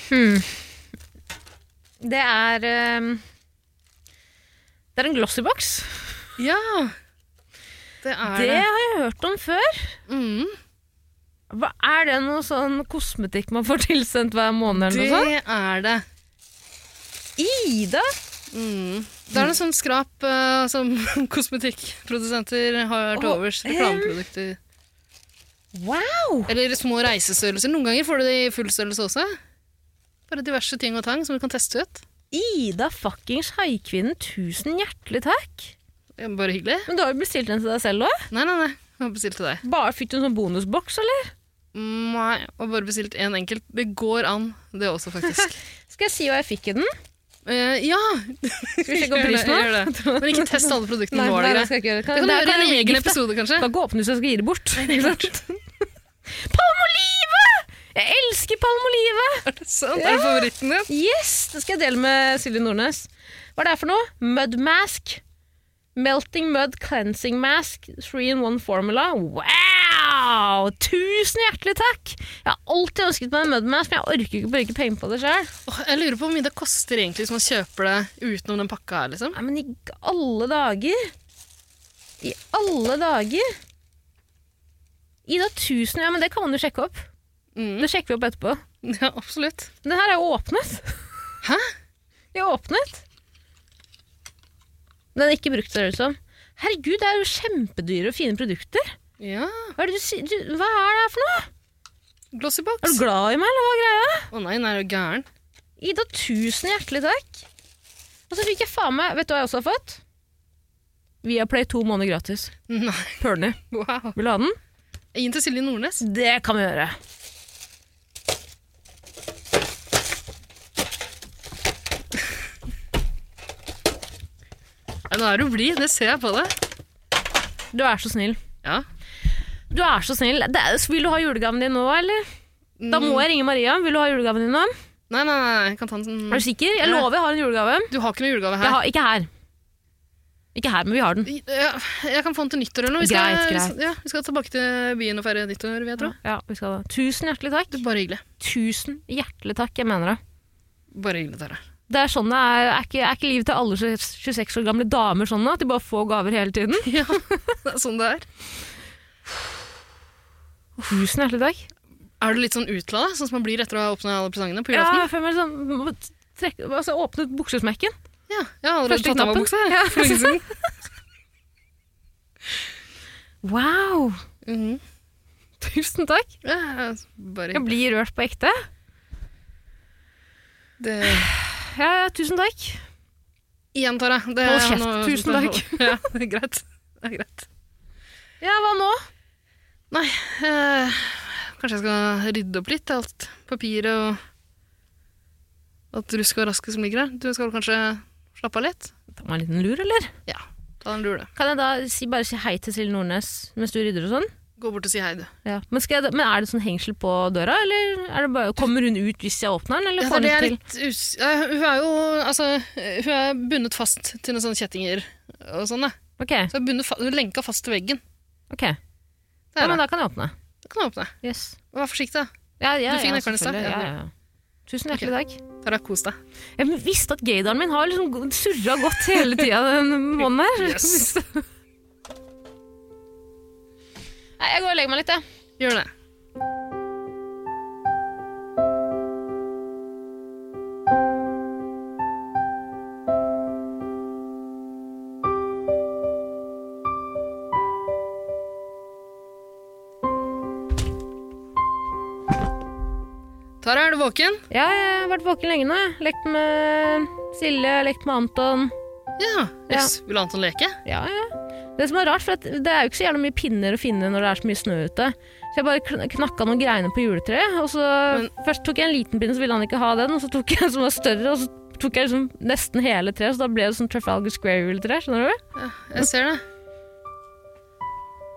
A: hmm. Det er eh, Det er en glossybox.
H: Ja, det er Mm.
A: Det
H: det.
A: har jeg hørt om før. Hva, er det noe sånn kosmetikk man får tilsendt hver måned?
H: Det
A: eller noe sånt?
H: er det.
A: Ida!
H: Mm. Det er noe sånn skrap eh, som kosmetikkprodusenter har til
A: Åh,
H: overs.
A: em.
H: Reklameprodukter.
A: Wow!
H: Eller små reisestørrelser. Noen ganger får du det i full størrelse også. Bare diverse ting og tang som du kan teste ut.
A: Ida fuckings haikvinnen, tusen hjertelig takk!
H: Det er Bare hyggelig.
A: Men du har jo bestilt den til deg selv òg?
H: Nei, nei, nei. Jeg har bestilt til deg.
A: Bare fikk du en sånn bonusboks, eller?
H: Nei, jeg har bare bestilt én enkelt. Det går an, det også, faktisk.
A: Skal jeg si hva jeg fikk i den?
H: Eh, ja!
A: Skal vi sjekke opp
H: Gjør det,
A: prisen nå?
H: gjør det. Men ikke test alle produktene
A: Nei,
H: nå. er
A: nei,
H: det
A: det
H: greit?
A: skal jeg ikke gjøre.
H: Det kan du
A: Der
H: gjøre i en
A: jeg
H: egen
A: gifte.
H: episode, kanskje.
A: Kan ikke åpne hvis jeg skal gi det bort. ikke sant? Palmolive! Jeg elsker palmolive!
H: Er det sant? Er det favoritten din?
A: Yes! Det skal jeg dele med Silje Nordnes. Hva er det her for noe? Mud mask. Melting mud cleansing mask. Three in one formula. Wow! Tusen hjertelig takk! Jeg har alltid ønsket meg en mud mask, men jeg orker ikke bruke penger på det sjøl.
H: Åh, Jeg lurer på hvor mye det koster egentlig hvis man kjøper det utenom den pakka her, liksom.
A: Nei, men i g- alle dager I alle dager Ida, tusen Ja, men det kan man jo sjekke opp. Det sjekker vi opp etterpå.
H: Ja, absolutt.
A: Den her er jo åpnet.
H: Hæ?
A: De har åpnet. Den er ikke brukt, ser det ut som. Herregud, det er jo kjempedyre og fine produkter.
H: Ja.
A: Hva er det du sier? Du, hva er det her for noe?
H: Glossybox.
A: Er du glad i meg, eller hva er greia?
H: Å nei, den er jo gæren.
A: Ida, tusen hjertelig takk. Og så fikk jeg faen meg Vet du hva jeg også har fått? Viaplay to måneder gratis.
H: Nei,
A: Perny.
H: wow.
A: Vil du ha den?
H: Gi den til Silje Nordnes.
A: Det kan vi gjøre.
H: Ja, nå er du blid, det ser jeg på deg.
A: Du er så snill.
H: Ja.
A: Du er så snill. Det, er- vil du ha julegaven din nå, eller? Da må jeg ringe Maria. Vil du ha julegaven din nå?
H: Nei, nei, nei, jeg kan ta den sånn-
A: Er du sikker? Jeg lover jeg har en julegave.
H: Du har ikke noen julegave her.
A: Jeg har, ikke her. Ikke her, men vi har den.
H: Ja, jeg kan få den til nyttår eller noe. Vi skal,
A: Greit, greit.
H: Vi, ja, vi skal tilbake til byen og feire nyttår, vil jeg tro.
A: Ja, vi skal da. Tusen hjertelig takk.
H: bare hyggelig.
A: Tusen hjertelig takk, jeg mener det.
H: Bare hyggelig, Tara.
A: Det er sånn det er. Er ikke, er ikke livet til alle 26 år gamle damer sånn at de bare får gaver hele tiden?
H: Ja, det er sånn det er.
A: Tusen hjertelig takk.
H: Er du litt sånn utla, da? Sånn som man blir etter å ha åpna alle presangene på
A: Ja,
H: julaften?
A: jeg føler meg sånn må trekke, altså, Åpnet buksesmekken.
H: Ja, jeg har allerede tatt av meg buksa. jeg, for lenge siden.
A: Wow!
H: Mhm.
A: Tusen takk.
H: Ja, altså, bare
A: Jeg blir rørt på ekte.
H: Det...
A: Ja, ja, tusen takk.
H: Igjen, Tara. Det
A: Hold
H: er
A: kjeft.
H: noe-
A: Tusen takk.
H: Ja, det er greit. Det er greit.
A: Ja, hva nå?
H: Nei, eh, kanskje jeg skal rydde opp litt. Alt papiret og alt rusk og raske som ligger her. Du skal kanskje slappe av litt?
A: Ta meg en liten lur, eller?
H: Ja, ta en lur, du.
A: Kan jeg da si, bare si hei til Silje Nordnes mens du rydder og sånn?
H: Gå bort og si hei, du.
A: Ja. Men, skal jeg, da- men er det sånn hengsel på døra, eller er det bare, kommer hun ut hvis jeg åpner den? Eller
H: Ja,
A: får
H: det er
A: den
H: det
A: til?
H: jeg er litt us- Ja, hun er jo altså, hun er bundet fast til noen sånne kjettinger og sånn. da.
A: Så
H: hun er bundet fa hun er lenka fast til veggen.
A: Ok. Ja, men da kan jeg åpne.
H: Da kan du åpne. Vær forsiktig, da.
A: Ja, ja,
H: du fikk
A: ja,
H: nøkkelen i stad.
A: selvfølgelig. Ja, ja, ja. Tusen hjertelig takk.
H: Tara, kos deg.
A: Jeg visste at gaydaren min har liksom surra godt hele tida den måneden her.
H: Yes.
A: Nei, jeg går og legger meg litt, jeg.
H: Gjør det. Tara, er du våken?
A: Ja, jeg har vært våken lenge nå. jeg. Lekt med Silje, lekt med Anton.
H: Ja. Yes. Vil Anton leke?
A: Ja, ja. Det som er rart, for at det er jo ikke så jævla mye pinner å finne når det er så mye snø ute. Så jeg bare kn- knakka noen greiene på juletreet. Og så Først tok jeg en liten pinne, så ville han ikke ha den. Og så tok jeg en som var større, og så tok jeg liksom nesten hele treet. Så da ble det sånn Trafalgar Square-juletre. Skjønner du?
H: Ja, jeg ser det.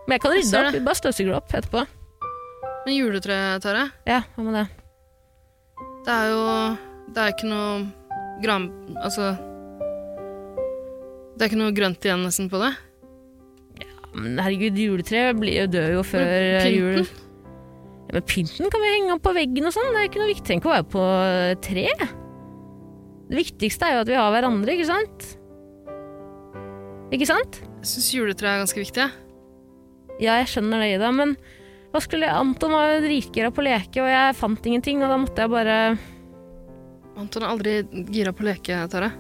A: Men jeg kan
H: Jeg
A: rydde
H: ser
A: opp.
H: det.
A: Bare støvsuger det opp etterpå.
H: Men juletre, Tara,
A: Ja, hva med det?
H: det er jo Det er ikke noe gran... Altså Det er ikke noe grønt igjen nesten på det.
A: Men herregud, juletreet blir- dør jo før
H: Men
A: eh,
H: pynten?
A: jul. Ja, men pynten kan vi henge opp på veggen og sånn. Det er ikke noe viktig. Tenk å være på eh, tre. Det viktigste er jo at vi har hverandre, ikke sant? Ikke sant?
H: Jeg syns juletre er ganske viktig. jeg.
A: Ja, jeg skjønner det, Ida, men hva skulle jeg Anton var jo dritgira på å leke, og jeg fant ingenting, og da måtte jeg bare
H: Anton er aldri gira på å leke, Tara.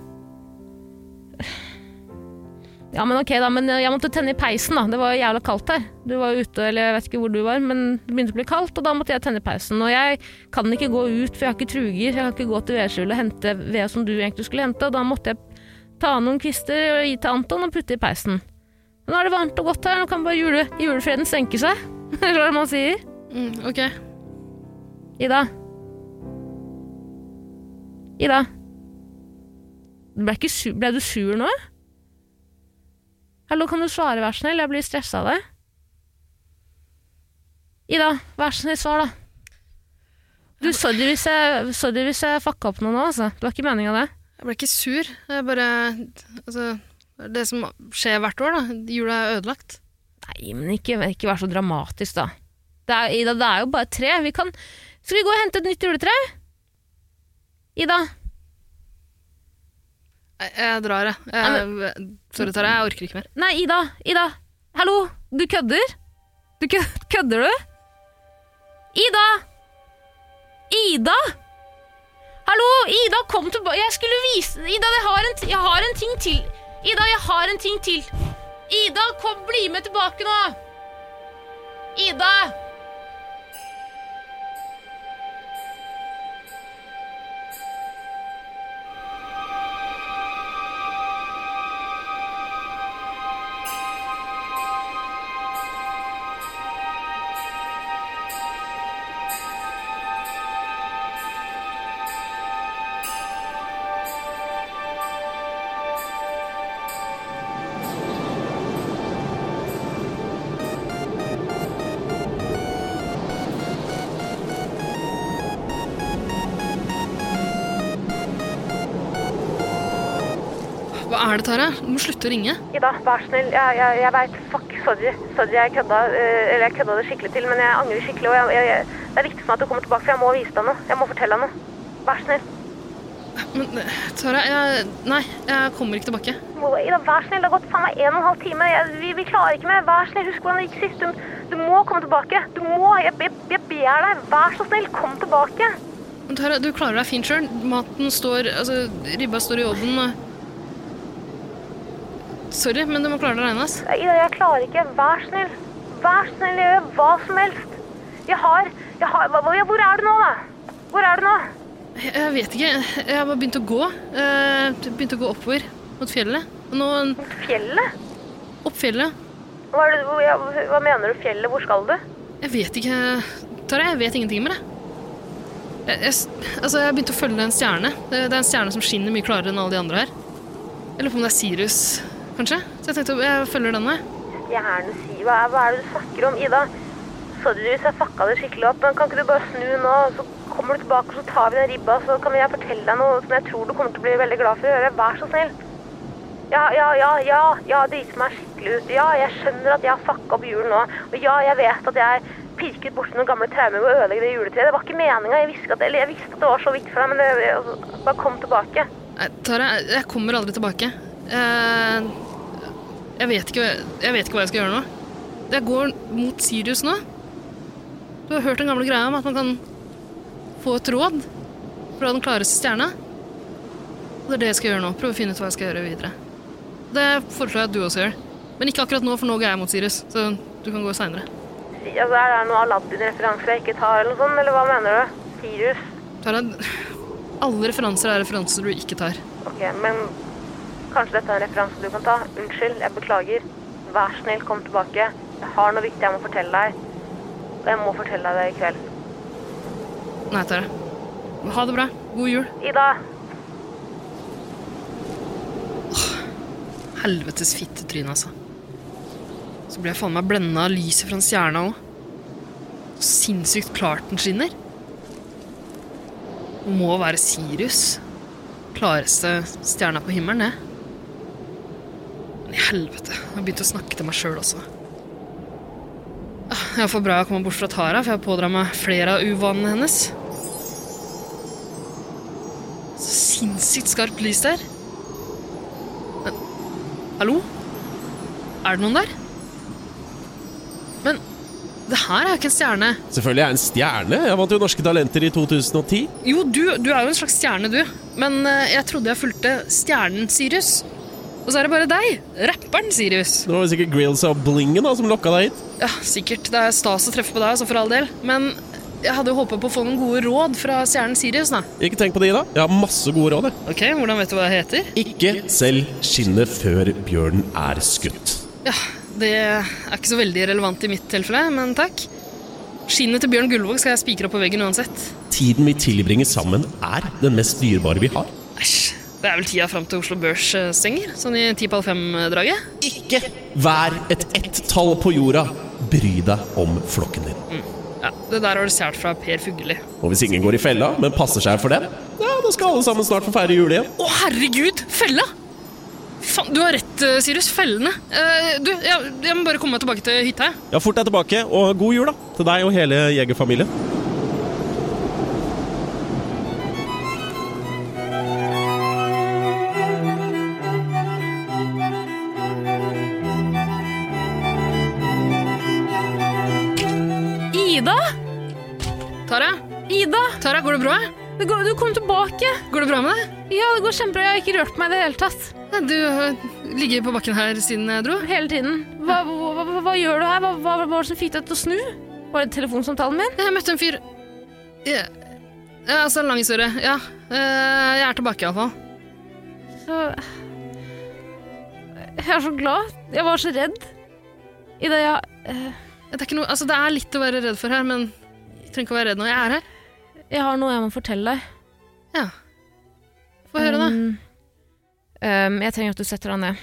A: Ja, men ok, da, men eh, jeg måtte tenne i peisen, da. Det var jo jævla kaldt her. Du var jo ute, eller jeg vet ikke hvor du var, men det begynte å bli kaldt, og da måtte jeg tenne i peisen. Og jeg kan ikke gå ut, for jeg har ikke truger. Jeg kan ikke gå til vedskjulet og hente ved som du egentlig skulle hente, og da måtte jeg ta noen kvister og gi til Anton og putte i peisen. Men Nå er det varmt og godt her, nå kan bare jule, julefreden senke seg. Eller hva er det man sier?
H: Mm, ok.
A: Ida. Ida. Ble, ikke su ble du sur nå? Hallo, kan du svare, vær snill? Jeg blir stressa av det. Ida, vær snill, svar, da. Du, Sorry hvis jeg, sorry hvis jeg fucka opp noe nå, altså. Det var ikke meninga, det.
H: Jeg ble ikke sur. Jeg bare Altså, det er det som skjer hvert år, da. Jula er ødelagt.
A: Nei, men ikke, ikke vær så dramatisk, da. Det er, Ida, det er jo bare tre. Vi kan Skal vi gå og hente et nytt juletre? Ida.
H: Jeg, jeg drar, jeg. jeg. Sorry, Tara. Jeg orker ikke mer.
A: Nei, Ida. Ida. Hallo, du kødder? Du kø kødder du? Ida! Ida! Hallo, Ida, kom tilbake. Jeg skulle vise Ida, jeg har, en t jeg har en ting til. Ida, jeg har en ting til. Ida, kom, bli med tilbake nå. Ida!
H: Hva er det, Tara? Du må slutte å ringe.
A: Ida, vær snill. Jeg, jeg, jeg veit. Fuck, sorry. Sorry, jeg kødda. eh, Eller jeg kødda det skikkelig til, men jeg angrer skikkelig. Og jeg, jeg, jeg, det er viktig for meg at du kommer tilbake, for jeg må vise deg noe. Jeg må fortelle deg noe. Vær snill.
H: Men eh, Tara, jeg Nei, jeg kommer ikke tilbake.
A: Må- Ida, vær snill. Det har gått faen meg en og en halv time. Jeg, vi, vi klarer ikke mer. Vær snill. Husk hvordan det gikk sist. Du, du må komme tilbake. Du må. Jeg, jeg, jeg ber deg. Vær så snill. Kom tilbake.
H: Men Tara, du klarer deg fint sjøl. Maten står Altså, ribba står i ovnen. og- Sorry, men du må klare deg aleine, ass.
A: Ida, jeg klarer ikke. Vær snill. Vær snill. Jeg gjør hva som helst. Jeg har, jeg har hva- hva- Hvor er du nå, da? Hvor er du nå?
H: Jeg jeg vet ikke. Jeg har bare begynt å gå. Eh, Begynt å gå oppover mot fjellet. Og nå Mot
A: fjellet?
H: Opp fjellet.
A: Hva, er det, hvor- ja, hva mener du? Fjellet? Hvor skal du?
H: Jeg vet ikke Tara, jeg vet ingenting med det. Jeg, jeg, s- altså, jeg har begynt å følge en stjerne. Det, det er en stjerne som skinner mye klarere enn alle de andre her. Jeg lurer på om det er Sirius, kanskje? Så jeg tenkte jeg følger denne.
A: Stjerne sier hva, er- hva er det du snakker om, Ida? Sorry hvis jeg fucka det skikkelig opp, men kan ikke du bare snu nå? Så kommer du tilbake, og så tar vi den ribba, så kan jeg fortelle deg noe som jeg tror du kommer til å bli veldig glad for å høre. Vær så snill. Ja, ja, ja, ja, ja, det driter meg skikkelig ut. Ja, jeg skjønner at jeg har fucka opp julen nå. Og ja, jeg vet at jeg pirket borti noen gamle traumer ved å ødelegge det juletreet. Det var ikke meninga. Jeg, visste at- eller jeg visste at det var så viktig for deg, men det, altså, bare kom tilbake.
H: Nei, Tara, jeg- jeg kommer aldri tilbake. Eh, jeg, vet ikke, jeg vet ikke hva jeg skal gjøre nå. Jeg går mot Sirius nå. Du har hørt den gamle greia om at man kan få et råd fra den klareste stjerna. Og det er det jeg skal gjøre nå. Prøve å finne ut hva jeg skal gjøre videre. Det foreslår jeg at du også gjør. Men ikke akkurat nå, for nå går jeg mot Sirius. Så du kan gå seinere.
A: Si- Altså, er det noe Aladdin-referanse jeg ikke tar, eller noe sånt? Eller hva mener du? Sirius?
H: Tara, alle referanser er referanser du ikke tar.
A: Ok, men kanskje dette er en referanse du kan ta. Unnskyld, jeg beklager. Vær snill, kom tilbake. Jeg har noe viktig jeg må fortelle deg. Og jeg må fortelle deg det i kveld.
H: Nei, Tara. Ha det bra. God jul.
A: Ida!
H: Helvetes fittetryne, altså. Så ble jeg faen meg blenda av lyset fra en stjerne òg. Så sinnssykt klart den skinner. Det må være Sirius. Klareste stjerna på himmelen, det. Men i helvete, jeg har begynt å snakke til meg sjøl også. Ah, Jeg er for bra jeg kommer bort fra Tara, for jeg har pådra meg flere av uvanene hennes. Så sinnssykt skarpt lys der. Men, hallo? Er det noen der? Men det her er jo ikke en stjerne.
G: Selvfølgelig er jeg en stjerne. Jeg vant jo Norske Talenter i 2010.
H: Jo, du, du er jo en slags stjerne, du. Men eh, jeg trodde jeg fulgte stjernen Sirius. Og så er det bare deg, rapperen Sirius.
G: Det var sikkert Grills og Blingen da, som lokka deg hit.
H: Ja, sikkert. Det er stas å treffe på deg, altså for all del. Men jeg hadde jo håpa på å få noen gode råd fra stjernen Sirius, da.
G: Ikke tenk på det, Ida. Jeg har masse gode råd. jeg.
H: Ok, Hvordan vet du hva jeg heter?
G: Ikke selg skinnet før bjørnen er skutt.
H: Ja, Det er ikke så veldig relevant i mitt tilfelle, men takk. Skinnet til Bjørn Gullvåg skal jeg spikre opp på veggen uansett.
G: Tiden vi tilbringer sammen, er den mest dyrebare vi har.
H: Det er vel tida fram til Oslo Børs eh, stenger, sånn i ti på halv fem-draget.
G: Ikke! Vær et ett-tall på jorda. Bry deg om flokken din.
H: Mm. Ja, Det der har du stjålet fra Per Fugelli.
G: Og hvis ingen går i fella, men passer seg for den, ja, da skal alle sammen snart få feire jul igjen.
H: Å, herregud! Fella! Faen, du har rett, eh, Sirius. Fellene. Eh, du, jeg, jeg må bare komme meg tilbake til hytta. jeg.
G: Ja, fort deg tilbake, og god jul da, til deg og hele jegerfamilien.
M: Ida?
H: Tara?
M: Ida?
H: Tara, går det bra?
M: Det går, du kom tilbake.
H: Går det bra med deg?
M: Ja, det går kjempebra. Jeg har ikke rørt meg i det hele tatt.
H: Du har ligget på bakken her siden jeg dro?
M: Hele tiden. Hva, hva, hva, hva gjør du her? Hva, hva, hva var det som fikk deg til å snu? Var det telefonsamtalen min?
H: Jeg møtte en fyr. Ja, ja altså, lang historie. Ja. eh, jeg er tilbake, iallfall.
M: Så... Jeg er så glad. Jeg var så redd. Ida, jeg...
H: Det er, ikke noe, altså, det er litt å være redd for her, men jeg trenger ikke å være redd når jeg er her.
M: Jeg har noe jeg må fortelle deg.
H: Ja. Få
A: Mm,
H: høre, da.
M: Um,
A: Ehm,
M: um, jeg trenger at du setter deg ned.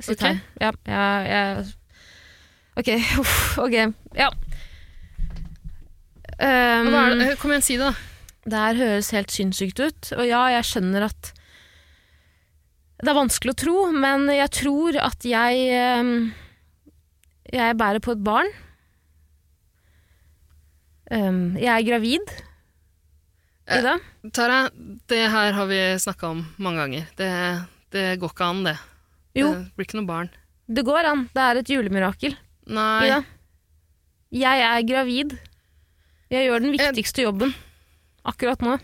M: Sitt
H: Mm. Ok.
M: her. Ja, jeg, jeg Ok, uff, ok. Ja. Um,
H: Hva er
A: Ehm,
H: det? eh, Kom igjen, si det, da.
M: Det her høres helt sinnssykt ut, og ja, jeg skjønner at
A: Det er vanskelig å tro, men jeg tror at jeg ehm, Jeg bærer på et barn. Ehm, jeg er gravid.
H: Eh,
A: Ida?
H: Tara, det her har vi snakka om mange ganger. Det, det går ikke an, det.
A: Jo.
H: Det blir ikke noe barn.
A: Det går an. Det er et julemirakel.
H: Nei.
A: Ida? Jeg er gravid. Jeg gjør den viktigste jobben akkurat nå.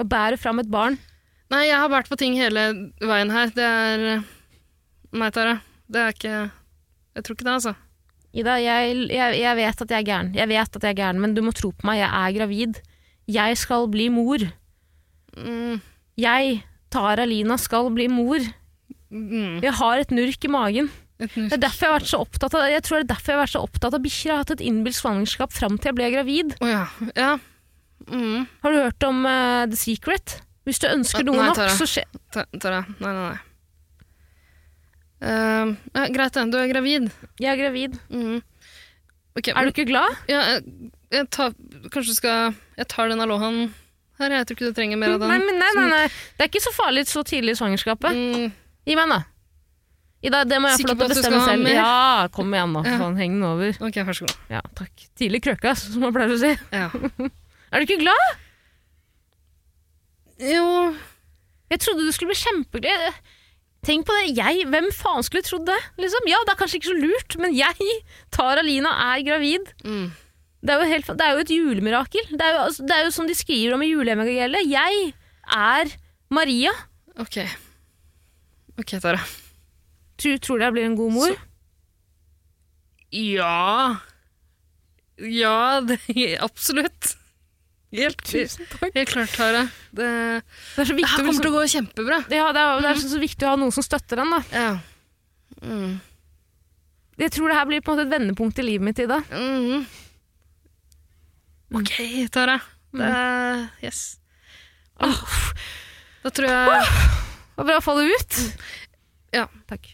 A: Og bærer fram et barn.
H: Mm. Nei, jeg har vært på ting hele veien her. Det er Nei, Tara. Det er ikke Jeg tror ikke det, altså.
A: Ida, jeg, jeg, jeg vet at jeg er gæren. Jeg vet at jeg er gæren, men du må tro på meg. Jeg er gravid. Jeg skal bli mor.
H: Mm.
A: Jeg, Tara Lina, skal bli mor.
H: Mm.
A: Jeg har et nurk i magen. Det er derfor jeg har vært så opptatt av Jeg tror det er derfor jeg har vært så opptatt av bikkjer. Jeg har hatt et innbilt svangerskap fram til jeg ble gravid.
H: Mm.
A: Har du hørt om eh, The Secret? Hvis du ønsker noe
H: Nei,
A: nok,
H: Tara.
A: så skjer
H: Ta- Tara. Nei, nei, nei. Ehm, ja, greit, det. Du er gravid.
A: Jeg er gravid.
H: er
A: du ikke glad?
H: Ja, jeg, jeg tar, kanskje du skal Jeg tar den alohaen her. Jeg tror ikke du trenger mer av den.
A: Nei, men nei, nei, nei. Det er ikke så farlig så tidlig i svangerskapet. Gi meg, da. Ida, det må jeg få
H: Sikker
A: lov
H: på
A: til å
H: Mm. at du
A: bestemme
H: skal ha
A: selv.
H: mer?
A: Ja, kom igjen, da.
H: Ja.
A: Faen, heng den over.
H: Ok, vær så god.
A: Ja, takk. Tidlig krøkke, ass, som man pleier å si. er du ikke glad?
H: Jo
A: Jeg trodde du skulle bli kjempeglad. Tenk på det, jeg, Hvem faen skulle trodd det? Liksom? Ja, Det er kanskje ikke så lurt, men jeg, Tara Lina, er gravid.
H: Mm,
A: Det, er jo helt, fa- det er jo et julemirakel. Det er jo, altså, det er jo som de skriver om i juleevangeliet. Jeg er Maria.
H: Ok. Ok, Tara.
A: Tror, tror du jeg blir en god mor?
H: Ja Ja, det, absolutt. Helt, helt klart, Tara. Det,
A: det er så viktig
H: her
A: å
H: kommer
A: liksom-
H: til å gå kjempebra.
A: Ja, det er, det er så, så viktig å ha noen som støtter en, da.
H: Mm.
A: Jeg tror det her blir på en måte et vendepunkt i livet mitt, Ida.
H: Mm. Ok, Tara. Det, yes. Åh, Da tror jeg Mm.
A: Det var bra å få det ut.
H: Ja.
A: Takk.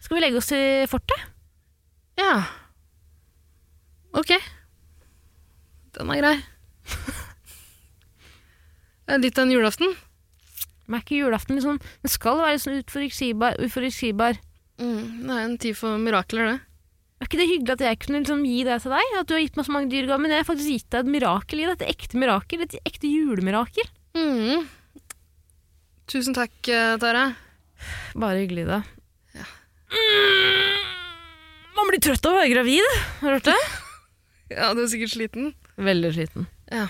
A: Skal vi legge oss i fortet?
H: Ja. Ok. Den er grei. Det er Litt av en julaften.
A: Men er ikke julaften liksom Den skal være sånn uforutsigbar. uforutsigbar.
H: Mm, det er en tid for mirakler, det.
A: Er ikke det hyggelig at jeg kunne liksom gi det til deg? At du har gitt meg så mange dyregaver? Men jeg har faktisk gitt deg et mirakel i det. Et ekte mirakel. Et ekte julemirakel.
H: Mm. Tusen takk, eh, Tara.
A: Bare hyggelig, da. Mm, man blir trøtt av å være gravid. Har du hørt det?
H: Ja, du er sikkert sliten.
A: Veldig sliten.
H: Ja.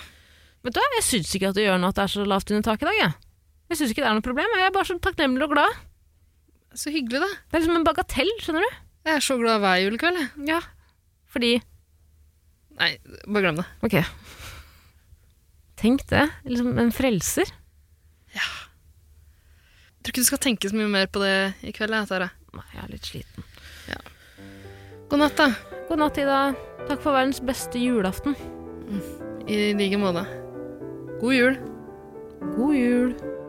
A: Vet du hva, jeg syns ikke at det gjør noe at det er så lavt under taket i dag, jeg. Jeg syns ikke det er noe problem. Jeg er bare så takknemlig og glad.
H: Så hyggelig, da.
A: Det er liksom en bagatell, skjønner du.
H: Jeg er så glad hver julekveld, jeg.
A: Ja, fordi
H: Nei, bare glem det.
A: Ok. Tenk det. Liksom en frelser.
H: Jeg tror ikke du skal tenke så mye mer på det i kveld, jeg, Tara.
A: Nei, jeg er litt sliten.
H: God natt, da.
A: God natt, Ida. Takk for verdens beste julaften.
H: I like måte. God jul.
A: God jul.